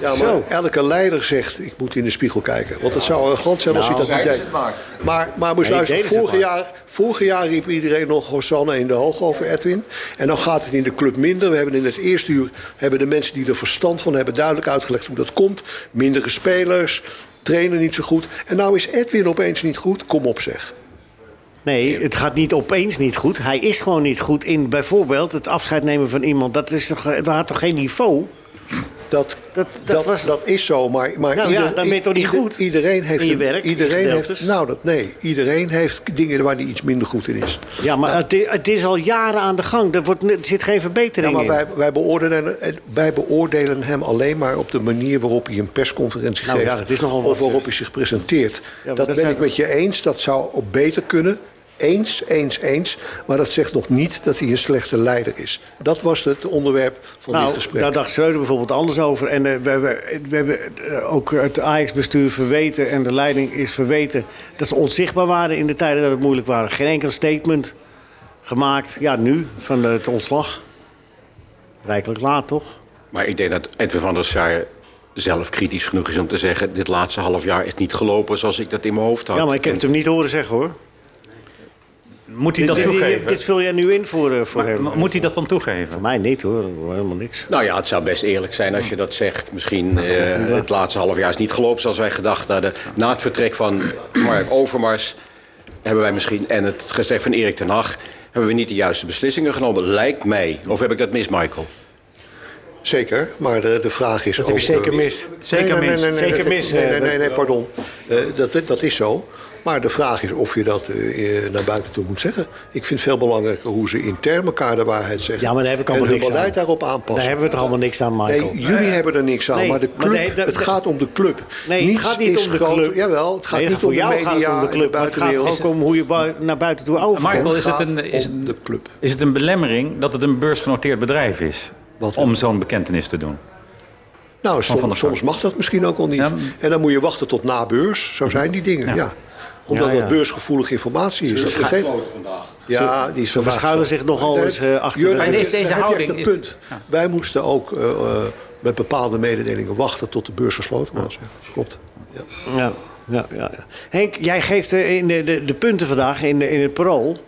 Speaker 4: Ja, maar elke leider zegt, ik moet in de spiegel kijken. Want het zou arrogant zijn als
Speaker 3: Nou,
Speaker 4: hij dat niet
Speaker 10: zeiden
Speaker 4: deed.
Speaker 10: ze het maar.
Speaker 4: Maar, maar moest
Speaker 3: Nee,
Speaker 4: luisteren,
Speaker 3: deden ze het
Speaker 4: vorig jaar, vorig jaar riep iedereen nog Hosanna in de hoog over Edwin. En dan gaat het in de club minder. We hebben in het eerste uur hebben de mensen die er verstand van hebben duidelijk uitgelegd hoe dat komt. Mindere spelers, trainen niet zo goed. En nou is Edwin opeens niet goed. Kom op zeg.
Speaker 3: Nee, het gaat niet opeens niet goed. Hij is gewoon niet goed in bijvoorbeeld het afscheid nemen van iemand. Dat, is toch, dat had toch geen niveau?
Speaker 4: Dat,
Speaker 3: Dat-
Speaker 4: dat,
Speaker 3: dat
Speaker 4: dat,
Speaker 3: was-
Speaker 4: is zo, maar, maar
Speaker 3: Nou ja, dan ben je toch niet
Speaker 4: ieder-
Speaker 3: goed
Speaker 4: Iedereen heeft
Speaker 3: in je
Speaker 4: een-
Speaker 3: werk, in je
Speaker 4: iedereen
Speaker 3: gedeeltes?
Speaker 4: heeft, nou dat nee, iedereen heeft dingen waar hij iets minder goed in is.
Speaker 3: Ja, maar het, i- het is al jaren aan de gang. Er, wordt, ne- er zit geen
Speaker 4: Ja,
Speaker 3: verbetering
Speaker 4: maar
Speaker 3: in.
Speaker 4: wij, wij, beoordelen, en wij beoordelen hem alleen maar op de manier waarop hij een persconferentie
Speaker 3: Nou ja,
Speaker 4: geeft.
Speaker 3: dat is nogal wat,
Speaker 4: of waarop hij zich presenteert.
Speaker 3: maar
Speaker 4: dat
Speaker 3: dat
Speaker 4: ben
Speaker 3: zijn
Speaker 4: ik met je eens, dat zou ook beter kunnen. Eens, eens, eens. Maar dat zegt nog niet dat hij een slechte leider is. Dat was het onderwerp van dit
Speaker 3: Nou,
Speaker 4: gesprek.
Speaker 3: daar dacht Schreuder bijvoorbeeld anders over. En eh, we hebben, we hebben eh, ook het Ajax-bestuur verweten en de leiding is verweten... dat ze onzichtbaar waren in de tijden dat het moeilijk waren. Geen enkel statement gemaakt, ja, nu, van het ontslag. Rijkelijk laat, toch?
Speaker 10: Maar ik denk dat Edwin van der Sar zelf kritisch genoeg is om te zeggen... dit laatste half jaar is niet gelopen zoals ik dat in mijn hoofd had.
Speaker 3: Ja, maar ik heb het hem niet horen zeggen, hoor.
Speaker 6: Moet hij dat
Speaker 3: dit, dit-
Speaker 6: toegeven?
Speaker 3: dit vul jij nu in voor, eh, voor
Speaker 6: Maar
Speaker 3: hem.
Speaker 6: moet hij dat dan toegeven?
Speaker 3: Voor mij niet, hoor. Helemaal niks.
Speaker 10: Nou ja, het zou best eerlijk zijn als je dat zegt. Misschien eh, het laatste half jaar is niet gelopen zoals wij gedacht hadden. Na het vertrek van Mark Overmars hebben wij misschien... en het gesprek van Erik ten Hag... hebben we niet de juiste beslissingen genomen. Lijkt mij. Of heb ik dat mis, Michael?
Speaker 4: Zeker, maar de, de vraag is
Speaker 3: heb
Speaker 4: ook...
Speaker 3: je zeker
Speaker 4: eh,
Speaker 3: mis.
Speaker 4: Nee, nee,
Speaker 3: Zeker
Speaker 4: nee,
Speaker 3: mis.
Speaker 4: nee, nee,
Speaker 3: Zeker
Speaker 4: dat-
Speaker 3: mis,
Speaker 4: Nee,
Speaker 3: eh,
Speaker 4: nee, nee,
Speaker 3: dat-
Speaker 4: nee, pardon. Eh, dat, dat is zo. Maar de vraag is of je dat eh, eh, naar buiten toe moet zeggen. Ik vind veel belangrijker hoe ze intern elkaar de waarheid zeggen.
Speaker 3: Ja, maar daar heb ik
Speaker 4: en
Speaker 3: allemaal
Speaker 4: hun
Speaker 3: niks aan.
Speaker 4: beleid daarop aanpassen.
Speaker 3: Daar hebben we toch allemaal niks aan, Michael?
Speaker 4: Nee, jullie hebben er niks aan,
Speaker 3: Nee,
Speaker 4: maar de
Speaker 3: maar
Speaker 4: club,
Speaker 3: nee, dat-
Speaker 4: het
Speaker 3: dat-
Speaker 4: gaat om de club.
Speaker 3: Nee,
Speaker 4: Niets
Speaker 3: het gaat niet
Speaker 4: is
Speaker 3: om de
Speaker 4: groter-
Speaker 3: club.
Speaker 4: Jawel, het gaat
Speaker 3: Nee,
Speaker 4: niet
Speaker 3: voor
Speaker 4: om de
Speaker 3: jou
Speaker 4: media
Speaker 3: gaat het om de
Speaker 4: en
Speaker 3: club. maar het gaat
Speaker 4: buitenwereld.
Speaker 3: ook om hoe je bui- naar buiten toe overkomt.
Speaker 6: Michael, is het
Speaker 4: gaat
Speaker 6: een, is
Speaker 4: om
Speaker 6: het-
Speaker 4: de club.
Speaker 6: is het een belemmering dat het een beursgenoteerd bedrijf is?
Speaker 4: Wat?
Speaker 6: om zo'n bekentenis te doen.
Speaker 4: Nou,
Speaker 6: Van
Speaker 4: soms,
Speaker 6: der Sar.
Speaker 4: soms mag dat misschien ook al niet.
Speaker 6: Ja.
Speaker 4: En dan moet je wachten tot na beurs. Zo zijn die dingen, ja. Omdat
Speaker 3: Ja, ja.
Speaker 4: dat beursgevoelige informatie is. Dat gegeven- Ja, die is vandaag
Speaker 3: verschuilen
Speaker 4: zo.
Speaker 3: zich nogal
Speaker 4: Nee,
Speaker 3: eens, eh, achter
Speaker 4: Jurgen,
Speaker 3: de-
Speaker 6: Maar is deze
Speaker 4: daar heb je
Speaker 6: houding-
Speaker 4: echt een
Speaker 6: is-
Speaker 4: punt. Wij moesten ook eh, eh, met bepaalde mededelingen wachten tot de beurs gesloten was. ja. Klopt. Ja.
Speaker 3: Ja, ja, ja. ja. Henk, jij geeft eh, in de, de, de punten vandaag in, de- in het parool.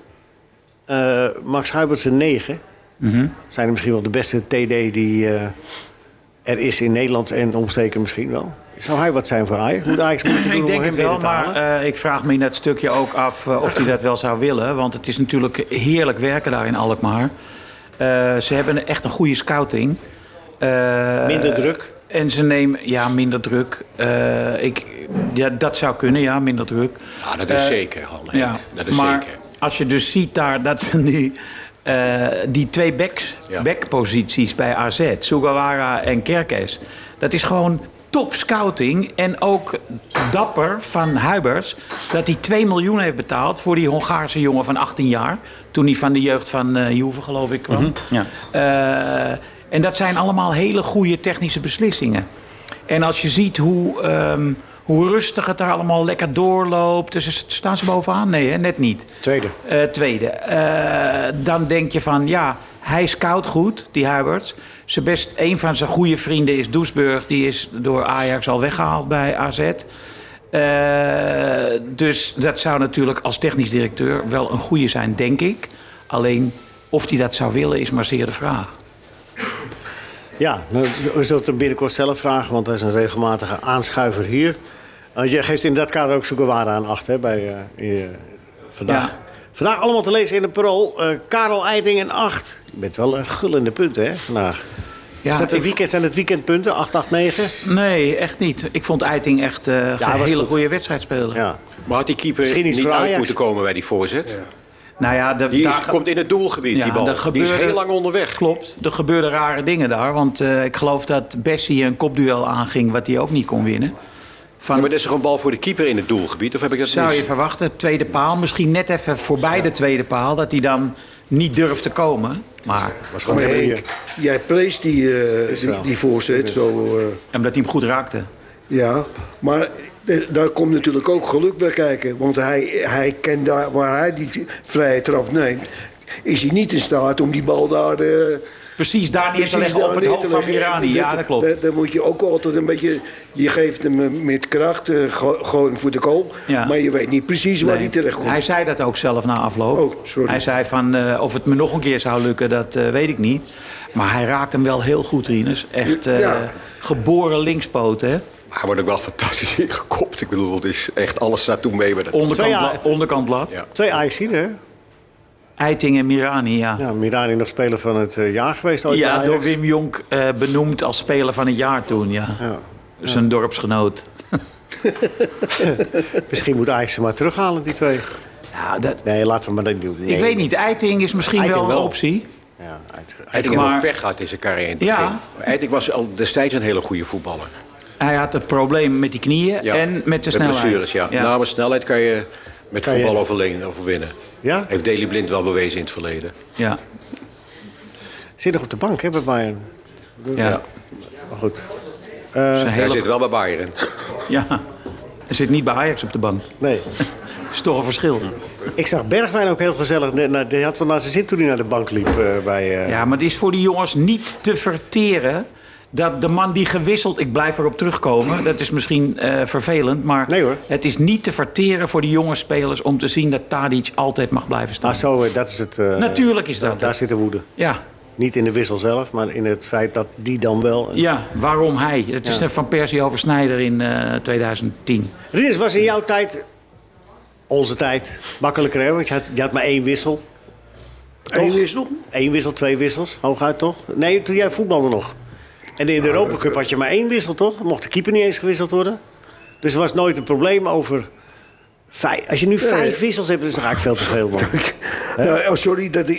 Speaker 3: eh, Max Huibert's een 9.
Speaker 10: Mhm.
Speaker 3: Zijn er misschien wel de beste TD die eh, er is in Nederland en omstreken misschien wel. Zou hij wat zijn voor Ajax? Moet Ajax moeten doen
Speaker 7: Ik
Speaker 3: om
Speaker 7: denk
Speaker 3: hem
Speaker 7: het wel,
Speaker 3: binnen te
Speaker 7: maar
Speaker 3: halen?
Speaker 7: eh, ik vraag me in dat stukje ook af eh, of hij dat wel zou willen. Want het is natuurlijk heerlijk werken daar in Alkmaar. Eh, ze hebben echt een goede scouting. Eh,
Speaker 3: Minder druk.
Speaker 7: En ze nemen, ja, minder druk. Eh, ik, ja, dat zou kunnen, ja, minder druk. Eh,
Speaker 10: Ja, Ah, dat is zeker, Hanne.
Speaker 7: Ja,
Speaker 10: dat is
Speaker 7: maar
Speaker 10: zeker.
Speaker 7: als je dus ziet daar dat ze nu eh, die twee backs,
Speaker 10: Ja.
Speaker 7: backposities bij AZ, Sugawara en Kerkes, dat is gewoon top scouting en ook dapper van Huibers dat hij 2 miljoen heeft betaald voor die Hongaarse jongen van 18 jaar, toen hij van de jeugd van eh Juve geloof ik
Speaker 3: Mhm.
Speaker 7: kwam.
Speaker 6: Hm? Ja.
Speaker 7: Eh, en dat zijn allemaal hele goede technische beslissingen. En als je ziet hoe, ehm, hoe rustig het daar allemaal lekker doorloopt. Dus is- staan ze bovenaan? Nee, hè? net niet.
Speaker 3: Tweede.
Speaker 7: Eh, tweede. Eh, dan denk je van ja, hij scout goed, die Huiberts. Zijn best, een van zijn goede vrienden is Doesburg. Die is door Ajax al weggehaald bij AZ. Eh, dus dat zou natuurlijk als technisch directeur wel een goede zijn, denk ik. Alleen of hij dat zou willen is maar zeer de vraag.
Speaker 3: Ja, nou, we zullen het hem binnenkort zelf vragen, want hij is een regelmatige aanschuiver hier. Eh, je geeft in dat kader ook Sugawara aan acht hè, bij, eh, hier, eh, vandaag.
Speaker 7: Ja.
Speaker 3: Vandaag allemaal te lezen in de parool. eh, Karel Eiting een 8. Je bent wel een gullende punten, hè, vandaag.
Speaker 7: Ja,
Speaker 3: Is dat de
Speaker 7: ik-
Speaker 3: weekend, zijn het weekendpunten? 8, 8, 9?
Speaker 7: Nee, echt niet. Ik vond Eiting echt eh,
Speaker 3: hij
Speaker 7: een
Speaker 3: was
Speaker 7: hele
Speaker 3: goed.
Speaker 7: goede wedstrijd spelen.
Speaker 3: Ja.
Speaker 10: Maar had die keeper
Speaker 3: Misschien iets
Speaker 10: niet
Speaker 3: voor
Speaker 10: uit
Speaker 3: Ajax.
Speaker 10: moeten komen bij die voorzet?
Speaker 7: Nou ja, de,
Speaker 10: Die is-
Speaker 7: daar-
Speaker 10: komt in het doelgebied,
Speaker 7: Ja,
Speaker 10: die bal.
Speaker 7: er
Speaker 10: Die is
Speaker 7: gebeurde-
Speaker 10: heel lang onderweg.
Speaker 7: Klopt, er gebeurden rare dingen daar. Want eh, ik geloof dat Bessie een kopduel aanging wat hij ook niet kon winnen. Van,
Speaker 10: Ja, maar dat is toch een bal voor de keeper in het doelgebied? Of heb ik dat
Speaker 7: Zou
Speaker 10: mis?
Speaker 7: je verwachten, tweede paal, misschien net even voorbij de tweede paal... dat hij dan niet durft te komen. Maar
Speaker 5: was gewoon Maar een Henk, goeie. jij prees die, eh, die, die voorzet zo.
Speaker 7: Omdat hij hem goed raakte.
Speaker 5: Ja, maar eh, daar komt natuurlijk ook geluk bij kijken. Want hij, hij kent daar, waar hij die vrije trap neemt, is hij niet in staat om die bal daar... eh,
Speaker 7: Precies daar neer te
Speaker 5: precies
Speaker 7: leggen op
Speaker 5: daar
Speaker 7: het
Speaker 5: neer
Speaker 7: hoofd
Speaker 5: te
Speaker 7: van
Speaker 5: leggen.
Speaker 7: Mirani. Ja, dat klopt.
Speaker 5: Daar, daar moet je ook altijd een beetje... Je geeft hem eh, met kracht, eh, go- gooi hem voor de kool.
Speaker 7: Ja.
Speaker 5: Maar je weet niet precies waar
Speaker 7: Nee.
Speaker 5: hij terecht komt.
Speaker 7: Hij zei dat ook zelf na afloop. Hij zei van eh, of het me nog een keer zou lukken, dat eh, weet ik niet. Maar hij raakt hem wel heel goed, Rinus. Echt eh,
Speaker 12: Ja.
Speaker 7: geboren linkspoot, hè?
Speaker 12: Maar Hij wordt ook wel fantastisch ingekopt. Ik bedoel, het is echt alles naartoe mee. Met het.
Speaker 7: Onderkant, la- onderkant lat.
Speaker 3: Twee Ajaxiden, hè?
Speaker 7: Eiting en Mirani, ja.
Speaker 3: Ja, Mirani nog speler van het eh, jaar geweest ooit bij
Speaker 7: Ja,
Speaker 3: Ajax.
Speaker 7: door Wim Jonk eh, benoemd als speler van het jaar toen, ja. Zijn dorpsgenoot.
Speaker 3: Misschien moet Ajax ze maar terughalen, die twee.
Speaker 7: Ja, dat...
Speaker 3: Nee, laten we maar dat doen. Nee.
Speaker 7: Ik weet niet, Eiting is misschien
Speaker 3: Eiting
Speaker 7: wel een
Speaker 3: wel.
Speaker 7: optie.
Speaker 3: Ja, uit-
Speaker 10: Hij heeft
Speaker 7: Maar-
Speaker 10: wel pech gehad in zijn carrière in het
Speaker 7: Ja.
Speaker 10: begin. Hij- Ik was al destijds een hele goede voetballer.
Speaker 7: Hij had een probleem met die knieën
Speaker 10: Ja,
Speaker 7: en met de snelheid.
Speaker 10: blessures, ja. Nou, Na mijn snelheid kan je met
Speaker 7: Kan je-
Speaker 10: voetbal overleen- overwinnen.
Speaker 3: Ja?
Speaker 10: Heeft Daley Blind wel bewezen in het verleden.
Speaker 7: Ja.
Speaker 3: Zit nog op de bank, hè, bij Bayern.
Speaker 7: Ja.
Speaker 3: Maar goed. Eh,
Speaker 7: Zijn
Speaker 10: Hij
Speaker 7: hele-
Speaker 10: zit wel bij Bayern.
Speaker 7: Ja, er zit niet bij Ajax op de bank.
Speaker 3: Nee.
Speaker 7: is toch een verschil.
Speaker 3: Ik zag Bergwijn ook heel gezellig. net naar- Die had van naar zijn zin toen hij naar de bank liep eh, bij... eh,
Speaker 7: Ja, maar het is voor die jongens niet te verteren dat de man die gewisseld... Ik blijf erop terugkomen, dat is misschien eh, vervelend, maar... Het is niet te verteren voor die jonge spelers om te zien dat Tadic altijd mag blijven staan.
Speaker 3: Ah, zo, eh, dat is het... eh,
Speaker 7: Natuurlijk is dat
Speaker 3: Daar, daar
Speaker 7: het.
Speaker 3: zit de woede.
Speaker 7: Ja.
Speaker 3: Niet in de wissel zelf, maar in het feit dat die dan wel...
Speaker 7: Ja, waarom hij? Het is
Speaker 3: Ja.
Speaker 7: de Van Persie over Sneijder in eh, 2010.
Speaker 3: Rinus, was in jouw tijd, onze tijd, makkelijker hè? Want je had, je had maar één wissel. Eén wissel? Eén wissel, twee wissels, hooguit toch? Nee, toen jij voetbalde nog. En in de Europa Cup had je maar één wissel, toch? Mocht de keeper niet eens gewisseld worden. Dus er was nooit een probleem over... vij- Als je nu
Speaker 5: Nee.
Speaker 3: vijf wissels dus hebt, is het eigenlijk veel te veel, man.
Speaker 5: Nou, oh, sorry dat ik...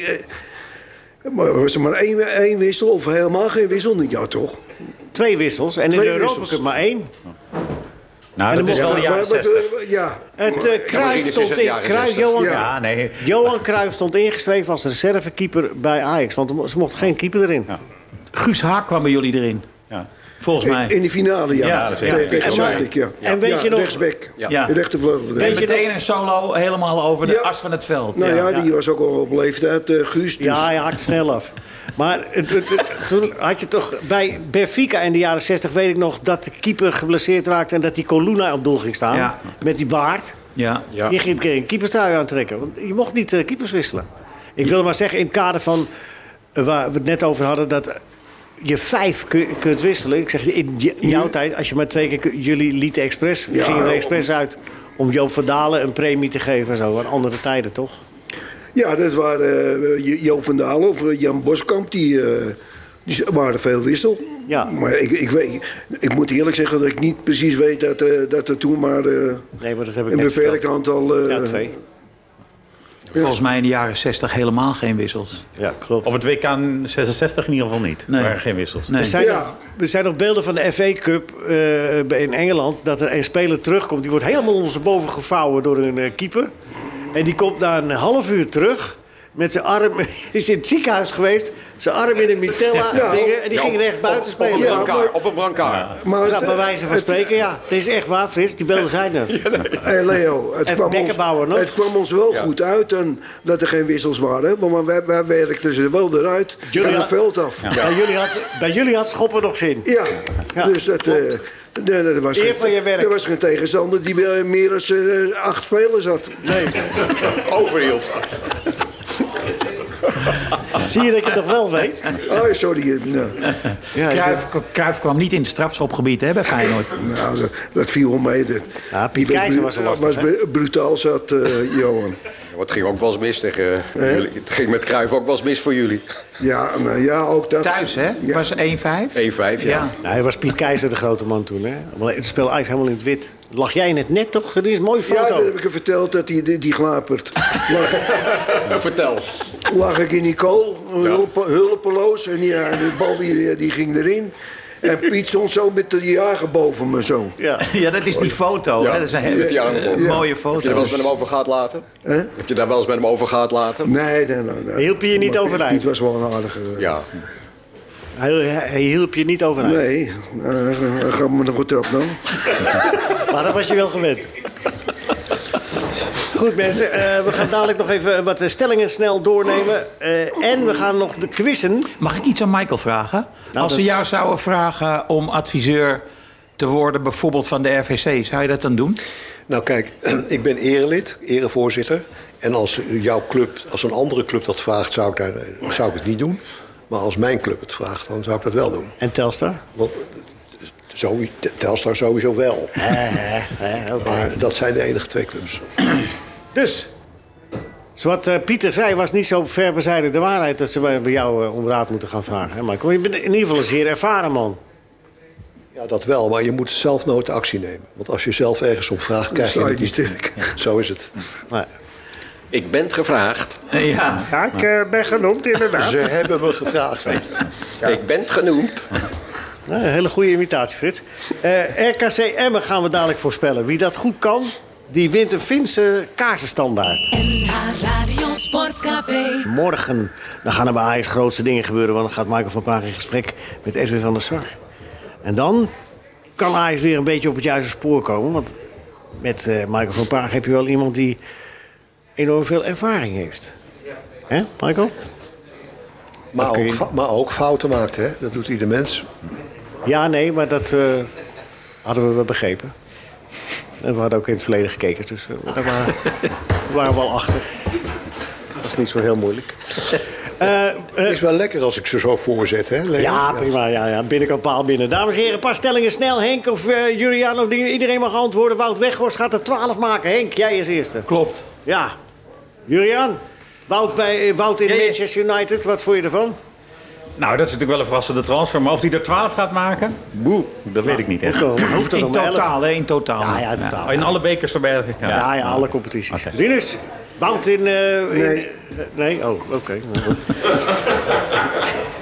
Speaker 5: eh, maar was er maar één, één wissel of helemaal geen wissel? Nou, Ja, toch?
Speaker 3: Twee wissels en in
Speaker 5: Twee
Speaker 3: de Europa
Speaker 5: wissels.
Speaker 3: Cup maar één.
Speaker 6: Nou, dat
Speaker 3: En dan
Speaker 6: is wel
Speaker 3: mocht-
Speaker 6: de jaren
Speaker 3: Maar- maar-
Speaker 6: 60.
Speaker 5: Ja.
Speaker 3: Het eh Cruijff stond in. Cruijff, Johan,
Speaker 6: Ja, nee.
Speaker 3: Johan Cruijff stond ingeschreven als reservekeeper bij Ajax. Want er mo- ze mochten geen keeper erin.
Speaker 7: Guus Haak kwam bij jullie erin.
Speaker 6: Ja.
Speaker 7: Volgens mij.
Speaker 5: In de finale, ja.
Speaker 7: Ja, dat is- ja.
Speaker 5: Tegen- tegen
Speaker 7: En maar-
Speaker 5: Celtic, ja.
Speaker 7: en weet
Speaker 5: Ja,
Speaker 7: je nog-
Speaker 5: Rechtsback.
Speaker 7: Ja.
Speaker 5: Ja. Rechtervleugel.
Speaker 7: En meteen een solo helemaal over de
Speaker 5: Ja.
Speaker 7: as van het veld.
Speaker 5: Nou ja, die was ook al op leeftijd, eh, Guus. Dus.
Speaker 3: Ja, hij haakt snel af. Maar het, het- het- toen had je toch bij Benfica in de jaren 60 weet ik nog dat de keeper geblesseerd raakte en dat die Coluna op doel ging staan.
Speaker 7: Ja.
Speaker 3: Met die baard.
Speaker 7: Ja.
Speaker 3: Je ging een keeperstrui aantrekken. Want je mocht niet eh, keepers wisselen. Ik wil maar zeggen, in het kader van eh, waar we het net over hadden, dat je vijf kun- kunt wisselen. Ik zeg, in j- jouw tijd, als je maar twee keer... kun- Jullie lieten expres,
Speaker 5: Ja,
Speaker 3: gingen er
Speaker 5: om-
Speaker 3: expres uit om Joop van Dalen een premie te geven en zo. Aan andere tijden, toch?
Speaker 5: Ja, dat waren eh, Jo- Joop van Dalen of eh, Jan Boskamp. Die, eh, die z- waren veel wissel.
Speaker 3: Ja.
Speaker 5: Maar ik, ik, weet, ik moet eerlijk zeggen dat ik niet precies weet dat, eh, dat er toen maar eh,
Speaker 3: Nee, maar dat heb ik
Speaker 5: een
Speaker 3: net
Speaker 5: beperkt
Speaker 3: verteld.
Speaker 5: aantal... eh,
Speaker 3: Ja, twee.
Speaker 7: Volgens mij in de jaren 60 helemaal geen wissels.
Speaker 3: Ja, klopt.
Speaker 6: Op het WK 66 in ieder geval niet.
Speaker 7: Nee.
Speaker 6: Nee. Maar geen wissels.
Speaker 7: Nee.
Speaker 3: Er zijn,
Speaker 5: Ja.
Speaker 3: nog, er zijn nog beelden van de FA Cup eh, in Engeland. Dat er een speler terugkomt. Die wordt helemaal ondersteboven gevouwen door een eh, keeper. En die komt na een half uur terug. Met zijn arm. is in het ziekenhuis geweest. Zijn arm in een mitella. en
Speaker 5: Nou,
Speaker 3: dingen, en die
Speaker 10: ja,
Speaker 3: ging recht buiten
Speaker 10: Op een
Speaker 3: spelen. Ja,
Speaker 10: brancard. Op een brancard.
Speaker 5: Maar
Speaker 3: Ja,
Speaker 5: het- eh,
Speaker 3: bij wijze van
Speaker 5: het-
Speaker 3: spreken, ja. Dit is echt waar, Frits. Die beelden zijn er.
Speaker 5: Hey Eh, Leo, het
Speaker 3: Even
Speaker 5: kwam,
Speaker 3: Beckenbauer nog.
Speaker 5: ons, het kwam ons wel goed uit en dat er geen wissels waren. Want wij, wij werkten ze wel eruit
Speaker 3: Jullie
Speaker 5: van het
Speaker 3: had-
Speaker 5: veld af. Ja,
Speaker 3: Bij, jullie had, bij jullie had schoppen nog zin. Ja,
Speaker 5: dus dat, eh, nee, dat was
Speaker 3: Eer
Speaker 5: geen,
Speaker 3: van je werk.
Speaker 5: er was geen tegenstander die eh, meer dan eh, acht spelers had.
Speaker 3: Nee.
Speaker 10: Overhield.
Speaker 3: Zie je dat je het nog wel weet?
Speaker 5: Oh, sorry. eh, nou,
Speaker 3: Ja, is
Speaker 7: Cruijff, Cruijff kwam niet in het strafschopgebied hè, bij Feyenoord.
Speaker 5: nou, dat, dat viel om mee. Dat,
Speaker 3: Ja, Piet
Speaker 5: die
Speaker 3: Keizer
Speaker 5: bru-
Speaker 3: was er lastig, hè?
Speaker 5: bru- brutaal zat, eh, Johan.
Speaker 12: Ja, Wat ging ook wel eens mis tegen eh, jullie. Het ging met Cruijff ook wel eens mis voor jullie. 1-5,
Speaker 5: Ja, nou, ja, ook dat.
Speaker 7: Thuis, hè?
Speaker 5: Ja.
Speaker 7: Was 1-5?
Speaker 12: ja.
Speaker 7: Ja.
Speaker 3: Nou, hij was Piet Keizer de grote man toen, hè? Maar Het speelde eigenlijk helemaal in het wit. Lag jij in het net, toch? Dit is een mooie
Speaker 5: Ja,
Speaker 3: foto.
Speaker 5: dat heb ik je verteld dat die, die, die glapert. Lag-
Speaker 12: Vertel.
Speaker 5: lag ik in die kool, hulp, hulpeloos. En die, ja, de bal die, die ging erin. En Piet stond zo met de jager boven me zo.
Speaker 3: Ja,
Speaker 7: ja dat is die foto. hè? Dat is een
Speaker 12: met die
Speaker 7: hele
Speaker 12: armen op.
Speaker 7: eh, mooie
Speaker 12: Heb je
Speaker 7: foto.
Speaker 12: er wel eens met hem over gehad laten? Heb je daar wel eens met hem over gehad laten?
Speaker 5: Nee, nee, nee. nee.
Speaker 3: Hielp je je niet
Speaker 5: Maar
Speaker 3: overeind?
Speaker 5: Piet was wel een aardige...
Speaker 12: Ja.
Speaker 3: Hij, hij hielp je niet overeind.
Speaker 5: Nee, eh, ga- ga me nog een trap dan.
Speaker 3: Maar dat was je wel gewend. Goed mensen, eh, we gaan dadelijk nog even wat eh, stellingen snel doornemen. Eh, en we gaan nog de quizzen.
Speaker 7: Mag ik iets aan Michael vragen?
Speaker 3: Nou,
Speaker 7: Als ze
Speaker 3: dat-
Speaker 7: jou zouden vragen om adviseur te worden, bijvoorbeeld van de RVC, zou je dat dan doen?
Speaker 4: Nou kijk, ik ben erelid, erevoorzitter. En als jouw club, als een andere club dat vraagt, zou ik, daar, zou ik het niet doen. Maar als mijn club het vraagt, dan zou ik dat wel doen.
Speaker 3: En Telstar?
Speaker 4: Want zo, Telstar sowieso wel. Maar dat zijn de enige twee clubs.
Speaker 3: Dus, dus wat eh, Pieter zei was niet zo ver bezijden de waarheid... dat ze bij bij jou eh, om raad moeten gaan vragen. Hè, Michael? Je bent in ieder geval een zeer ervaren man.
Speaker 4: Ja, dat wel, maar je moet zelf nooit actie nemen. Want als je zelf ergens om vraagt, krijg je
Speaker 5: sta je
Speaker 4: het niet.
Speaker 5: niet sterk.
Speaker 4: Zo is het.
Speaker 3: Maar,
Speaker 10: Ik ben het gevraagd.
Speaker 7: Ja.
Speaker 3: ja, ik eh, ben genoemd inderdaad.
Speaker 4: Ze hebben me gevraagd. weet je.
Speaker 10: Ik ben het genoemd.
Speaker 3: Ja, een hele goede imitatie, Frits. Eh, RKC Emmen gaan we dadelijk voorspellen. Wie dat goed kan, die wint een Finse kaarsenstandaard.
Speaker 1: NH Radio Sportcafé.
Speaker 3: Morgen dan gaan er bij Ajax grootste dingen gebeuren... want dan gaat Michael van Praag in gesprek met Edwin van der Sar. En dan kan Ajax weer een beetje op het juiste spoor komen... want met eh, Michael van Praag heb je wel iemand die enorm veel ervaring heeft. Hè, Michael?
Speaker 4: Maar,
Speaker 3: kun je
Speaker 4: ook,
Speaker 3: niet.
Speaker 4: fa- maar ook fouten maakt, hè? dat doet ieder mens.
Speaker 3: Ja, nee, maar dat eh, hadden we wel begrepen. En we hadden ook in het verleden gekeken, dus eh, daar waren, we waren wel achter. Dat is niet zo heel moeilijk. Eh, eh,
Speaker 4: Het is wel lekker als ik ze zo voorzet, hè? Leo?
Speaker 3: ja, prima. Ja, ja. Binnenkant paal binnen. Dames en heren, een paar stellingen snel. Henk of eh, Julian of die- iedereen mag antwoorden. Wout Weghorst gaat er 12 maken. Henk, jij is eerste.
Speaker 7: Klopt.
Speaker 3: Ja. Julian, Wout, bij, eh, Wout in
Speaker 6: Ja, ja.
Speaker 3: Manchester United, wat vond je ervan?
Speaker 6: Nou, dat is natuurlijk wel een verrassende transfer. Maar of hij er 12 gaat maken? Boe, dat weet ik niet. hè.
Speaker 3: Hoeft toch, hoeft toch
Speaker 7: In
Speaker 3: nog maar elf?
Speaker 7: totaal, hè? In totaal.
Speaker 3: Ja, ja, totaal.
Speaker 6: Oh, In alle bekers erbij.
Speaker 3: Ja, ja, alle competities.
Speaker 6: Oké.
Speaker 3: Rinus, Wout in... eh, in-
Speaker 5: Nee.
Speaker 3: eh, nee? Oh, oké. Nou,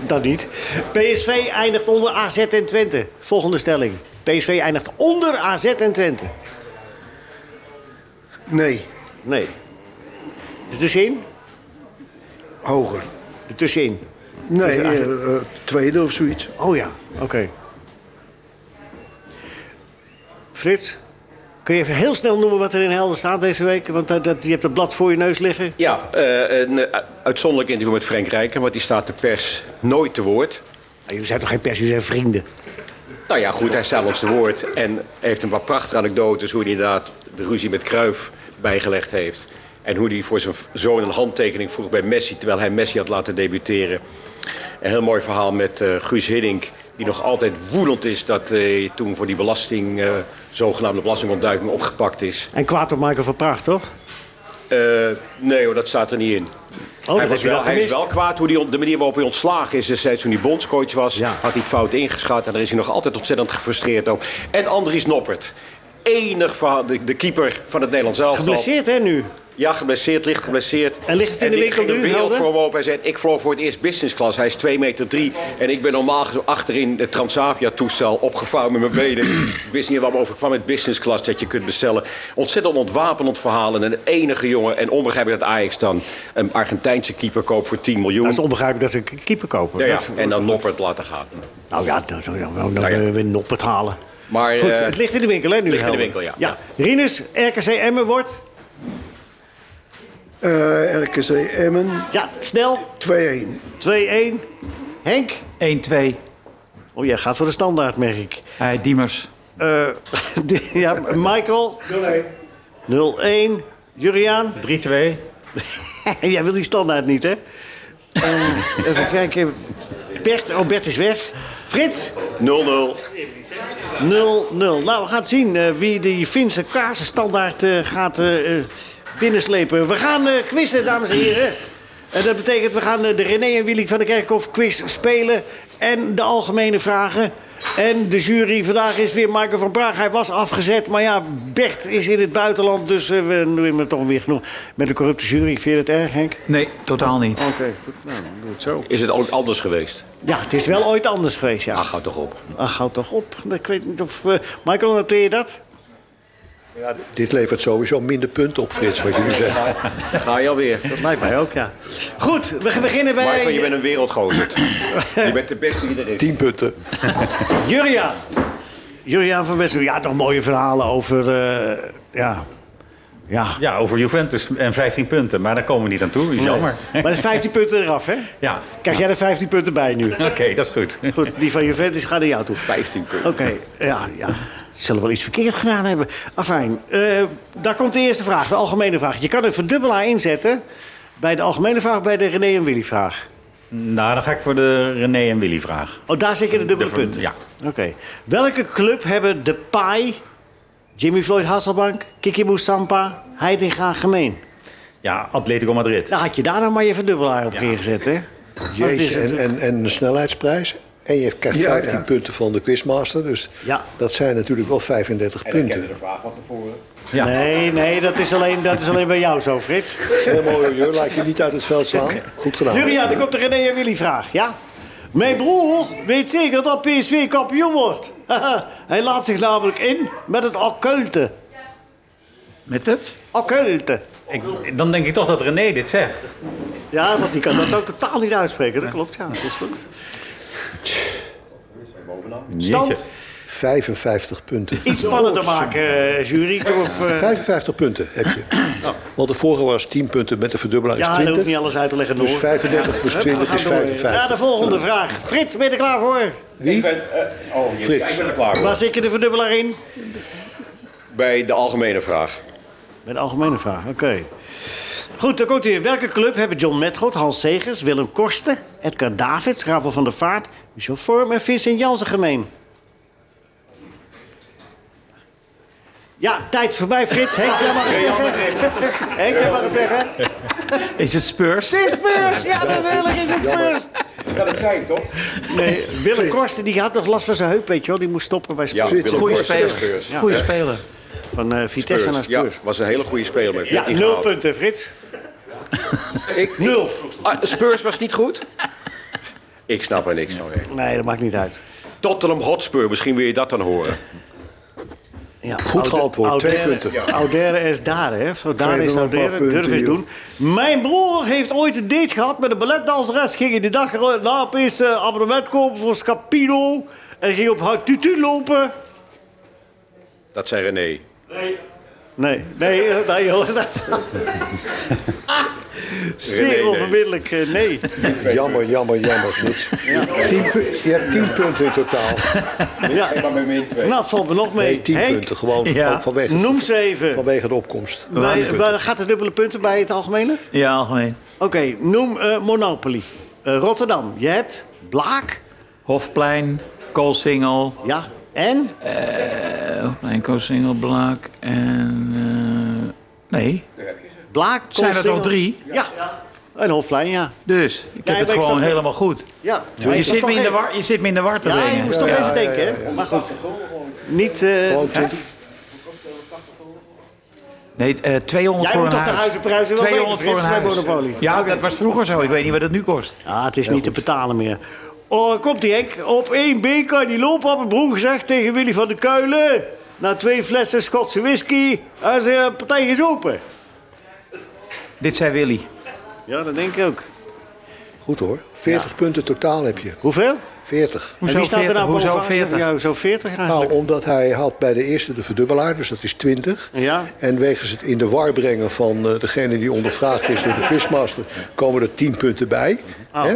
Speaker 3: Dat niet. PSV eindigt onder AZ en Twente. Volgende stelling. PSV eindigt onder AZ en Twente.
Speaker 5: Nee,
Speaker 3: Nee. Er tussenin?
Speaker 5: hoger.
Speaker 3: Er tussenin.
Speaker 5: Nee,
Speaker 3: Dus,
Speaker 5: eh, eh, tweede of zoiets.
Speaker 3: Oh ja, oké. Frits, kun je even heel snel noemen wat er in Helden staat deze week? Want dat, dat, je hebt het blad voor je neus liggen.
Speaker 10: Ja, eh, een eh, uitzonderlijk interview met Frank Rijken, want die staat de pers nooit te woord.
Speaker 3: Nou, Jullie zijn toch geen pers, jullie zijn vrienden?
Speaker 10: Nou ja, goed, hij staat ons te woord en heeft een paar prachtige anekdotes hoe hij inderdaad de ruzie met Kruif bijgelegd heeft. En hoe hij voor zijn v- zoon een handtekening vroeg bij Messi, terwijl hij Messi had laten debuteren. Een heel mooi verhaal met eh, Guus Hiddink, die nog altijd woedend is dat eh, toen voor die belasting, eh, zogenaamde belastingontduiking opgepakt is.
Speaker 3: En kwaad op Michael van Praag, toch?
Speaker 10: Eh, nee hoor, dat staat er niet in.
Speaker 3: Oh, dat
Speaker 10: hij,
Speaker 3: heb
Speaker 10: was
Speaker 3: je wel
Speaker 10: wel, hij is
Speaker 3: gemist.
Speaker 10: wel kwaad hoe die, on- de manier waarop hij ontslagen is destijds toen hij bondscoach was.
Speaker 3: Ja.
Speaker 10: Had hij het fout ingeschat en daar is hij nog altijd ontzettend gefrustreerd over. En Andries Noppert. Enig verhaal, de, de keeper van het Nederlands elftal.
Speaker 3: Geblesseerd, hè, nu?
Speaker 10: Ja, geblesseerd, licht geblesseerd.
Speaker 3: En ligt het in de
Speaker 10: die
Speaker 3: winkel
Speaker 10: ging
Speaker 3: nu,
Speaker 10: de wereld
Speaker 3: Helder?
Speaker 10: voor hem open. Hij zei, ik vloog voor het eerst business class. Hij is 2 meter 3. En ik ben normaal gezo- achterin het Transavia-toestel opgevouwen met mijn benen. ik wist niet waar me overkwam met business class dat je kunt bestellen. Ontzettend ontwapenend verhaal. En een enige jongen. En onbegrijpelijk dat Ajax dan een Argentijnse keeper koopt voor 10 miljoen.
Speaker 3: Dat is onbegrijpelijk dat ze een keeper kopen.
Speaker 10: Ja, ja.
Speaker 3: Dat-
Speaker 10: En dan Noppert laten gaan.
Speaker 3: Nou ja, dan zou je wel
Speaker 10: Nou ja.
Speaker 3: weer noppert halen.
Speaker 10: Maar,
Speaker 3: Goed,
Speaker 10: eh,
Speaker 3: het ligt in de winkel, hè, nu?
Speaker 10: ligt in de
Speaker 3: Helder?
Speaker 10: winkel, ja.
Speaker 3: ja. Rinus, RKC Emmen wordt...
Speaker 5: Eh, RKC Emmen,
Speaker 3: Ja, snel.
Speaker 5: 2-1.
Speaker 3: 2-1. Henk?
Speaker 7: 1-2.
Speaker 3: Oh, jij gaat voor de standaard, merk ik.
Speaker 7: Hey, Diemers.
Speaker 3: Eh, ja, Michael? 0-1. 0-1. Juriaan?
Speaker 6: 3-2.
Speaker 3: jij wil die standaard niet, hè? Eh, even kijken. Bert, oh, Bert is weg. Frits?
Speaker 10: 0-0.
Speaker 3: 0-0. Nou, we gaan zien eh, wie die Finse kaarsenstandaard eh, gaat eh, eh, binnenslepen. We gaan eh quizzen, dames en heren. En dat betekent, we gaan eh, de René en Willy van der Kerkhof quiz spelen. En de algemene vragen. En de jury vandaag is weer Michael van Praag. Hij was afgezet, maar ja, Bert is in het buitenland. Dus eh, we doen hem toch weer genoeg met een corrupte jury. Vind je het erg, Henk?
Speaker 7: Nee, totaal niet.
Speaker 3: Oké, goed. Nou, dan doe het zo.
Speaker 10: Is het ook anders geweest?
Speaker 3: Ja, het is wel ooit anders geweest, ja.
Speaker 10: Ach, hou toch op.
Speaker 3: Ach, houd toch op. Ik weet niet of... eh, Michael, noteer je dat?
Speaker 4: Ja, dit levert sowieso minder punten op, Frits, wat je nu zegt.
Speaker 10: Ga je alweer.
Speaker 3: Dat lijkt mij ook, ja. Goed, we beginnen bij...
Speaker 10: Michael, je bent een wereldgozer. je bent de beste die er is.
Speaker 4: Tien punten.
Speaker 3: Juriaan. Juriaan van Westen. Ja, nog mooie verhalen over... eh, ja. Ja.
Speaker 6: Ja, over Juventus en 15 punten. Maar daar komen we niet aan toe. Is Jammer.
Speaker 3: Maar dat is 15 punten eraf, hè?
Speaker 6: Ja,
Speaker 3: Krijg jij er 15 punten bij nu?
Speaker 6: oké, dat is goed.
Speaker 3: Goed, die van Juventus gaat naar jou toe.
Speaker 10: 15 punten.
Speaker 3: Oké, ja, ja. Ze zullen wel iets verkeerd gedaan hebben. Afijn, eh, daar komt de eerste vraag, de algemene vraag. Je kan een verdubbelaar inzetten bij de algemene vraag, bij de René en Willy vraag.
Speaker 6: Nou, dan ga ik voor de René en Willy vraag.
Speaker 3: Oh, daar zit je de dubbele
Speaker 6: De ver-
Speaker 3: punten.
Speaker 6: ja.
Speaker 3: Oké. Welke club hebben de Pai, Jimmy Floyd Hasselbank, Kiki Moussampa, Heitinga gemeen?
Speaker 6: Ja, Atletico Madrid.
Speaker 3: Nou, had je daar nou maar je verdubbelaar op neergezet, hè? Dat is
Speaker 4: Jeetje, en, en, en een snelheidsprijs. En je krijgt
Speaker 5: Ja,
Speaker 4: 15
Speaker 5: ja.
Speaker 4: punten van de quizmaster. Dus
Speaker 3: Ja.
Speaker 4: dat zijn natuurlijk wel 35 punten.
Speaker 10: de vraag van tevoren.
Speaker 6: Ja.
Speaker 3: Nee, nee, dat is, alleen, dat is alleen bij jou zo, Frits.
Speaker 4: Helemaal jeur, laat je niet uit het veld slaan. Goed
Speaker 6: Nou.
Speaker 4: gedaan.
Speaker 3: Julia, dan komt de René en Willy vraag, ja? Mijn broer weet zeker dat PSV kampioen wordt. Hij laat zich namelijk in met het occulte.
Speaker 7: Met het?
Speaker 3: Occulte.
Speaker 6: Ik- dan denk ik toch dat René dit zegt.
Speaker 3: Ja, want die kan dat ook totaal niet uitspreken. Dat klopt, ja. Dat is goed. Stand.
Speaker 6: Jeetje.
Speaker 4: 55 punten.
Speaker 3: Iets spannender maken, eh, jury. Kom op, eh. Oh.
Speaker 4: 55 punten heb je. Want de vorige was 10 punten met de verdubbelaar is
Speaker 3: Ja, dat
Speaker 4: 20.
Speaker 3: hoeft niet alles uit te leggen.
Speaker 4: Dus
Speaker 3: Noor.
Speaker 4: 35 plus
Speaker 3: Ja, we
Speaker 4: 20
Speaker 3: gaan
Speaker 4: is
Speaker 3: door.
Speaker 4: 55.
Speaker 3: Ja, de volgende vraag. Frits, ben je er klaar voor?
Speaker 10: Ik ben, eh, oh, je-
Speaker 4: Frits.
Speaker 10: ik ben er klaar voor.
Speaker 3: Waar zit je de verdubbelaar in?
Speaker 10: Bij de algemene vraag.
Speaker 3: Bij de algemene vraag, oké. Goed, dan komt hier. Welke club hebben John Metgold, Hans Segers, Willem Korsten, Edgar Davids, Rafael van der Vaart, Michel Vorm en Vincent Jansen gemeen? Ja, tijd is voorbij, Frits. Henk, jij mag het zeggen. Henk, jij mag het zeggen.
Speaker 7: Is het Spurs?
Speaker 3: Het is Spurs! Ja, natuurlijk is het Spurs!
Speaker 10: Ja, dat zei ik toch?
Speaker 3: Nee, Willem Korsten die had nog last van zijn heup, weet je wel. Die moest stoppen bij Spurs.
Speaker 10: Ja, Willem
Speaker 7: Goeie
Speaker 10: Korsten,
Speaker 7: speler.
Speaker 10: Spurs.
Speaker 7: Goeie speler.
Speaker 3: Van eh, Vitesse naar
Speaker 10: Ja,
Speaker 3: Spurs.
Speaker 10: was een hele goede speler. maar ik
Speaker 3: Ja,
Speaker 10: werd niet
Speaker 3: nul
Speaker 10: gehaald.
Speaker 3: punten, Frits.
Speaker 10: Ik,
Speaker 3: Nul.
Speaker 10: Ah, Spurs was niet goed? Ik snap er niks van. hè.
Speaker 3: Nee, dat maakt niet uit.
Speaker 10: Tottenham Hotspur, misschien wil je dat dan horen.
Speaker 3: Ja,
Speaker 4: Goed geantwoord, twee
Speaker 3: Audere-
Speaker 4: punten. Ja.
Speaker 3: Audere is daar, hè? Zo daar
Speaker 4: Geef
Speaker 3: is
Speaker 4: hem een
Speaker 3: Audere.
Speaker 4: paar punten,
Speaker 3: Durf eens
Speaker 4: joh.
Speaker 3: doen. Mijn broer heeft ooit een date gehad met een balletdanseres. Ging hij de dag na opeens eh, abonnement kopen voor Scapino. En ging op haar tutu lopen.
Speaker 10: Dat zei René.
Speaker 3: Nee, nee, eh, nee joh. Dat... Zeer
Speaker 10: nee.
Speaker 3: onverbiddelijk, eh, nee.
Speaker 4: Jammer, jammer, jammer, Frits. Tien pu- je hebt 10 punten in totaal.
Speaker 3: Ja. Nou, het valt me nog mee.
Speaker 4: Nee, 10
Speaker 3: Henk,
Speaker 4: punten. Gewoon
Speaker 7: Ja.
Speaker 4: ook vanwege,
Speaker 3: Noem ze even.
Speaker 4: vanwege de opkomst.
Speaker 3: Bij, bij- gaat de dubbele punten bij het algemene?
Speaker 7: Ja, algemeen.
Speaker 3: Oké, noem eh, Monopoly. Eh, Rotterdam, je hebt Blaak.
Speaker 7: Hofplein, Koolsingel.
Speaker 3: Ja, en?
Speaker 7: Hofplein, Koolsingel, Blaak en... eh, nee.
Speaker 3: Blaak,
Speaker 7: Zijn er
Speaker 3: Koolsingel.
Speaker 7: nog drie?
Speaker 3: Ja. En Hofplein, ja.
Speaker 7: Dus, ik heb
Speaker 3: maar
Speaker 7: het
Speaker 3: ik
Speaker 7: gewoon
Speaker 3: zag-
Speaker 7: helemaal goed.
Speaker 3: ja.
Speaker 7: Je zit,
Speaker 3: toch
Speaker 7: me in de
Speaker 3: even-
Speaker 7: war, je zit me in de war te
Speaker 3: Ja, je
Speaker 7: brengen.
Speaker 3: moest toch even denken, hè? Maar goed. Niet, eh,
Speaker 7: Oh,
Speaker 4: Gewoon
Speaker 3: hè?
Speaker 4: 20
Speaker 7: Nee, eh, 200
Speaker 3: Jij
Speaker 7: voor
Speaker 3: moet
Speaker 7: een
Speaker 3: toch de
Speaker 7: huis.
Speaker 3: huizenprijzen wel weten,
Speaker 7: voor een
Speaker 3: Frits, bij
Speaker 7: huis.
Speaker 3: Monopoly.
Speaker 7: Ja, dat was vroeger zo. Ik weet niet wat het nu kost.
Speaker 3: Ah, het is niet te betalen meer. Oh, komt die Henk. Op één been kan die lopen, had mijn broer gezegd tegen Willy van der Kuilen. Na twee flessen Schotse whisky, hij is eh, partij is open.
Speaker 7: Dit zei Willy.
Speaker 3: Ja, dat denk ik ook.
Speaker 4: Goed hoor. 40 punten totaal heb je.
Speaker 3: Hoeveel?
Speaker 4: 40.
Speaker 3: En
Speaker 7: Hoezo
Speaker 3: wie staat er
Speaker 7: 40?
Speaker 3: nou
Speaker 7: Hoezo
Speaker 3: bovenaan?
Speaker 7: 40?
Speaker 3: Ja, zo 40
Speaker 4: Nou,
Speaker 3: eigenlijk.
Speaker 4: omdat hij had bij de eerste de verdubbelaar, dus dat is 20.
Speaker 3: Ja.
Speaker 4: En wegens het in de war brengen van eh, degene die ondervraagd is door de quizmaster, komen er 10 punten bij.
Speaker 3: Oh.
Speaker 4: Hè?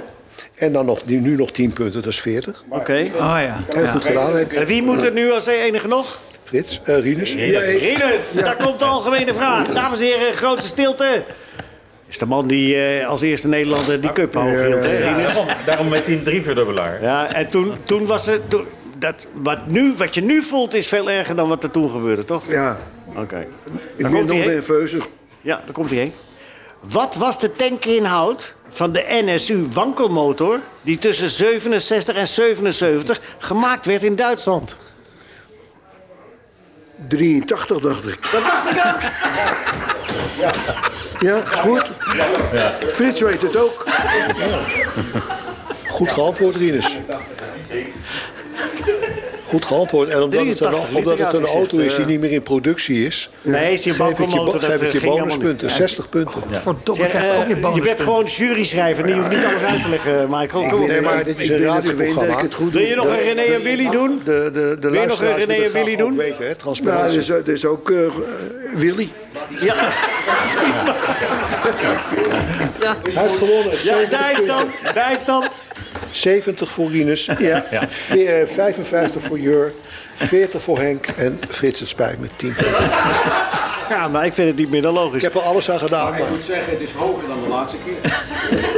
Speaker 4: En dan nog, die- nu nog 10 punten, dat is 40.
Speaker 3: Oké.
Speaker 7: Oh ja.
Speaker 4: Heel goed gedaan, hè,
Speaker 3: En wie moet er nu als enige nog?
Speaker 4: Frits. Eh Rinus.
Speaker 3: Rinus, daar komt de algemene vraag. Dames en heren, grote stilte. Is de man die eh, als eerste Nederlander die cup hoog hield, hè,
Speaker 6: Ja,
Speaker 3: Rinus?
Speaker 6: daarom, daarom met die drie verdubbelaar.
Speaker 3: Ja, en toen, toen was het... Toen, dat, wat, nu, wat je nu voelt is veel erger dan wat er toen gebeurde, toch?
Speaker 5: Ja,
Speaker 3: Oké.
Speaker 5: ik
Speaker 3: Dan
Speaker 5: ben
Speaker 3: komt
Speaker 5: nog
Speaker 3: hij heen.
Speaker 5: nerveuzer.
Speaker 3: Ja, daar komt hij heen. Wat was de tankinhoud van de NSU wankelmotor... die tussen 67 en 77 gemaakt werd in Duitsland?
Speaker 5: 83 dacht ik.
Speaker 3: Dat dacht ik ook.
Speaker 5: Ja, is goed. Frits weet het ook.
Speaker 4: Goed geantwoord, Rinus. Goed geantwoord. En omdat het een,
Speaker 3: 83 liter
Speaker 4: omdat het een
Speaker 3: had hij
Speaker 4: auto
Speaker 3: gezegd,
Speaker 4: is die
Speaker 3: eh.
Speaker 4: niet meer in productie is...
Speaker 3: Nee, is die
Speaker 4: geef ik je,
Speaker 3: bankenmotor,
Speaker 4: bo-
Speaker 3: dat,
Speaker 4: geef ik
Speaker 3: eh,
Speaker 4: je
Speaker 3: ging helemaal
Speaker 4: bonuspunten.
Speaker 3: niet.
Speaker 4: 60 punten.
Speaker 3: Zeg, eh, je bent gewoon juryschrijver. Je hoeft niet alles uit te leggen, Michael. Kom op.
Speaker 4: Nee, maar dit is een radioprogramma.
Speaker 3: Wil je nog een René en Willy doen?
Speaker 5: Eh,
Speaker 4: De, de, de
Speaker 3: Wil je nog een René en Willy doen? dus,
Speaker 4: Weet je, hè,
Speaker 5: Nou, dat
Speaker 4: transparantie.
Speaker 5: is, dat is ook eh, Willy.
Speaker 3: Ja. ja.
Speaker 4: Hij heeft gewonnen.
Speaker 3: Ja,
Speaker 4: 70 punten.
Speaker 3: bijstand, bijstand.
Speaker 4: 70 voor Rinus, ja. Ve- eh, 55 voor Jur, 40 voor Henk en Frits het spijt met 10 punten.
Speaker 3: Ja, maar ik vind het niet meer dan
Speaker 4: Ik
Speaker 3: logisch.
Speaker 4: heb er alles aan gedaan,
Speaker 10: Ik
Speaker 4: maar
Speaker 10: moet zeggen, het is hoger dan de laatste keer.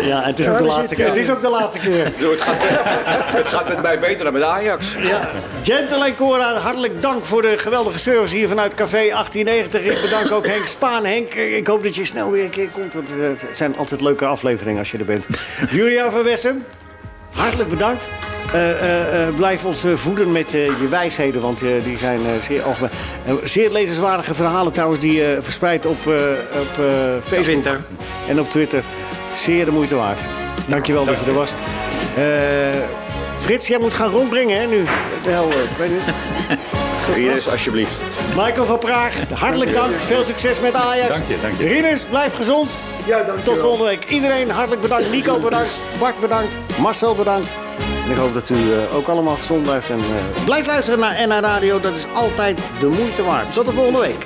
Speaker 3: Ja, het is
Speaker 5: Ja,
Speaker 3: ook
Speaker 5: daar
Speaker 3: de laatste
Speaker 5: zit,
Speaker 3: keer.
Speaker 5: eh,
Speaker 3: Het is ook de laatste keer.
Speaker 10: Zo, het, gaat, het gaat met mij beter dan met Ajax.
Speaker 3: Ja. Gentle en Cora, hartelijk dank voor de geweldige service hier vanuit Café 1890. Ik bedank ook Henk Spaan. Henk, eh, ik hoop dat je snel weer een keer komt. Want eh, het zijn altijd leuke afleveringen als je er bent. Julia van Wessem, hartelijk bedankt. Eh, eh, eh, blijf ons eh, voeden met eh, je wijsheden, want eh, die zijn eh, zeer algemeen. Eh, zeer lezenswaardige verhalen trouwens, die je verspreidt op, eh, op eh, Facebook
Speaker 7: Twitter.
Speaker 3: en op Twitter. Zeer de moeite waard. Dankjewel dat je er was. Eh, Frits, jij moet gaan rondbrengen, hè, nu. De hel, eh, ik weet niet.
Speaker 12: Rinus, alsjeblieft.
Speaker 3: Michael van Praag, hartelijk dank. Veel succes met Ajax.
Speaker 6: Dank je, dank je.
Speaker 3: Rinus, blijf gezond.
Speaker 5: Ja, dankjewel.
Speaker 3: Tot volgende week. Iedereen hartelijk bedankt. Nico bedankt. Bart bedankt. Marcel bedankt. En ik hoop dat u eh, ook allemaal gezond blijft. En eh, blijf luisteren naar NH Radio. Dat is altijd de moeite waard. Tot de volgende week.